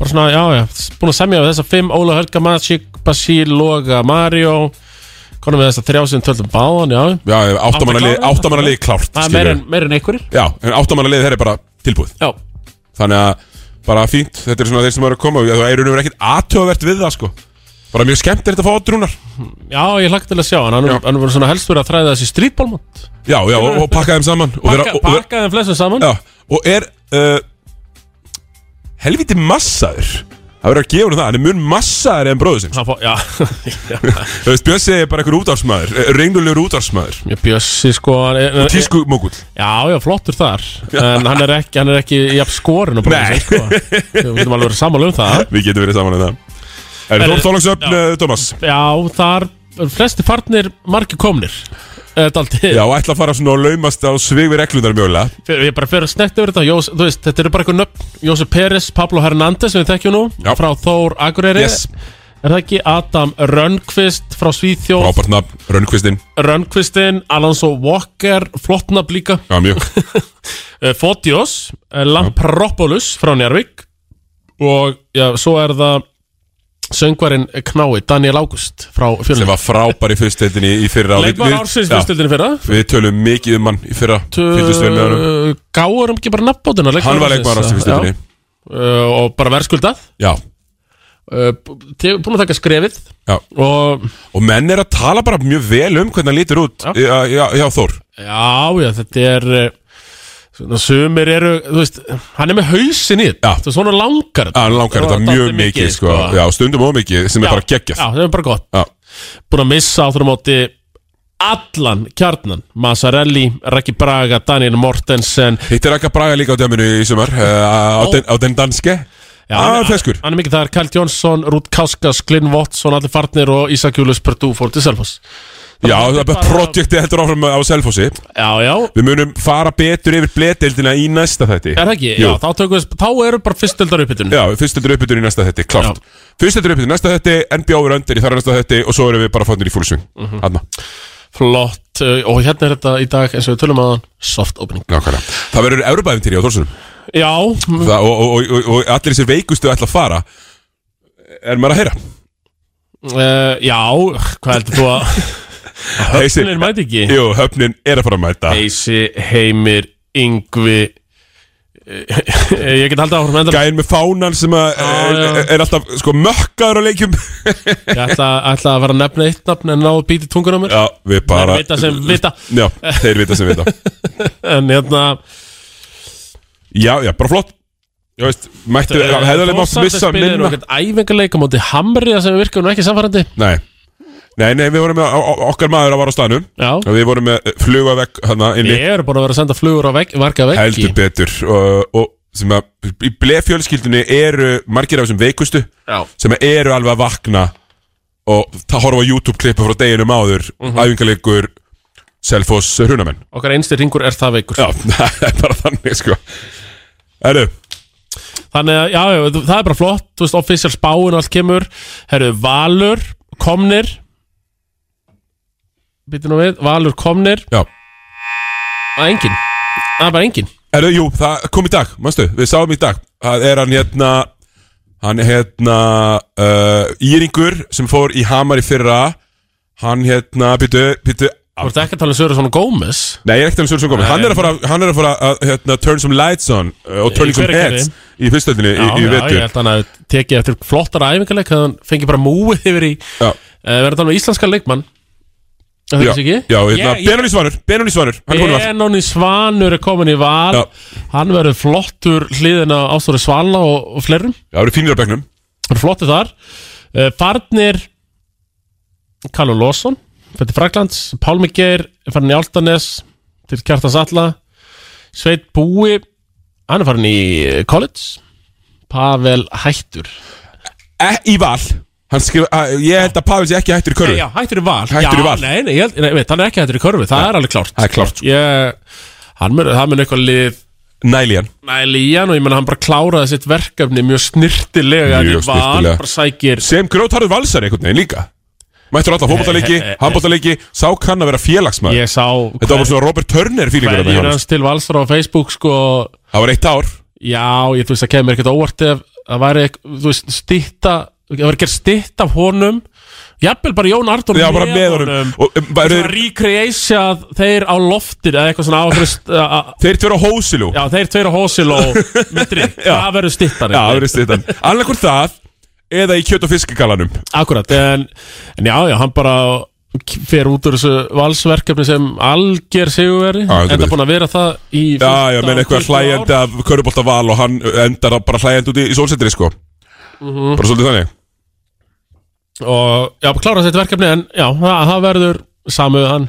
Speaker 4: bara svona, já, já, búin að semja við þessa fimm Óla Helga, Magic, Basíl, Loga, Mario konum við þessa þrjá sem töldum báðan, já
Speaker 3: já, eh, áttamannalið,
Speaker 4: klára?
Speaker 3: áttamannalið klárt
Speaker 4: það er
Speaker 3: skilur
Speaker 4: meira
Speaker 3: við.
Speaker 4: en, meir en einhverjir
Speaker 3: já, en áttamannalið þeir er bara tilbúið
Speaker 4: já,
Speaker 3: þannig að bara fínt, þetta er svona þeir sem eru að koma það er unum ekkert aðtöðavert við það sko bara mjög skemmt er þetta að fá odrúnar
Speaker 4: já, ég hlakka til að sjá hann hann
Speaker 3: Já.
Speaker 4: hann var svona helst verið að þræða þessi strítbólmót
Speaker 3: já, já, og, og pakka þeim saman og, vera,
Speaker 4: pakka,
Speaker 3: og, og,
Speaker 4: pakkaði þeim flestum saman
Speaker 3: já, og er uh, helviti massaður það verður að gefa hann það, hann er mjög massaður en bróður sinn
Speaker 4: Hann fó, já, (laughs) já.
Speaker 3: þú veist, Bjössi er bara einhver eh, útvarsmaður reyngulegur útvarsmaður,
Speaker 4: Mjög bjössi sko hann er-
Speaker 3: tískumókull
Speaker 4: Já, já, flottur þar En hann er ekki, hann er ekki jafn skorinn og bara
Speaker 3: Nei.
Speaker 4: þessi, sko. Við getum alveg verið sammála um það
Speaker 3: við getum verið saman en það er
Speaker 4: Herru,
Speaker 3: Þór Þólagsöfn,
Speaker 4: já.
Speaker 3: Thomas
Speaker 4: Já, þar eru flesti farnir margir komnir Þetta aldrei,
Speaker 3: já, og ætla að fara svona og laumast á svig við reglundar mjögulega
Speaker 4: Fyrir- ég bara fyrir að snetta yfir þetta Jós, þú veist, Þetta eru bara eitthvað nöfn Jósef Peres, Pablo Hernández sem við þekkjum nú
Speaker 3: Já.
Speaker 4: Frá Þór Akureyri
Speaker 3: Yes.
Speaker 4: Er það ekki Adam Rönnqvist frá Svíþjóð
Speaker 3: Robert Nab, Rönnkvistin,
Speaker 4: Rönnqvistin, Alonso Walker Flottnab líka
Speaker 3: já mjög
Speaker 4: Eh, Fotios, eh, Lampropoulos frá Njarvík Og já, svo er það Söngvarinn knái, Daniel Ágúst frá
Speaker 3: sem
Speaker 4: fjölunum
Speaker 3: var frábær í fyrstöldinni í fyrra og við-
Speaker 4: Leikmaður
Speaker 3: við-
Speaker 4: ársins
Speaker 3: já,
Speaker 4: fyrstildinu fyrir það
Speaker 3: Við tölum mikið um hann í fyrra Fylgdust vel með hann
Speaker 4: gáður um ekki bara nafnbótina
Speaker 3: Hann var leikmaður ársins í fyrstöldinni
Speaker 4: Eh, og bara verðskuldað
Speaker 3: Já,
Speaker 4: uh, bú- te- búin að taka skrefið
Speaker 3: já
Speaker 4: og
Speaker 3: Og menn er að tala bara mjög vel um hvernig hann lítur út
Speaker 4: Já.
Speaker 3: Já, já, já Þór
Speaker 4: já, já, þetta er uh, svona sumir eru, þú veist hann er með hausin í þetta,
Speaker 3: Já.
Speaker 4: þú veist, svona langar
Speaker 3: Já, hann langar
Speaker 4: Og
Speaker 3: þetta
Speaker 4: dálítið
Speaker 3: mjög mikið sko.
Speaker 4: sko.
Speaker 3: Já, stundum og mikið sem er bara geggjað
Speaker 4: já, það er bara gott,
Speaker 3: Já,
Speaker 4: búin að missa áþur á móti allan kjarnan Massarelli, Raki Braga, Daniel Mortensen
Speaker 3: Hitt er ekki að braga líka á dæminu í sumar uh, á,
Speaker 4: Ó.
Speaker 3: den, á den danske
Speaker 4: Já,
Speaker 3: Ah,
Speaker 4: hann,
Speaker 3: feskur.
Speaker 4: hann er mikið þar, Kælt Jónsson, Rút Kauskas, Glyn Watson, allir farnir og Ísak Július Perdú fór til Selfoss
Speaker 3: Já, það
Speaker 4: hann er
Speaker 3: er bara
Speaker 4: bara-
Speaker 3: projektið heldur áfram á Selfossi
Speaker 4: Já, já,
Speaker 3: Við munum fara betur yfir bledeildina í næsta þætti
Speaker 4: er það ekki?
Speaker 3: Jú.
Speaker 4: Já, þá, tökum við, þá eru bara fyrstöldar upphittun
Speaker 3: Já, fyrstildur uppbytun í næsta þetti, klárt Fyrstildur uppbytun í næsta þetti, NBA over under í þar næsta þetti og svo erum við bara fannir í fúlsving
Speaker 4: Mhm.
Speaker 3: Hanna,
Speaker 4: Flott, uh, og hérna er þetta í dag eins og við tölum að soft opening
Speaker 3: nákvæmlega Það verður Európaðintýri á Þórsunum
Speaker 4: Já, mm, m-
Speaker 3: og, og, og, og, og allir þessir veikustu ætla að fara Er maður að heyra? (laughs)
Speaker 4: uh, já, hvað eh, heldur þú að
Speaker 3: Heysir-
Speaker 4: Höfnin mæti ekki.
Speaker 3: Jú, höfnin er að fara að mæta
Speaker 4: Eysi, Heimir, Yngvi Eh, (laughs) Ég get haldið áfram endala
Speaker 3: Gæðin með fánan sem að, er,
Speaker 4: já.
Speaker 3: er alltaf sko mökkaður á leikjum
Speaker 4: Ég ætla, ætla að vera að nefna eitt nafn en náðu bítið tungur á mér
Speaker 3: Já, við bara
Speaker 4: Þeir vita sem vita.
Speaker 3: Já, þeir vita sem vita
Speaker 4: En hérna
Speaker 3: Já, já, bara flott Já, veist, mættu, hefðarlega mátt missa minna
Speaker 4: Þórsandi spilir æfingarleika móti Hamriða sem virkar nú ekki samfærandi
Speaker 3: Nei Nei, nei, við vorum með á- á- okkar maður að vara á staðnum
Speaker 4: Já.
Speaker 3: Og Við vorum með fluga vekk hana inni
Speaker 4: Ég er búin að vera að senda flugur á vegg, varga veggi
Speaker 3: Heldur betur og, og sem að í blefjölskyldunni eru margir af þessum veikustu
Speaker 4: Já.
Speaker 3: sem að eru alveg að vakna og það horfa á YouTube-klippu frá deginum áður mm
Speaker 4: Mhm.
Speaker 3: -hmm. æfingarleikur Selfoss hrunamenn
Speaker 4: Okkar einsti ringur er það veikur
Speaker 3: Já, (laughs) það er bara þannig sko Erðu,
Speaker 4: Þannig að, já, já, þú- það er bara flott Þú veist, official spáin og allt kemur Herru, Valur, Komnir Býttu nú við Valur, Komnir,
Speaker 3: já
Speaker 4: að engin Það er bara engin
Speaker 3: Erðu, jú, það kom í dag, manstu, við sáum í dag Það er hann hérna Hann hérna uh, Íringur sem fór í Hamar í fyrra Hann hérna, býtu, býtu
Speaker 4: Þú ert ekki að tala um Söru svona Gómez
Speaker 3: Nei, ég er ekkert alveg svo komið Hann er að fara, hann er að, fara að hérna, turn some lights on uh, og turning some
Speaker 4: Hveragerði.
Speaker 3: heads í fyrstöldinni í, í
Speaker 4: ég
Speaker 3: vetur
Speaker 4: held að hann að tekið eftir flottara æfingarleik þannig að hann fengi bara múið yfir í uh,
Speaker 3: Já,
Speaker 4: verður þetta alveg íslenska leikmann Er Það
Speaker 3: já,
Speaker 4: er
Speaker 3: já,
Speaker 4: ekki
Speaker 3: hérna, Benóni Svanur Benóni Svanur, hann er komin var
Speaker 4: Benóni Svanur er komin í val
Speaker 3: Já.
Speaker 4: hann verður flottur hliðin á Ástóri Svala og, og fleirum
Speaker 3: Já, það eru fínir á bekknum
Speaker 4: verður flottur þar uh, Farnir Callum Lawson fyrir til Fraklands, Pálmi Geir farin í Altanes til Kjartans Alla Sveit Búi hann er farin í eh, college Pavel Hættur
Speaker 3: e, Í val Hann skrifa, að, ég held að Pavel sé ekki hættur í körfu
Speaker 4: Nei, já, hættur í val
Speaker 3: Hættur í
Speaker 4: já,
Speaker 3: val.
Speaker 4: Nei, nei, ég held, nei, veit, hann er ekki hættur í körfu, það er alveg klárt
Speaker 3: Það er klárt, sko.
Speaker 4: Ég, hann mun, það mun eitthvað lið
Speaker 3: Næli hann
Speaker 4: næli í hann og ég menna hann bara kláraði sitt verkefni mjög snirtilega
Speaker 3: Mjög
Speaker 4: Hann í val,
Speaker 3: snyrtilega.
Speaker 4: bara sækir
Speaker 3: sem grótarður valsar einhvern veginn líka mættur alltaf fótballleiki, (laughs) handballleiki sá kann að vera félagsmaður
Speaker 4: Ég sá
Speaker 3: þetta var bara svona Robert Turner fílingur
Speaker 4: hverjur hans til valsar á Facebook sko,
Speaker 3: það var eitt ár
Speaker 4: já, ég þú veist, það kemur ekkert óvart ef það væri, ekk- þú veist, stýtta það væri ekkert stýtt af honum jafnvel bara Jón Ardór
Speaker 3: já, bara með honum og um, væru
Speaker 4: Þeir
Speaker 3: þeir,
Speaker 4: recreatja þeir á loftir eða eitthvað svona á einhverju st- a- a-
Speaker 3: þeir tveir á hósilu já,
Speaker 4: Já, þeir tveir á
Speaker 3: (laughs)
Speaker 4: hósiló með drikk, það verður stittan
Speaker 3: það verið stýttan annarkur það eða í kjöt og fiskikalanum
Speaker 4: Akkurat, en, en já, já, hann bara fer út úr þessu valsverkefni sem algjör sigurveri
Speaker 3: Já, heldur
Speaker 4: enda
Speaker 3: betur.
Speaker 4: búin að vera það í
Speaker 3: já, já,
Speaker 4: 15,
Speaker 3: menn eitthvað
Speaker 4: 20 ár.
Speaker 3: hlægjandi af körubólta val og hann endar að bara hlægjandi út í, í sólsetri sko bara svolítið þannig
Speaker 4: og já, klára þetta verkefni en já, það, það verður samuð hann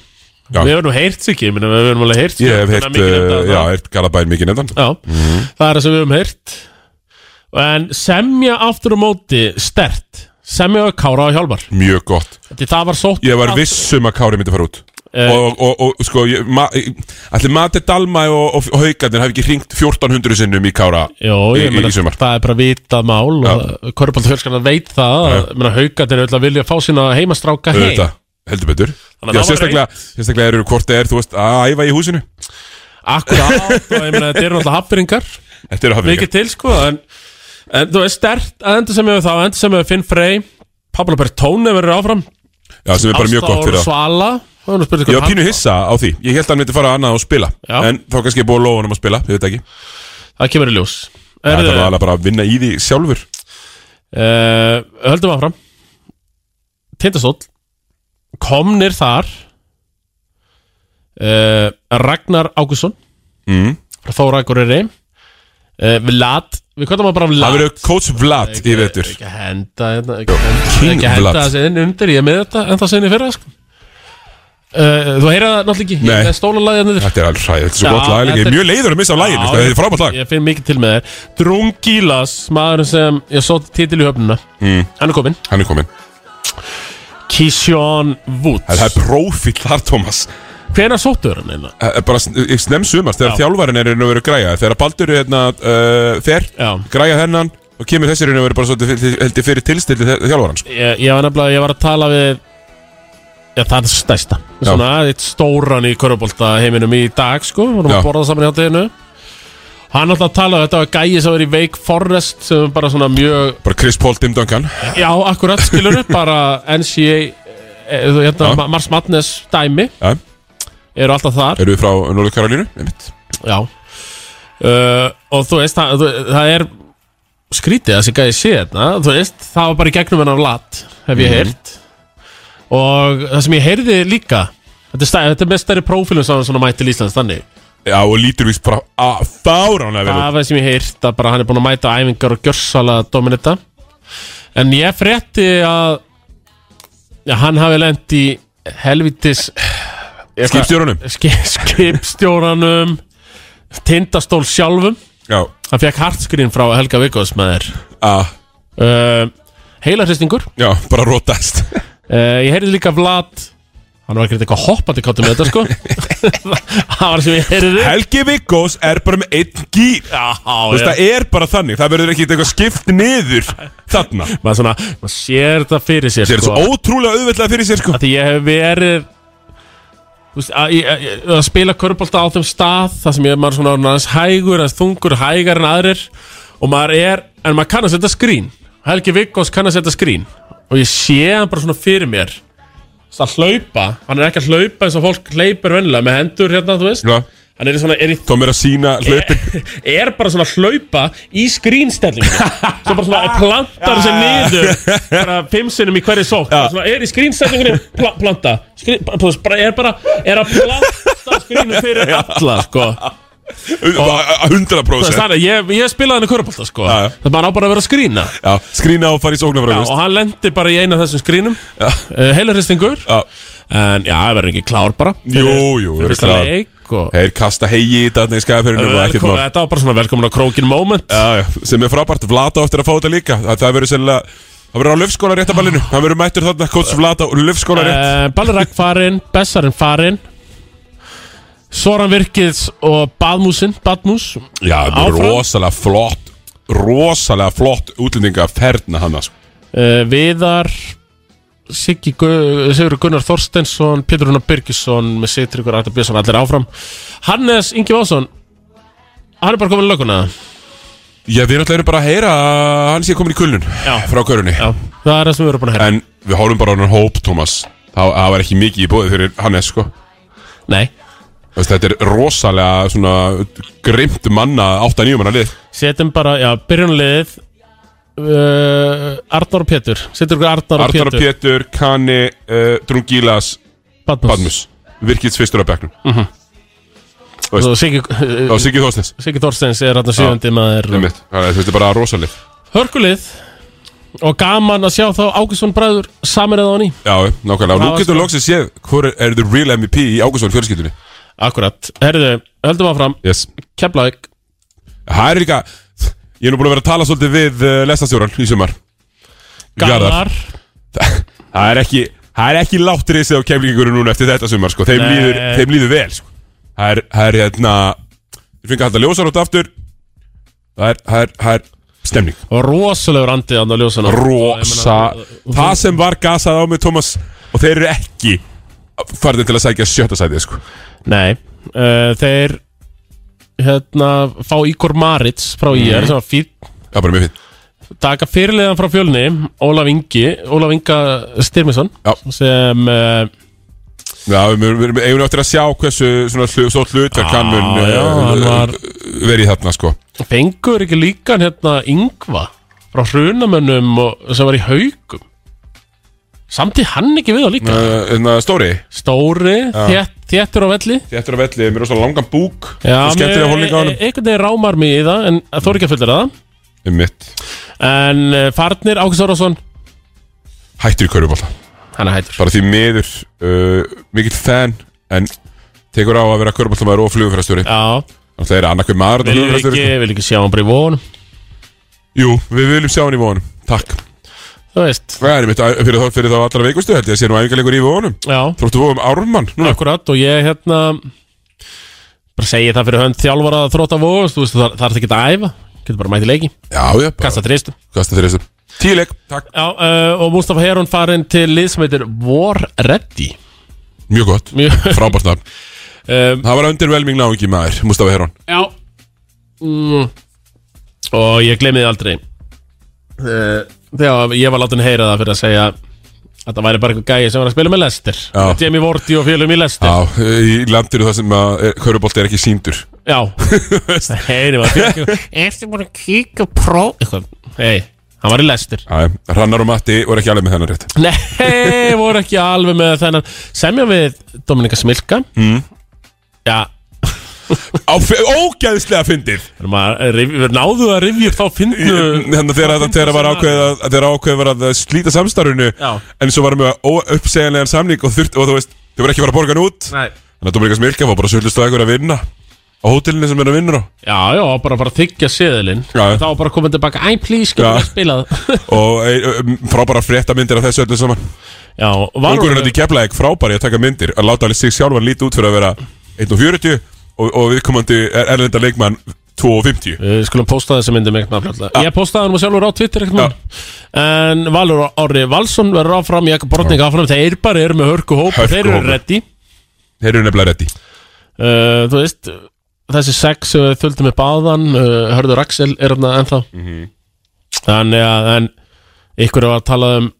Speaker 3: Já.
Speaker 4: við verðum heyrt sikið, minna, við verðum alveg heyrt hérna um
Speaker 3: ég hef heyrt, uh, já, Mhm. heyrt Garabæn mikið nefndan
Speaker 4: já það er það sem við höfum heyrt en semja aftur á móti stert, semja og kára á hjálpar
Speaker 3: mjög gott
Speaker 4: því það var sótt
Speaker 3: Ég var viss um að Kári myndi fara út
Speaker 4: Eh.
Speaker 3: og, og, og, og sko ég- ma- ég- Ætli Mati Dalmæ og, og Haukarnir hafi ekki hringt 1400 sinnum í Kára
Speaker 4: Jó,
Speaker 3: í,
Speaker 4: ég
Speaker 3: í,
Speaker 4: meina,
Speaker 3: í sumar
Speaker 4: það er bara vitað mál og Körbáltafjörskana veit það að, meina, haukarnir er auðvitað að vilja fá sína heimastráka heim
Speaker 3: Auðvitað, heldur betur
Speaker 4: Þannig að
Speaker 3: Já,
Speaker 4: það var
Speaker 3: sérstaklega, sérstaklega eru hvort það er þú veist að æfa í húsinu
Speaker 4: Akkurát, og ég meina, þetta eru náttúrulega hafbyrringar
Speaker 3: Þetta eru hafði
Speaker 4: mikið til, sko en, en þú veist, stert að enda sem hefur það enda sem hefur Finn Frey Pablo Bertone verður áfram
Speaker 3: Já, sem er bara mjög gott fyrir það
Speaker 4: Svala og hún er spurning
Speaker 3: Ég
Speaker 4: hvað
Speaker 3: var
Speaker 4: hann-
Speaker 3: pínu hissa á því Ég held að hann myndi fara annað og spila
Speaker 4: Já.
Speaker 3: En þá kannski er búið að lóa hann um að spila, ég veit ekki
Speaker 4: það kemur í ljós
Speaker 3: Það
Speaker 4: Erðu,
Speaker 3: var alveg bara að vinna í því sjálfur
Speaker 4: uh, höldum áfram Tindastóll komnir þar uh, Ragnar Ágússon
Speaker 3: Mm.
Speaker 4: frá Þóra Akureyri uh, Vlad, við kvöldum að bara
Speaker 3: Það
Speaker 4: Vlad
Speaker 3: verður coach Vlad í vetur
Speaker 4: ekki að henda hérna, ekki að henda-
Speaker 3: King
Speaker 4: ekki að henda
Speaker 3: Vlad.
Speaker 4: þessi inn undir, ég er með þetta en það sinni fyrra sko. uh, þú heyrða það náttúrulega ekki,
Speaker 3: Nei.
Speaker 4: ég er stóla lagið niður
Speaker 3: Þetta er alveg hræð, þetta er svo
Speaker 4: Já,
Speaker 3: gott lag Ég
Speaker 4: þetta
Speaker 3: er
Speaker 4: er-
Speaker 3: mjög leiður að missa af laginu,
Speaker 4: Já,
Speaker 3: sko, þetta er frábært lag
Speaker 4: ég finn mikið til með þér Drungilas, maðurinn sem ég svo titil í höfnuna mm. hann er kominn
Speaker 3: Hann er kominn
Speaker 4: Kisjón Woods
Speaker 3: Það er prófíl þar, Tómas
Speaker 4: Hvenær sóttur hann einna?
Speaker 3: Það er Bara snemm sumast Þegar
Speaker 4: Já.
Speaker 3: þjálfærin er raun og verið græja Þegar Baldur er hérna uh, fer
Speaker 4: Já.
Speaker 3: Græja hennan Og kemur þessi raun og verið bara svolítið Heldur fyrir tilstildi þjálfærin sko.
Speaker 4: Ég, ég var nefnilega, ég var að tala við Já, það er stærsta Svona, eitt stóran í körubólta heiminum í dag, sko Við vorum
Speaker 3: Já.
Speaker 4: að borða saman í hátteginu Hann alltaf talaði, þetta var gæi sem var í Wake Forest sem er bara svona mjög,
Speaker 3: Bara Chris Paul, Tim Duncan
Speaker 4: já, akkurat skilur bara NCAA eh, þú- hérna,
Speaker 3: Já.
Speaker 4: Ma- Mars Madness dæmi
Speaker 3: Já.
Speaker 4: eru alltaf þar
Speaker 3: Eru við frá Norður Karolínu? Einmitt.
Speaker 4: Já uh, Og þú veist, það, þú- það er skrítið að þessi gæði sé þetta Þú veist, það var bara í gegnum hennar lat hef
Speaker 3: Mhm.
Speaker 4: ég heyrt Og það sem ég heyrði líka Þetta er, stæ, þetta er með stærri prófílum sem hann svona mæti til Íslands þannig
Speaker 3: Já, og lítur víst bara að fáránlega vel
Speaker 4: Það
Speaker 3: út.
Speaker 4: var það sem ég heyrt að bara hann er búin að mæta á æfingar og gjörsala dominita En ég frétti að já, hann hafi lent í helvitis
Speaker 3: Skipstjórunum?
Speaker 4: Skip- (laughs) skipstjóranum Tindastól sjálfum
Speaker 3: Já,
Speaker 4: Hann fekk hartskrinn frá Helga Viggoðs með þér
Speaker 3: að,
Speaker 4: uh, Heilarhristingur
Speaker 3: já, bara rótast
Speaker 4: uh, Ég heyrði líka Vlad Hann var ekkert eitthvað hoppandi káttum með þetta sko (laughs) Það var sem ég
Speaker 3: (laughs)
Speaker 4: heyrði
Speaker 3: Helgi Viggós er bara með einn gýr
Speaker 4: Já,
Speaker 3: Þú veist,
Speaker 4: já
Speaker 3: það er bara þannig, það verður ekki eitthvað skipt niður þarna
Speaker 4: Maður svona, maður sér þetta fyrir sér
Speaker 3: Sér þetta
Speaker 4: sko
Speaker 3: svo ótrúlega auðveldlega fyrir sér sko
Speaker 4: Því ég hef verið Þú veist, að, að, að, að spila körbólta á þeim stað Það sem ég er maður svona orðinn aðeins hægur aðeins þungur, hægar en aðrir Og maður er, en maður kann að setja skrín Helgi Viggós kann að setja skrín Og ég sé hann bara svona fyrir mér Þess að hlaupa Hann er ekki að hlaupa eins og fólk hleypur vennilega Með hendur hérna, þú veist
Speaker 3: Já,
Speaker 4: Hann er, í svona, er, í,
Speaker 3: Tom er að sína hlaupin
Speaker 4: er bara svona að hlaupa í skrínstellingu Svo bara svona plantar sig niður Bara fimm sinnum í hverju sók Svona er í skrínstellingunni pla, Planta Skrín, bara, bara- er bara Er að planta skrínum fyrir alla sko. Það er
Speaker 3: 100%
Speaker 4: þannig, ég, ég spilaði hann í körpulta sko.
Speaker 3: Já, já.
Speaker 4: Það maður á bara að vera að skrína
Speaker 3: Já, skrýna og fara í sóknarfrá
Speaker 4: Og hann lendir bara í eina af þessum skrínum
Speaker 3: Já.
Speaker 4: uh, Heilarhristingur
Speaker 3: Já,
Speaker 4: En já, það verður ekki klár bara
Speaker 3: jú, jú,
Speaker 4: Fyrir
Speaker 3: verður
Speaker 4: fyrsta
Speaker 3: klár.
Speaker 4: leik og
Speaker 3: Þeir kasta hegi í þetta í skæðafyrinu
Speaker 4: Eh,
Speaker 3: og ekkert mál
Speaker 4: Þetta var bara svona velkomin á krókin moment
Speaker 3: Já, já, sem er frábært, Vlata á eftir að fá þetta líka Það, það verður sennilega, það verður á löfskóla rétt að ballinu
Speaker 4: Ah.
Speaker 3: Það verður mættur þarna, kóts
Speaker 4: Eh,
Speaker 3: Vlata og löfskóla rétt
Speaker 4: uh, Ballerak farinn, Bessarinn farinn Soran Virkiðs og Badmúsin, Badmús
Speaker 3: Já, það er
Speaker 4: áfram.
Speaker 3: rosalega flott Rosalega flott útlendinga ferna hann sko.
Speaker 4: uh, Viðar Siggi Gu- Sigur Gunnar Þorstensson Pétur Rúnar Byrkisson með Sigtryggur Artur Björnsson allir áfram Hannes Ingi Vásson hann er bara komin í löguna
Speaker 3: Já, við náttúrulega erum bara að heyra að hann sé komin í kulnun
Speaker 4: Já.
Speaker 3: Frá körunni
Speaker 4: Já, það er það sem við erum búin að hérna
Speaker 3: En við horfum bara á hann hóp, Thomas Það það var ekki mikið í bóði fyrir Hannes sko.
Speaker 4: Nei,
Speaker 3: Þú veist, Þetta er rosalega svona grimt manna 8-9 manna lið
Speaker 4: setjum bara, já, byrjunliðið uh, Arnar og Pétur Sigtryggur Arnar og
Speaker 3: Arnar og
Speaker 4: Pétur
Speaker 3: Pétur, Kani, uh, Drungilas,
Speaker 4: Badmús
Speaker 3: Badmus Virkits fyrstur af bekknum
Speaker 4: og Siggi, (laughs) uh,
Speaker 3: Og Siggi Þóstens
Speaker 4: Siggi Þorsteins er hann sjöfandi maður og-
Speaker 3: Einmitt. Þannig að Þetta er bara rosalið
Speaker 4: Hörkulið og gaman að sjá þá Ágússon bræður saminið á hann í
Speaker 3: Já, nákvæmlega Og
Speaker 4: Það
Speaker 3: Nú
Speaker 4: var
Speaker 3: getum við
Speaker 4: sko-
Speaker 3: loksins séð Hvor er the real MVP í Ágússon fjölskyldunni
Speaker 4: Akkurat, herðu, höldum áfram
Speaker 3: Yes
Speaker 4: Keflavík,
Speaker 3: Það er líka Ég er nú búin að vera að tala svolítið við uh, lesastjóran í sumar Garðar.
Speaker 4: Garðar
Speaker 3: Það er ekki Það er ekki látt risið á kemlingunum núna eftir þetta sumar sko. þeim,
Speaker 4: Nei.
Speaker 3: líður, þeim líður vel sko. Það er, það er hérna Þeir fengi hægt að ljósa nátt aftur Það er, það er, það er stemning
Speaker 4: og rosalegur andið hann á ljósana
Speaker 3: Rosa Það sem var gasað á mig Thomas Og þeir eru ekki farðin til að sækja sjötta sætið sko.
Speaker 4: Nei, uh, þeir hérna, fá Ígor Marits frá
Speaker 3: Mhm.
Speaker 4: IR sem var fýtt
Speaker 3: Það er bara mjög fint
Speaker 4: taka fyrirliðan frá fjölni Ólaf Ingi, Ólaf Inga Styrmisson
Speaker 3: Já.
Speaker 4: sem uh,
Speaker 3: Já, við- við við- við eigum eftir að sjá hversu svona hlu- stórt hlutverk hann mun
Speaker 4: Já, já, hann
Speaker 3: uh,
Speaker 4: var-
Speaker 3: verið þarna sko.
Speaker 4: fengur ekki líka hérna Ingva frá hrunamönnum og, sem var í haugum samt í hann ekki við á líka
Speaker 3: uh, hérna, Stóri,
Speaker 4: stóri, þétt, þéttur á velli
Speaker 3: þéttur á velli mér er svona langan búk
Speaker 4: Já, e,
Speaker 3: og skemmtilega hólninga á hann
Speaker 4: einhvern veginn rámar mig í það en þó er ekki að fullera það
Speaker 3: um mitt,
Speaker 4: en eh, farnir Ákvæs Árásson
Speaker 3: hættur í körfubólta
Speaker 4: hann er hættur
Speaker 3: bara því miður, uh, mikill fan en tekur á að vera körfubóltamæður og flugumfærastjóri
Speaker 4: Já,
Speaker 3: það er annarkveð maður en
Speaker 4: vil
Speaker 3: flugumferðarstjóri,
Speaker 4: ekki, vil ekki sjá hann bara í vonum
Speaker 3: sko. jú, við viljum sjá hann í vonum takk,
Speaker 4: Þú veist,
Speaker 3: það er mitt uh, fyrir þá, fyrir þá allra veikustu held ég að sé nú æfingarleikur í vonum
Speaker 4: já,
Speaker 3: þróttu vonum Ármann núna
Speaker 4: akkurat og ég hérna bara segi það fyrir hönd þjálfara að þróta vóð þú veist, það er ekki að æfa getur bara mæti leiki,
Speaker 3: já, já, bara
Speaker 4: kasta tristu
Speaker 3: kasta þér þessu tíleik, takk,
Speaker 4: Já, uh, og Mustafa Herun farinn til lið sem heitir War Ready
Speaker 3: mjög gott
Speaker 4: Mjög-
Speaker 3: frábært nafn
Speaker 4: um,
Speaker 3: það var undir velming náingi maður, Mustafa Herón
Speaker 4: Já mm.
Speaker 3: Eh.
Speaker 4: Og ég gleymi þið aldrei uh, Þegar ég var látin heyra það fyrir að segja Þetta væri bara eitthvað gæi sem var að spila með Lester
Speaker 3: Já.
Speaker 4: Jamie Vorti og félum í Lester
Speaker 3: Já, í landinu það sem að Körubolt er ekki síndur
Speaker 4: Já
Speaker 3: (laughs)
Speaker 4: Það heyri var Eftir búin að kíka pró Eitthvað Hei, hann var í lestir
Speaker 3: Æ, Rannar og Matti voru ekki alveg með þennan rétt
Speaker 4: (laughs) Nei, voru ekki alveg með þennan Semja við Dominika Smilka mm. Já,
Speaker 3: Á fe- Ógeðslega fyndið
Speaker 4: erum að rifja- eh, náðu að rifja upp þá fyndu
Speaker 3: Þannig að þegar þetta var ákveðið að- að þegar ákveðið var að slíta samstarfinu
Speaker 4: Já.
Speaker 3: En svo varum við óuppsegjanlegan samning og, þurft, og þú veist, þau voru ekki að fara að borga hann út
Speaker 4: Nei
Speaker 3: Þannig að Dominikas Milka var bara svolítist á einhverju að vinna Á hótelinu sem er að vinna á
Speaker 4: Já, já, bara bara þykja seðilinn
Speaker 3: Já.
Speaker 4: Þá bara komið tilbaka Æ, please, getur
Speaker 3: Já.
Speaker 4: það spilað
Speaker 3: (laughs) Og e, e, frábæra fréttamyndir af þessu öllu saman
Speaker 4: Já, var
Speaker 3: Ungurinn átti í Keflavík frábæri að taka myndir Að láta alveg sig sjálfan lítið út fyrir að vera 1.40 og, og viðkomandi er- erlenda leikmann 2.50
Speaker 4: Við skulum posta þessi myndum ekkert maður fljóðlega hérna. Ég postaði hann sjálfur á Twitter ekkert maður En Valur Orri Valsson verður áfram Jakob Bortning áfram Þeir bara eru með hörku hóp og Þeir eru
Speaker 3: Hörkuhópur.
Speaker 4: reddi
Speaker 3: Þeir eru nefnilega reddi
Speaker 4: uh, Þú veist Þessi sex sem við þöldum með báðan uh, Hörður Axel er hann ennþá
Speaker 3: Mhm.
Speaker 4: Þannig að en, Ykkur var að tala um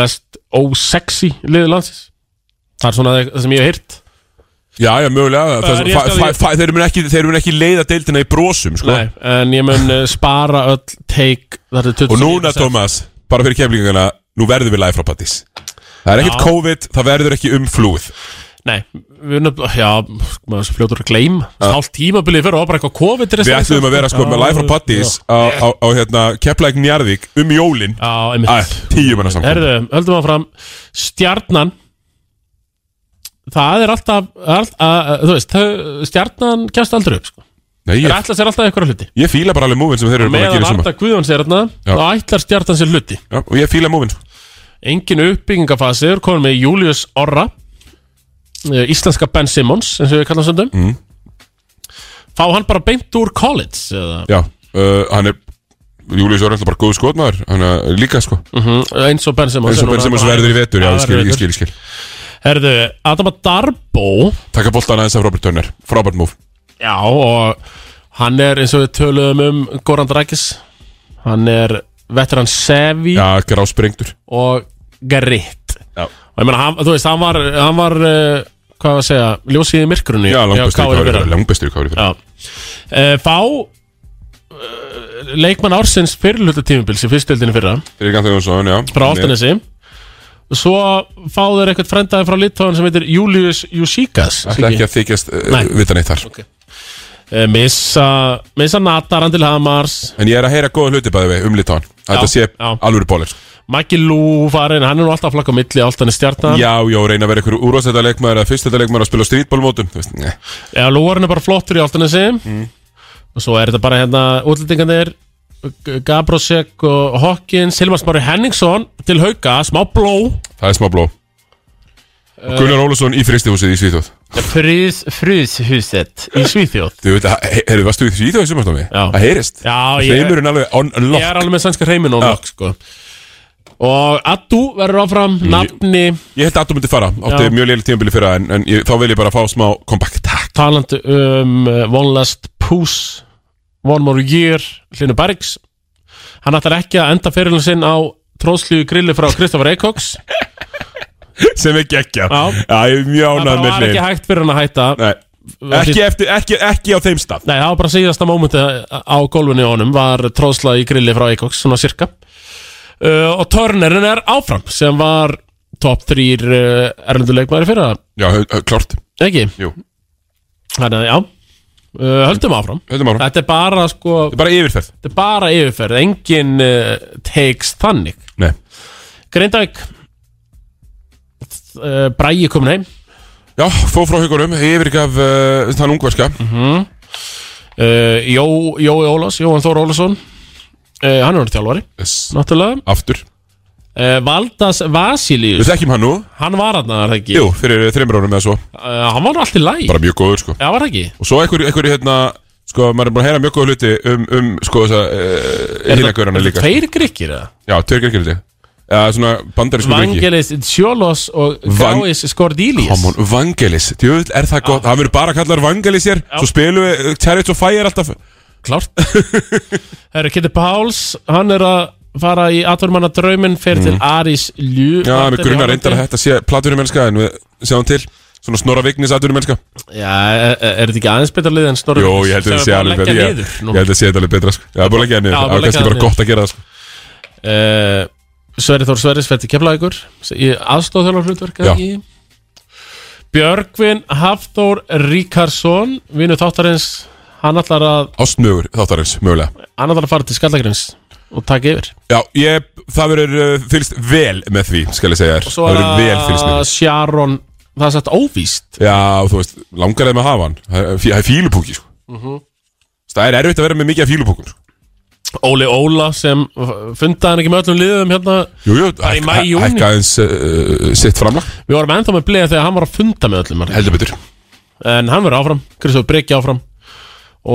Speaker 4: Mest ósexy liðið landsins Það er svona þe- það sem ég hef hýrt
Speaker 3: Já, já, mögulega
Speaker 4: Það er
Speaker 3: Það-
Speaker 4: rétt
Speaker 3: fæ-
Speaker 4: að
Speaker 3: fæ-
Speaker 4: ég-
Speaker 3: fæ- Þeir mun ekki, þeir munu ekki leiða deildina í brosum sko.
Speaker 4: Nei, En ég mun uh, spara öll Take þetta er
Speaker 3: Og
Speaker 4: 29%
Speaker 3: núna, Thomas, bara fyrir kemlingana Nú verður við live frá Pattis Það er ekkert
Speaker 4: Já.
Speaker 3: COVID, það verður ekki um umflúð
Speaker 4: Nei, við erum nefnilega, já, sko, maður er svo fljótur að gleym Hálft tímabilið fyrir og bara eitthvað COVID
Speaker 3: Við ætlum að vera sko með live frá Pattis Á, á, á hérna, Keflæk Njarðvík Um jólin,
Speaker 4: Já,
Speaker 3: Æ,
Speaker 4: einmitt
Speaker 3: tíu manna saman
Speaker 4: Herðu, höldum að fram Stjarnan Það er alltaf, all, að, þú veist, þau- stjarnan kemst aldrei upp sko.
Speaker 3: Nei,
Speaker 4: Það
Speaker 3: ég,
Speaker 4: ætla sér alltaf einhverja hluti
Speaker 3: ég fíla bara alveg múvin sem þeir eru bara að
Speaker 4: Meðan
Speaker 3: gera saman
Speaker 4: Arda Guðjóns er þarna,
Speaker 3: Já.
Speaker 4: þá ætlar stjarnan sér hluti
Speaker 3: já, Og ég fíla múvin
Speaker 4: Engin uppbyggingafasi, er komin með Július Orra eh, Íslenska Ben Simmons, eins og við kallum söndum mm. Fá hann bara beint úr college eða
Speaker 3: Já, uh, hann er Július er alltaf bara góð skotmaður Hann er líka sko
Speaker 4: Mm, eins og Ben Simmons
Speaker 3: En svo
Speaker 4: er núna
Speaker 3: Ben Simmons
Speaker 4: bara-
Speaker 3: verður í vetur, já,
Speaker 4: Ja,
Speaker 3: ég skil, ég
Speaker 4: verður í vetur.
Speaker 3: skil, ég skil
Speaker 4: Herðu, Adama Darbo
Speaker 3: Takka boltan aðeins af Robert Turner, frábært múv
Speaker 4: Já, og hann er eins og við töluðum um Goran Drakis Hann er veteran Sevi
Speaker 3: Já, grá sprengtur
Speaker 4: og Garritt
Speaker 3: Já.
Speaker 4: Og ég meina, hann, þú veist, hann var, hann var uh, hvað var að segja, ljósið í myrkrunni
Speaker 3: Já, langbestur í
Speaker 4: KR í
Speaker 3: kári
Speaker 4: fyrra.
Speaker 3: fyrir Langbestur í kári fyrir
Speaker 4: Já. Eh, Fá uh, leikmann ársins fyrirluta tímubils í fyrstöldinu fyrra
Speaker 3: Þeir eru gantið Jónsson, já Hann
Speaker 4: frá
Speaker 3: er-
Speaker 4: Altanesi Svo fá þeir eitthvað frendaði frá Litóin sem heitir Julius Jusíkas
Speaker 3: Ætla ekki að þykjast uh,
Speaker 4: Nei.
Speaker 3: vita neitt þar
Speaker 4: Eh, missa, missa Nataran til Hamars
Speaker 3: En ég er að heyra góða hluti bæði við um Litáan Þetta
Speaker 4: Já,
Speaker 3: sé
Speaker 4: já.
Speaker 3: alvöru bólir
Speaker 4: Maggi Lú farin, hann er nú alltaf að flakka á milli Alltaf er stjarnan
Speaker 3: Já, já, reyna að vera ykkur úrvastæta leikmaður eða fyrstæta leikmaður að spila á strítbólmótum Þú veist, nei
Speaker 4: Já, Lúarinn er bara flottur í Altanesi Og svo er þetta bara hérna Útlendingarnir G- Gabrosek og Hawkins Hilmar Smári Henningsson til hauka Smá bló
Speaker 3: Það er smá bló
Speaker 4: Eh.
Speaker 3: Og Gunnar Ólafsson í fristihúsið í Svíþjóð
Speaker 4: Frýð, frýðhuset í Svíþjóð
Speaker 3: Þú veit, heyrðu, varstu í Svíþjóð í sumarstofi?
Speaker 4: Já.
Speaker 3: Það heyrist
Speaker 4: Já, ég,
Speaker 3: Hreimurinn alveg on
Speaker 4: ég er
Speaker 3: lock
Speaker 4: alveg með sænska hreiminn og nokk sko Og Addu verður áfram, nafni,
Speaker 3: Ég held að þú myndi fara Átti
Speaker 4: Já.
Speaker 3: mjög leilig tímabili fyrra En, en ég, þá vil ég bara fá smá comeback Takk
Speaker 4: talandi um uh, One Last Puss One More Year Hlynur Bergs hann ætlar ekki að enda fyrirlun sinn á tróðslíu grilli frá
Speaker 3: (laughs)
Speaker 4: Kristoffer Eikóks
Speaker 3: Sem er geggja
Speaker 4: Já.
Speaker 3: ég er mjög
Speaker 4: það
Speaker 3: ánægð
Speaker 4: bara
Speaker 3: með
Speaker 4: var ekki
Speaker 3: Hlyn.
Speaker 4: hægt fyrir hann að hætta
Speaker 3: Nei. Ekki eftir- ekki- Ekki á þeim stað
Speaker 4: nei, það var bara síðasta mómenti á gólfinu á honum var tróðsla í grilli frá Eikóks svona cirka uh, og törnerinn er áfram sem var top 3 uh, erlenduleikmaður fyrir það,
Speaker 3: Já, klart
Speaker 4: ekki?
Speaker 3: Jú.
Speaker 4: þannig að já, uh, höldum áfram
Speaker 3: Þetta er bara,
Speaker 4: þetta er bara sko
Speaker 3: þetta er bara yfirferð
Speaker 4: Þetta er bara yfirferð, engin uh, takes þannig
Speaker 3: Nei
Speaker 4: Grindavík uh, Bræi komin heim
Speaker 3: Já, fóð frá hugunum, yfirgaf uh, þann ungverska
Speaker 4: uh, Jó, Jói Ólás, Jóhann Þór Ólásson uh, Hann er hann þjálfari,
Speaker 3: yes.
Speaker 4: náttúrulega
Speaker 3: Aftur
Speaker 4: uh, Valdas Vasilius,
Speaker 3: Við þekkjum hann nú
Speaker 4: hann var hann að það ekki
Speaker 3: Jú, fyrir þreymur árum eða svo
Speaker 4: uh, Hann var allt í læg,
Speaker 3: Bara mjög góður sko
Speaker 4: já var það ekki
Speaker 3: Og svo einhverju, einhverju hérna Sko, maður er búin að heyra mjög góða hluti um, um sko, þess að uh, Hínagörana líka
Speaker 4: Tveir grikkir eða?
Speaker 3: Já, tveir gerkir hluti Já, svona bandarísku grungi
Speaker 4: Vangelis Sjólos og
Speaker 3: Van-
Speaker 4: Gáis Skordílius
Speaker 3: Common Vangelis, djöfull er það gott Það verður bara kallar Vangelis hér Svo spilum uh,
Speaker 4: (laughs)
Speaker 3: við Chariots of Fire alltaf
Speaker 4: Klart Það eru Kitty Páls, hann er að fara í atvormanna drauminn fer til Aris Ljú
Speaker 3: Mhm. Já, við grunnar reyndar að þetta sé platunum mennska en við sjáum til Svona snorra vignis aðdunum mennska
Speaker 4: Já, er, er er þetta ekki aðeins betra lið en Snorri
Speaker 3: Jó, ég held að
Speaker 4: sem
Speaker 3: þetta
Speaker 4: er
Speaker 3: sé
Speaker 4: búið
Speaker 3: alveg
Speaker 4: leggja
Speaker 3: betra Ég
Speaker 4: niður
Speaker 3: ég
Speaker 4: núna?
Speaker 3: held að þetta sé þetta alveg betra sko. Já, það er búin að leggja það niður
Speaker 4: Já,
Speaker 3: Það
Speaker 4: búið að
Speaker 3: er kannski
Speaker 4: leggja
Speaker 3: bara
Speaker 4: það
Speaker 3: gott að gera það sko.
Speaker 4: Eh, Sverri Þór Sverris fer til Keflavíkur aðstóðþjólar hlutverk
Speaker 3: Já.
Speaker 4: í Björgvin Hafþór Ríkarsson vinur þáttarins hann ætlar að,
Speaker 3: Ástmögur þáttarins, mögulega
Speaker 4: hann ætlar að fara til Skallagrins og taka yfir
Speaker 3: Já, ég, það verður uh, fylgst vel með því, skal ég segja þér
Speaker 4: svo
Speaker 3: Það
Speaker 4: er
Speaker 3: verður vel fylgst með
Speaker 4: að
Speaker 3: því
Speaker 4: Sharon það er sagt óvíst
Speaker 3: Já, þú veist, langar þeim að hafa hann Það er- Það er fílupúki, sko
Speaker 4: Mhm.
Speaker 3: Það er erfitt að vera með mikið af fílupúkun sko.
Speaker 4: Óli Óla sem uh, fundaði hann ekki með öllum liðum hérna
Speaker 3: Jú, jú,
Speaker 4: í
Speaker 3: hækka
Speaker 4: maí, júní.
Speaker 3: hækka aðeins uh, sitt framlag
Speaker 4: við vorum ennþá með bleið þegar hann var að funda með öllum hann.
Speaker 3: Heldur betur
Speaker 4: en hann verður áfram, Kristofur Breki áfram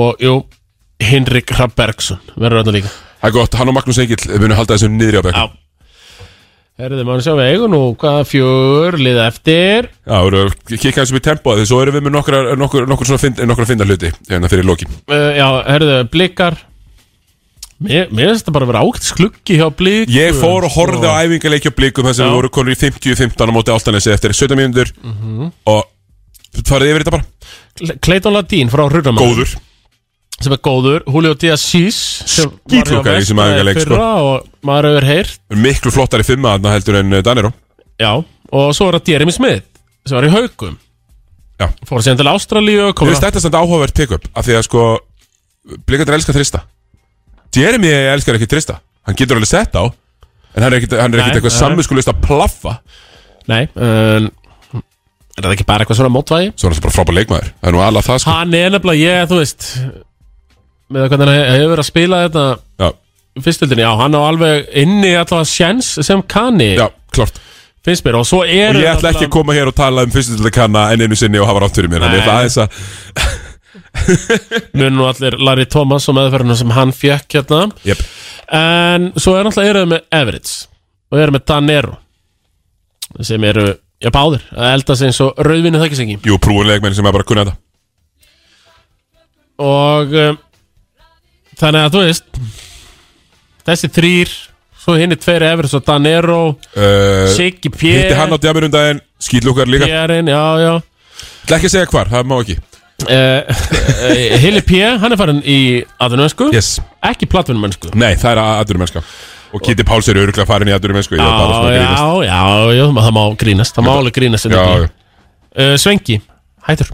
Speaker 4: og jú Hinrik Hrabbergsson verður öllum líka
Speaker 3: Það er gott, hann og Magnús Engill munu halda þessu niðri á bekk
Speaker 4: Já. Herðu, maður sjá við eigum nú hvað fjör liða eftir
Speaker 3: Já, það voru kikka eins upp í tempo Því svo erum við með nokkra, nokkur, nokkur svona find, nokkra finda hluti Hérna fyrir lokin
Speaker 4: uh, Já, herðu, blikar Mér, mér finnst þetta bara að vera ágætt skluggi hjá blik
Speaker 3: Ég fór og horfði á æfingaleikja blikum Þess að
Speaker 4: sko. Já.
Speaker 3: við voru konur í 50-15 á móti áltanesi Eftir 17 mínútur
Speaker 4: Mhm.
Speaker 3: Og farið yfir þetta bara
Speaker 4: Clayton Ladín frá Rurramann
Speaker 3: Góður
Speaker 4: Sem er góður, Julio Díaz Sís sem var hjá
Speaker 3: Skítlokkar í þessum
Speaker 4: Vestmaði
Speaker 3: æfingaleik, sko.
Speaker 4: fyrra Og maður hefur heyrt
Speaker 3: Miklu flottari fimma þarna heldur en eh, Danero
Speaker 4: Já, og svo er það Jeremy Smith sem var í haukum
Speaker 3: Já.
Speaker 4: Fór síðan til
Speaker 3: Þú
Speaker 4: Ástralíu kom
Speaker 3: veist
Speaker 4: að-
Speaker 3: þetta er samt áhugavert pick-up Af því að sko Blikandur elskar þrista Jeremy elskar ekki þrista Hann getur alveg sett á En hann er ekkit, hann er ekkit
Speaker 4: Nei,
Speaker 3: eitthvað
Speaker 4: nei.
Speaker 3: samvinskulist að plaffa
Speaker 4: Nei, um, er það ekki bara eitthvað svona mótvægi?
Speaker 3: Svo er hann bara frábær leikmaður Það er nú alveg það sko
Speaker 4: Hann er nefnilega, ég, þú veist með það hvernig hann hefur verið að spila þetta
Speaker 3: Já,
Speaker 4: fyrstöldinni, já, hann á alveg inni allavega sjens sem kanni
Speaker 3: já, klart
Speaker 4: finnst mér, og svo er
Speaker 3: Og ég ætla ekki að koma hér og tala um fyrstu til að kanna enn einu sinni og hafa rátt fyrir mér Þannig
Speaker 4: Nei.
Speaker 3: ég ætla aðeins að
Speaker 4: mun nú allir Larry Thomas og meðferðinu sem hann fekk hérna
Speaker 3: Jep.
Speaker 4: en svo er náttúrulega eruð með Everits og eruð með Danero sem eru, já, báðir að elda sig eins og rauðvinni þekkisengi
Speaker 3: Jú, prúin leikmenn sem er bara að kunna þetta
Speaker 4: og um, þannig að þú veist þessi þrýr svo hinn er tveir Everits og Danero
Speaker 3: uh,
Speaker 4: Siggi Pér
Speaker 3: Hitti hann á djamunum daginn, skýtlúkar líka
Speaker 4: Périn, já, já
Speaker 3: Ætla ekki að segja hvar, það má ekki
Speaker 4: uh, Hilli P, hann er farin í atvinnumennsku,
Speaker 3: Yes
Speaker 4: ekki platvinnumennsku
Speaker 3: Nei, það er aðdurum mennska Og Kitty Páls er öruglega farin í aðdurum mennska
Speaker 4: Já, já, já, já, það má grínast Það má alveg grínast
Speaker 3: já,
Speaker 4: uh,
Speaker 3: já.
Speaker 4: Svengi, hættur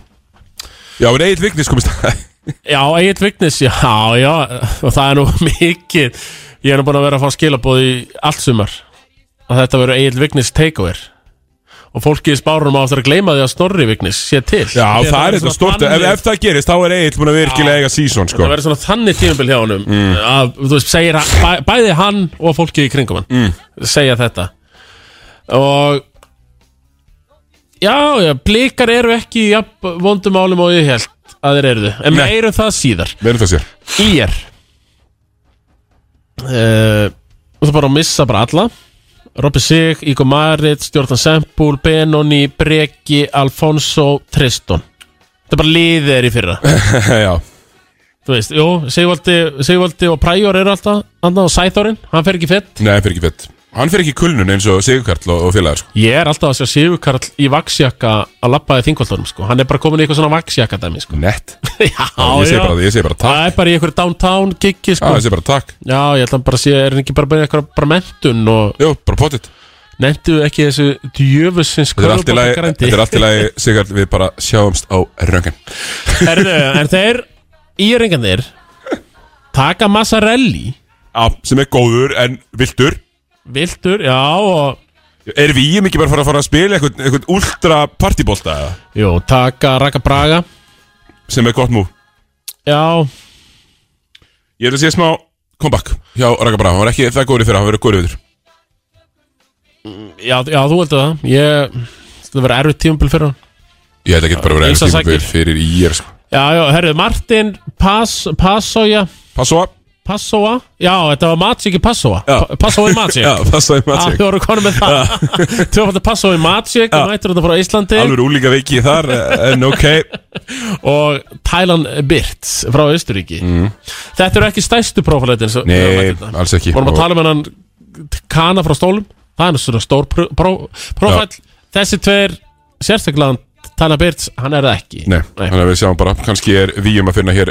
Speaker 3: já en Egil Vignis komist að (laughs)
Speaker 4: Já, Egil Vignis, já, já Og það er nú (laughs) mikið Ég er nú búin að vera að fá skilaboð í allt sumar Að þetta verður Egil Vignis takeover Og fólkið í spárunum á eftir að gleyma því að Snorri Vignis sé til
Speaker 3: Já,
Speaker 4: Því að
Speaker 3: það er
Speaker 4: verður
Speaker 3: eitthvað
Speaker 4: svona
Speaker 3: stort ef,
Speaker 4: þannig-
Speaker 3: ef það gerist, þá er Egil búin að virkilega eiga sísón sko.
Speaker 4: Það verður svona þannig tímabil hjá honum
Speaker 3: Mm.
Speaker 4: að, þú veist, segir hann, bæ, bæði hann og fólki í kringum hann mm. segja þetta og já, já, blikar eru ekki ja, vondum álum og ég held að þeir eru þau, en
Speaker 3: Nei.
Speaker 4: meirum það síðar
Speaker 3: Verðum það sér (laughs)
Speaker 4: í er uh, það bara að missa bara alla Robby Sig, Ígo Marit, Stjórnan Sempúl Benoni, Breki, Alfonso Triston þetta er bara liðið er í
Speaker 3: (laughs)
Speaker 4: fyrra
Speaker 3: Já,
Speaker 4: Þú veist, jú, Sigvaldi, Sigvaldi og Præjor eru alltaf Andan og Sæþórin, hann fer ekki fett
Speaker 3: nei, hann fyrir ekki fett Hann fyrir ekki í kulnun eins og Sigurkarl og, og félagar sko.
Speaker 4: Ég er alltaf að sjá Sigurkarl í vaksjakka að labbaði þingvaldunum, sko Hann er bara komin í eitthvað svona vaksjakka dæmi,
Speaker 3: (laughs)
Speaker 4: sko
Speaker 3: Nett
Speaker 4: Já,
Speaker 3: Ég segi
Speaker 4: já.
Speaker 3: bara, ég segi bara takk
Speaker 4: Það er bara í eitthvað downtown giggi,
Speaker 3: Já,
Speaker 4: sko
Speaker 3: ég segi bara takk
Speaker 4: Já, ég ætla bara að sé, er hann ekki bara bara eitthvað bara mentun og
Speaker 3: Jú, bara potið
Speaker 4: nefndu ekki þessu djöfusins
Speaker 3: Þetta er allt í lagi, þetta er allt í lagi Sigurkarl, við bara sjáumst á röngan
Speaker 4: Herðu, en þeir írengarnir taka Massarelli
Speaker 3: Já, sem er góður en viltur
Speaker 4: Viltur, já, og
Speaker 3: Er við ekki bara að fara að fara að spila eitthvað, eitthvað ultra partybólta eða?
Speaker 4: Jú, taka Raka Braga
Speaker 3: sem er gott múf
Speaker 4: Já,
Speaker 3: Ég ætla að sé smá comeback hjá Raka Braga, hann var ekki það góður fyrir hann verið góður yfir
Speaker 4: Já, já þú heldur það Ég, þetta verður erfitt tímabil fyrir hann
Speaker 3: Ég ætla ekki bara að vera
Speaker 4: Ýmsar
Speaker 3: eitthvað tíma
Speaker 4: sakir.
Speaker 3: fyrir, fyrir í er sko
Speaker 4: Já, já, herrið, Martin Pass, Passoja
Speaker 3: Passoa,
Speaker 4: Passoa Já, þetta var Matsík í Passoa
Speaker 3: Já.
Speaker 4: Pa- Passoa í Matsík
Speaker 3: Já, passaði
Speaker 4: Ah,
Speaker 3: matsík
Speaker 4: Þið voru konum með það Þið voru að passa á í Matsík
Speaker 3: Já.
Speaker 4: Mættur þetta frá Íslandi
Speaker 3: Alveg úlíka veiki þar, eh, en ok
Speaker 4: Og Tælan Birts frá Austuríki Þetta eru ekki stæstu prófalætin sem-
Speaker 3: Mm. Nei,
Speaker 4: prófalætirnar.
Speaker 3: alls ekki
Speaker 4: Vorum að
Speaker 3: Og-
Speaker 4: tala um hennan Kana frá stólum Það er svona stór pró- pró- prófæll Þessi tveir sérstaklega Tælan Birts, hann er það ekki
Speaker 3: Nei, þannig að við sjáum bara, kannski er við um að finna hér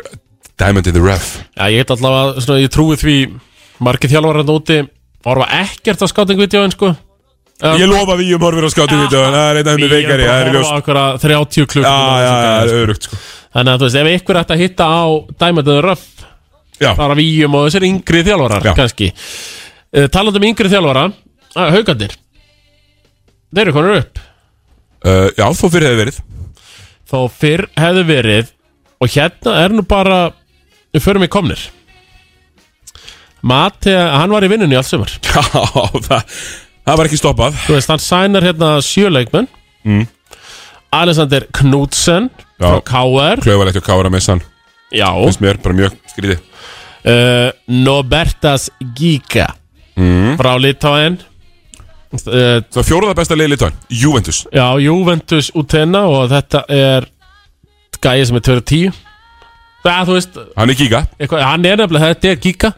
Speaker 3: Diamond in the Rough
Speaker 4: Já, ég get allavega, svona, ég trúi því margir þjálfar hann úti horfa ekkert á skátingvídeóin, sko
Speaker 3: Ég lofa við um horfir á skátum vídeo En það er einn af þeim
Speaker 4: Ég er
Speaker 3: veikari, það
Speaker 4: bara Ah, um að
Speaker 3: er ljóst
Speaker 4: horfa á okkur 30 klukk
Speaker 3: Já, já, já, það er örugt sko
Speaker 4: Þannig að þú veist, ef ykkur ætti að hitta á Diamond and Rough,
Speaker 3: Já,
Speaker 4: það er að víjum og þessir yngri þjálfarar,
Speaker 3: Já.
Speaker 4: kannski uh, Talandi um yngri þjálfara, að, haugandir Þeir eru konur upp
Speaker 3: uh, já þó fyrir hefði verið
Speaker 4: Þó fyrr hefðu verið Og hérna er nú bara Við förum í komnir Mati, hann var í vinnunni alls sumar
Speaker 3: (laughs) Já, það, það var ekki stoppað
Speaker 4: Þú veist, hann sænar hérna sjöleikmenn mm. Alexander Knudsen
Speaker 3: Já.
Speaker 4: frá KR
Speaker 3: Klauvalegt og kára með sann
Speaker 4: Já,
Speaker 3: Finnst mér, bara mjög skrítið
Speaker 4: uh, Nobertas Giga
Speaker 3: Mm.
Speaker 4: frá Litáen uh,
Speaker 3: Það fjóruða besta leið litóin, Juventus
Speaker 4: Já, Juventus Utena og þetta er gæði sem er 210 Það, þú veist,
Speaker 3: Hann er giga
Speaker 4: eitthvað, hann er nefnilega þetta er Giga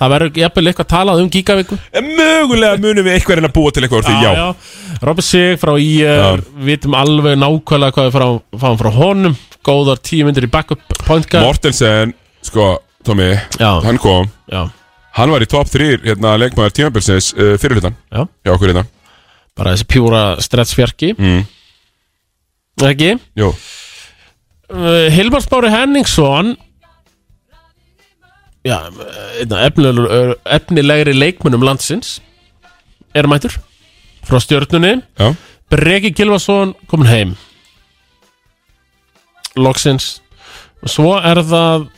Speaker 4: Það verður jafnvel eitthvað talað um Gigaviku
Speaker 3: En Mögulega munum við eitthvað reyna að búa til eitthvað úr því, já,
Speaker 4: Robert Sig frá IR, vitum alveg nákvæmlega hvað við fáum- fáum frá honum Góðar tíu myndir í backup point guard
Speaker 3: Mortensen, sko, Tommy
Speaker 4: Já.
Speaker 3: Hann kom,
Speaker 4: Já,
Speaker 3: hann var í top 3 hérna, leikmaður tímabilsins uh, fyrirlutan
Speaker 4: já
Speaker 3: hjá okkur hérna
Speaker 4: Bara þessi pjúra stretchfjarki mm. Ekki?
Speaker 3: Jú,
Speaker 4: uh, Hilmar Smári Henningsson Já, einn af efnilegur- efnilegri leikmönnum landsins er mættur frá stjörnunni
Speaker 3: já,
Speaker 4: Breki Gilvason komin heim loksins svo er það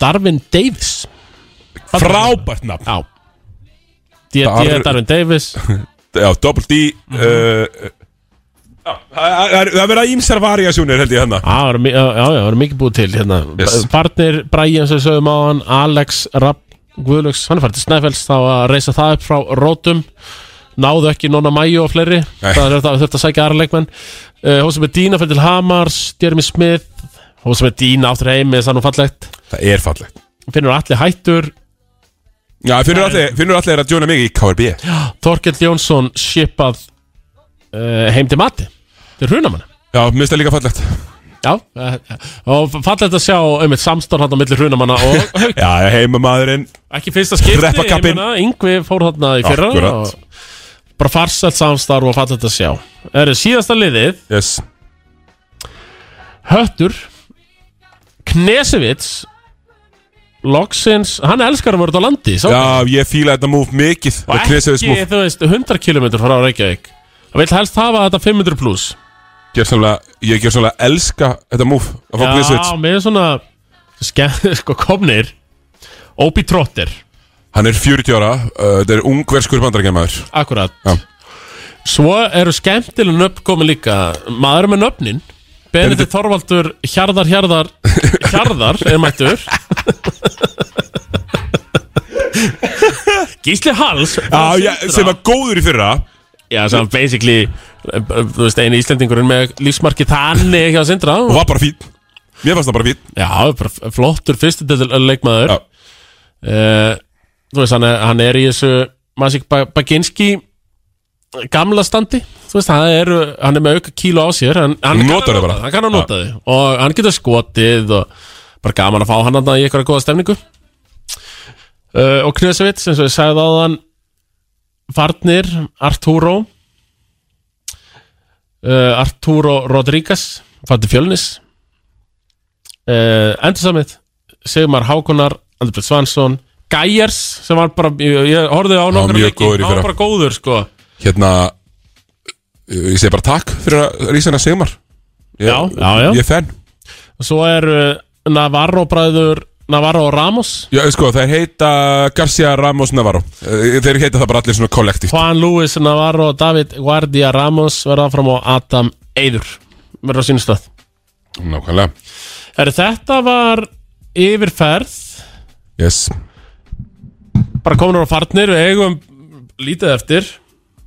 Speaker 4: Darvin Davis
Speaker 3: frábært nafn
Speaker 4: Já D.D.
Speaker 3: Dar-
Speaker 4: Darvin Davis
Speaker 3: Já, double D uh, uh, já, Það það- það verða ímsar variasjónir held ég hérna
Speaker 4: Já, það var mi- já, já, það var mikið búið til hérna.
Speaker 3: Yes.
Speaker 4: yes. Partner, Bræjan sem við sögum á hann Alex, Rapp, Guðlöks Hann er fært til Snæfells, þá að reysa það upp frá rótum Náðu ekki Nonna Mæju og fleiri
Speaker 3: Nei.
Speaker 4: Það er þetta að þurft að sækja aðra leikmenn uh, Hósa með Dína fyrir til Hamars Jeremy Smith Hósa með Dína áttur heim með sann og fallegt
Speaker 3: Það er fallegt
Speaker 4: Finnur allir hættur
Speaker 3: Já, finnur allir, finnur allir að djóna mig í KRB
Speaker 4: Þorkell Jónsson skipað uh, heim til mati Til hrunamann
Speaker 3: Já, minnst það líka fallegt
Speaker 4: Já, eh, og fallegt að sjá einmitt samstorn hann á milli hrunamanna og haug
Speaker 3: Já, heimamæðurinn
Speaker 4: Ekki fyrsta skipti, ég
Speaker 3: Hreppakabbinn.
Speaker 4: meina, Yngvi fór þarna í fyrra
Speaker 3: Akkurat.
Speaker 4: og bara farsælt samstarf og fallegt að sjá. Það eru síðasta liðið,
Speaker 3: Yes
Speaker 4: Höttur, Knesevits, Loksins, hann elskar að vera út á landi, sá?
Speaker 3: Já, ég fíla þetta múf mikið
Speaker 4: og
Speaker 3: Og knesaðis
Speaker 4: ekki,
Speaker 3: múf
Speaker 4: þú veist, 100 km frá Reykjavík. Það vil helst hafa þetta 500 pluss.
Speaker 3: Ég ger svona elska þetta múf Að fá knesaðis
Speaker 4: Já, með svona, skemm- (laughs) sko, komnir, Óbi Trotter.
Speaker 3: Hann er 40 ára uh, Þetta er ungverskur bandarækjamaður
Speaker 4: Akkurat
Speaker 3: Já.
Speaker 4: Svo eru skemmtileg nöfn komin líka Maður er með nöfnin Benedikt Þorvaldur Hjarðar Hjarðar Hjarðar er mættur Gísli Hals
Speaker 3: Já, Ah, já, sem var góður í fyrra
Speaker 4: Já, sem var basically eh, Þú veist, eini Íslendingurinn með lífsmarki Þannig hjá Sindra
Speaker 3: Og var bara fín Mér fannst það bara fín
Speaker 4: Já, bara f- flottur fyrstu leikmaður
Speaker 3: Já.
Speaker 4: Eh, Þú veist, hann er, hann er í þessu Masik Baginski gamla standi Þú veist, hann er, hann er með auka kílu á sér hann, hann kann að
Speaker 3: Notar það
Speaker 4: nota
Speaker 3: bara.
Speaker 4: það, Hann kann að nota þið og hann getur skotið og bara gaman að fá hann þarna í eitthvað góða stefningu uh, og Knösevits eins og ég sagði á þann Farnir Arturo uh, Arturo Rodríguez fætti fjölnis uh, Endursamið Sigmar Hákonar, Andri Brett Svansson Gæjers sem var bara ég, ég horfði á nokkra
Speaker 3: mjög
Speaker 4: leiki,
Speaker 3: góður í
Speaker 4: hann var
Speaker 3: fyrra.
Speaker 4: bara góður sko
Speaker 3: Hérna uh, Ég segi bara takk fyrir að lýsa hennar Sigmar ég,
Speaker 4: Já, já, já.
Speaker 3: Ég er fenn
Speaker 4: Svo er uh, Navarro bræður Navarro og Ramos
Speaker 3: Já, sko, þeir heita Garcia Ramos Navarro Eh, Þeir heita það bara allir svona kollektív
Speaker 4: Juan Luis Navarro og David Guardia Ramos verða fram á Adam Eidur verða á sínu stöð
Speaker 3: Nákvæmlega
Speaker 4: Heru, Þetta var yfirferð
Speaker 3: Yes
Speaker 4: bara komin úr á farnir, við eigum lítið eftir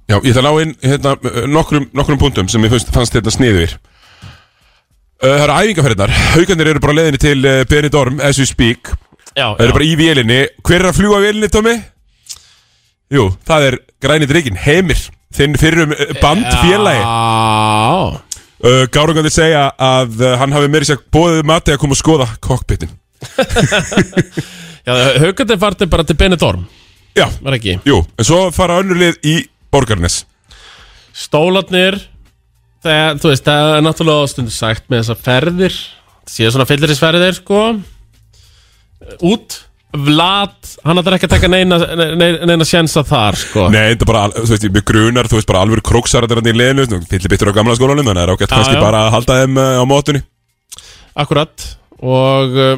Speaker 3: Já, ég ætla að ná inn hérna, nokkrum, nokkrum punktum sem ég fannst, fannst þetta sniður Það eru æfingarferðnar Haukarnir eru bara á leiðinni til eh, Benidorm as we speak
Speaker 4: já,
Speaker 3: Það eru
Speaker 4: já.
Speaker 3: bara í vélinni Hver er að fljúa vélinni, Tómi? Jú, það er grænið reygin, Heimir Þinn fyrrum eh, bandfélagi
Speaker 4: Já.
Speaker 3: uh, Gárungandi segja að uh, hann hafi meiri sér bóðið mati að koma og skoða kokpitin
Speaker 4: Já, haugandi farnir bara til Benidorm
Speaker 3: Já,
Speaker 4: var ekki
Speaker 3: jú, en svo fara önnur lið í Borgarnes
Speaker 4: Stólarnir það, Þú veist, það er náttúrulega stundu sagt með þessar ferðir Síðan svona fyllirisferðir, sko Út Vlad, hann ætlar ekki að taka neina, neina, neina sjensa þar, sko
Speaker 3: Nei, þetta bara, al- þú veist, mjög grunar, þú veist bara alveg króksar þetta í liðinu, fyllir byttur á gamla skólanum þannig að það er ágætt
Speaker 4: Já,
Speaker 3: kannski
Speaker 4: já.
Speaker 3: bara að halda þeim uh, á mótunni
Speaker 4: Akkurat Og uh,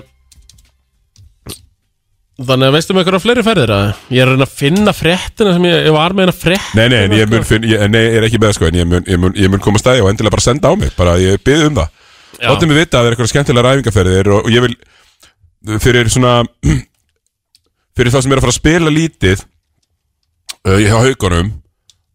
Speaker 4: Þannig að veistum ykkur á fleiri ferðir að Ég er að reyna að finna fréttina sem ég, ég var með hérna frétt
Speaker 3: Nei, nei, en ég mun finn, ég, nei, ég er ekki með það, sko en ég mun, ég mun, ég mun koma stæði og endilega bara senda á mig bara ég byði um það
Speaker 4: Já.
Speaker 3: Láttu mig vita að það er eitthvað skemmtilega ræfingarferðir og, og ég vil fyrir svona (clears throat) fyrir það sem er að fara að spila lítið uh, hjá haugunum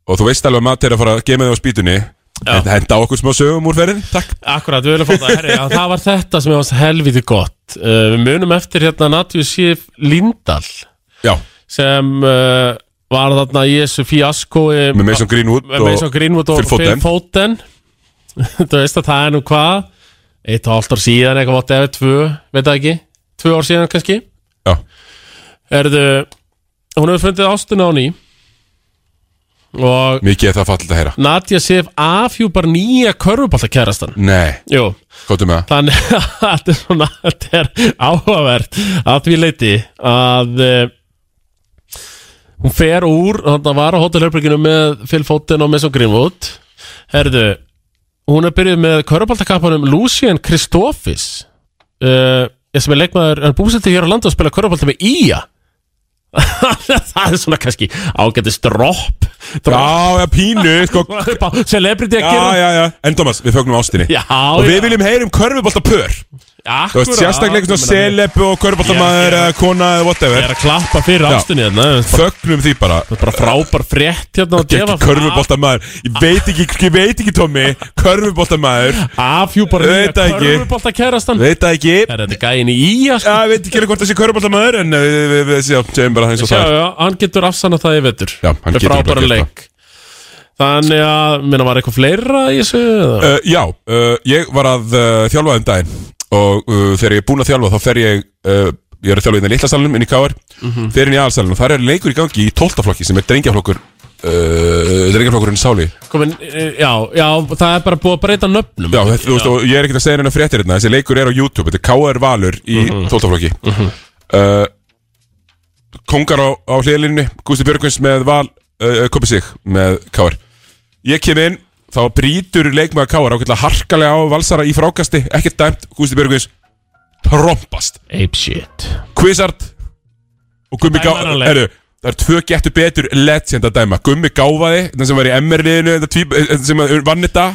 Speaker 3: og þú veist alveg að Matti er að fara að geima þig á spýtunni henda henda á okkur smá sögum úr ferðin Takk
Speaker 4: Akkurat, við viljum fá það herri, já, Það var þetta sem ég varst helviti gott uh, Við munum eftir hérna Natjú Sif Lindahl
Speaker 3: Já,
Speaker 4: sem uh, var þarna í þessu fíaskói
Speaker 3: með Mason Greenwood
Speaker 4: með Mason Greenwood og
Speaker 3: Phil Foden.
Speaker 4: Phil Foden (laughs) Þú veist að það er nú hvað Eitt og hálft ár síðan eitthvað vott eða tvö Veit það ekki, tvö ár síðan kannski
Speaker 3: Já,
Speaker 4: Erðu, hún hefur fundið ástina á ný Og
Speaker 3: mikið er það fallit að heyra
Speaker 4: Nadja Sif afhjúpar nýja körfuboltakærastan
Speaker 3: Nei,
Speaker 4: Jú,
Speaker 3: hvað með það?
Speaker 4: þannig (laughs) að þetta er svona þetta er áhugavert að því leiti að uh, hún fer úr þannig að var á hótelherbygginu með Phil Foden og Mason Greenwood herðu, hún er byrjuð með körubaltakappanum Lucien Kristoffis uh, sem er leikmaður hann búsetti hér á landi og spila körubalta með Ía (laughs) það er svona kannski ágættist dropp dropp
Speaker 3: Já, já, pínu, sko
Speaker 4: upp á celebrity að
Speaker 3: Já,
Speaker 4: gera
Speaker 3: já, já, en Thomas, við fögnum ástinni
Speaker 4: Já,
Speaker 3: Og við
Speaker 4: já.
Speaker 3: viljum heyra um körfubolta pör
Speaker 4: Akkúrat.
Speaker 3: Þú veist, sérstaklega eitthvað
Speaker 4: Ég meina,
Speaker 3: seleb og körfuboltamaður
Speaker 4: Ég-
Speaker 3: eða kona eða
Speaker 4: ég er
Speaker 3: whatever
Speaker 4: að klappa fyrir
Speaker 3: Já.
Speaker 4: ástinni þarna
Speaker 3: Fögnum því bara
Speaker 4: bara frábær frétt hérna og
Speaker 3: Gekki körfuboltamaður Ég veit ekki, ég veit ekki Tommy Körfuboltamaður
Speaker 4: afhjúpar
Speaker 3: Veit það ekki.
Speaker 4: körfubolta kærastan
Speaker 3: Veit það ekki
Speaker 4: er þetta gæin í ía
Speaker 3: Já,
Speaker 4: sko?
Speaker 3: ég veit ekki alveg hvort það sé körfuboltamaður En eh, við, við, við sjá, segjum bara það eins og
Speaker 4: Sjá,
Speaker 3: það er.
Speaker 4: já, hann getur afsannað það í vettur
Speaker 3: Já, hann getur bara
Speaker 4: frábæra
Speaker 3: gert það.
Speaker 4: leik þannig að minna var eitthvað fleira í þessu eða?
Speaker 3: Uh, já, uh, ég var að uh, þjálfa um daginn og uh, þegar ég er búinn að þjálfa þá fer ég, uh, ég er að þjálfa inn í litla salnum inn í KR, fer inn í aðalsalnum og þar er leikur í gangi í 12. flokki sem er drengjaflokkur uh, drengjaflokkurinn sáli
Speaker 4: komin, eh, já, já, það er bara búið að breyta nöfnum
Speaker 3: Já, þetta, þú veist, og ég er ekkert að segja hennar fréttir hérna þessi leikur er á YouTube, þetta er KR Valur í 12. flokki uh, Kongar á, á hliðlinni Gústi Björgvins með Val uh, Kopi Sig með KR Ég kem inn, þá brýtur leikmaður KR ákveðlega harkalega á Valsara í frákasti ekkert dæmt, Gústi Björgvins trompast,
Speaker 4: ape shit
Speaker 3: Kvissart og Gummi
Speaker 4: Dæmar
Speaker 3: Gáfa
Speaker 4: hann leik?
Speaker 3: Heru, Það er tvö getur betur legend að dæma Gummi Gáfaði, þetta sem var í MR-liðinu þetta tvíb- þetta eh, sem vann þetta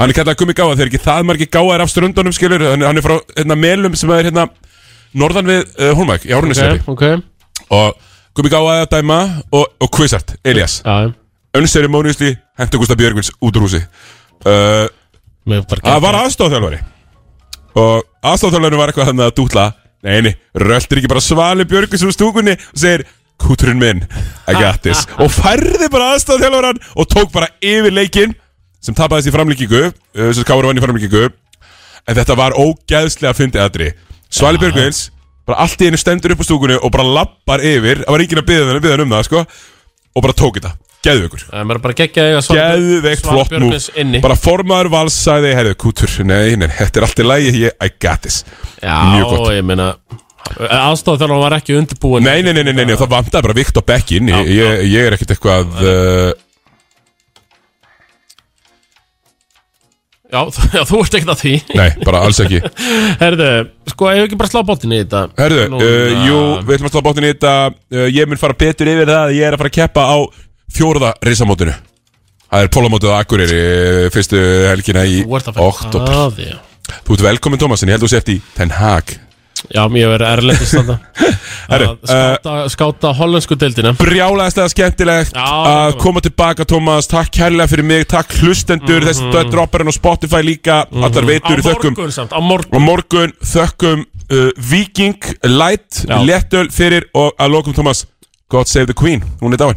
Speaker 3: Hann er kallað Gummi Gáða, þeir eru ekki það margir gáðar af ströndunum skilur, hann, hann er frá hérna, melum sem er hérna norðan við uh, Hólmæk í Árnusjöri
Speaker 4: ok, ok já,
Speaker 3: og Gummi Gáða að dæma og, og Kvissart, Elias
Speaker 4: já.
Speaker 3: önnstæri mónusli, hendur Gustaf Björgvins út úr húsi uh,
Speaker 4: Mér bara
Speaker 3: Það var
Speaker 4: gekk-
Speaker 3: aðstofþjálfari og aðstofþjálfari var eitthvað hann að dútla Neini, röltir ekki bara svali Björgvins úr stúkunni og segir Kúturinn minn, I got this og færði bara aðstofþjálfaran og tók bara yfir leikinn sem tapaðist í framlíkingu uh, sem Káur vann í framlíkingu en þetta var ógæðslega fyndið aðri Svali Björgvins bara allt í einu stendur upp á stúkunni og bara lappar yfir það var enginn að byggja hann um það sko, og bara tók þetta, geðu ykkur
Speaker 4: Það er bara geggja eiga Svan-
Speaker 3: Geðveikt
Speaker 4: Svan
Speaker 3: flott múf
Speaker 4: Björgvins inni.
Speaker 3: Bara formaður vals sagði Herðu, kútur, nei, nei, þetta er allt í lagi ég, I got this mjög gott.
Speaker 4: já, ég meina aðstáð þegar hann var ekki undirbúin
Speaker 3: Nei, nei, nei, nei, nei, nei það vantaði bara vikt á bekkin ég, ég, ég er ekkert eitthvað uh,
Speaker 4: já, (laughs) þú- já, þú ert ekkert að því
Speaker 3: Nei, bara alls ekki
Speaker 4: (laughs) Herðu, sko, ég hef ekki bara slá bóttinni í þetta
Speaker 3: Herðu, uh,
Speaker 4: Núna-
Speaker 3: jú, við ætlum að slá bátinn í þetta uh, Ég mun fara betur yfir það að Ég er að fara að keppa á fjóruða risamótinu Það er pólamótið á Akureyri eh, Fyrstu helgina í
Speaker 4: Þú ert að fara
Speaker 3: oktober
Speaker 4: að því, já.
Speaker 3: Þú ert velkomin, Tómas, en ég held þú sért í Ten Hag
Speaker 4: Já, ég verið erlendist þarna
Speaker 3: (laughs) Herru, eh,
Speaker 4: Að Skáta, skáta hollensku deildina
Speaker 3: brjálæðast eða skemmtilegt
Speaker 4: Já,
Speaker 3: að
Speaker 4: gaman.
Speaker 3: koma tilbaka Tómas, takk kærlega fyrir mig, takk hlustendur mm -hmm. þessi dropparinn á Spotify líka allar
Speaker 4: Mhm. Á
Speaker 3: veitur í þökkum
Speaker 4: morgun samt, á morgun
Speaker 3: og morgun þökkum uh, Viking Light,
Speaker 4: Já.
Speaker 3: Lettöl fyrir og að lokum Tómas, God Save the Queen hún er dáin,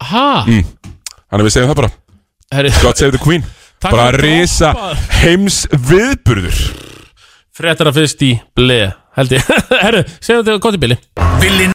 Speaker 4: Ha?
Speaker 3: Mm. hann er við segjum það bara
Speaker 4: Herri,
Speaker 3: God Save the Queen,
Speaker 4: Takk
Speaker 3: bara
Speaker 4: fyrir
Speaker 3: risa
Speaker 4: droppar.
Speaker 3: heims viðburður
Speaker 4: (laughs) fréttara fyrst í ble Held ég Herru, segjum þetta gott í bili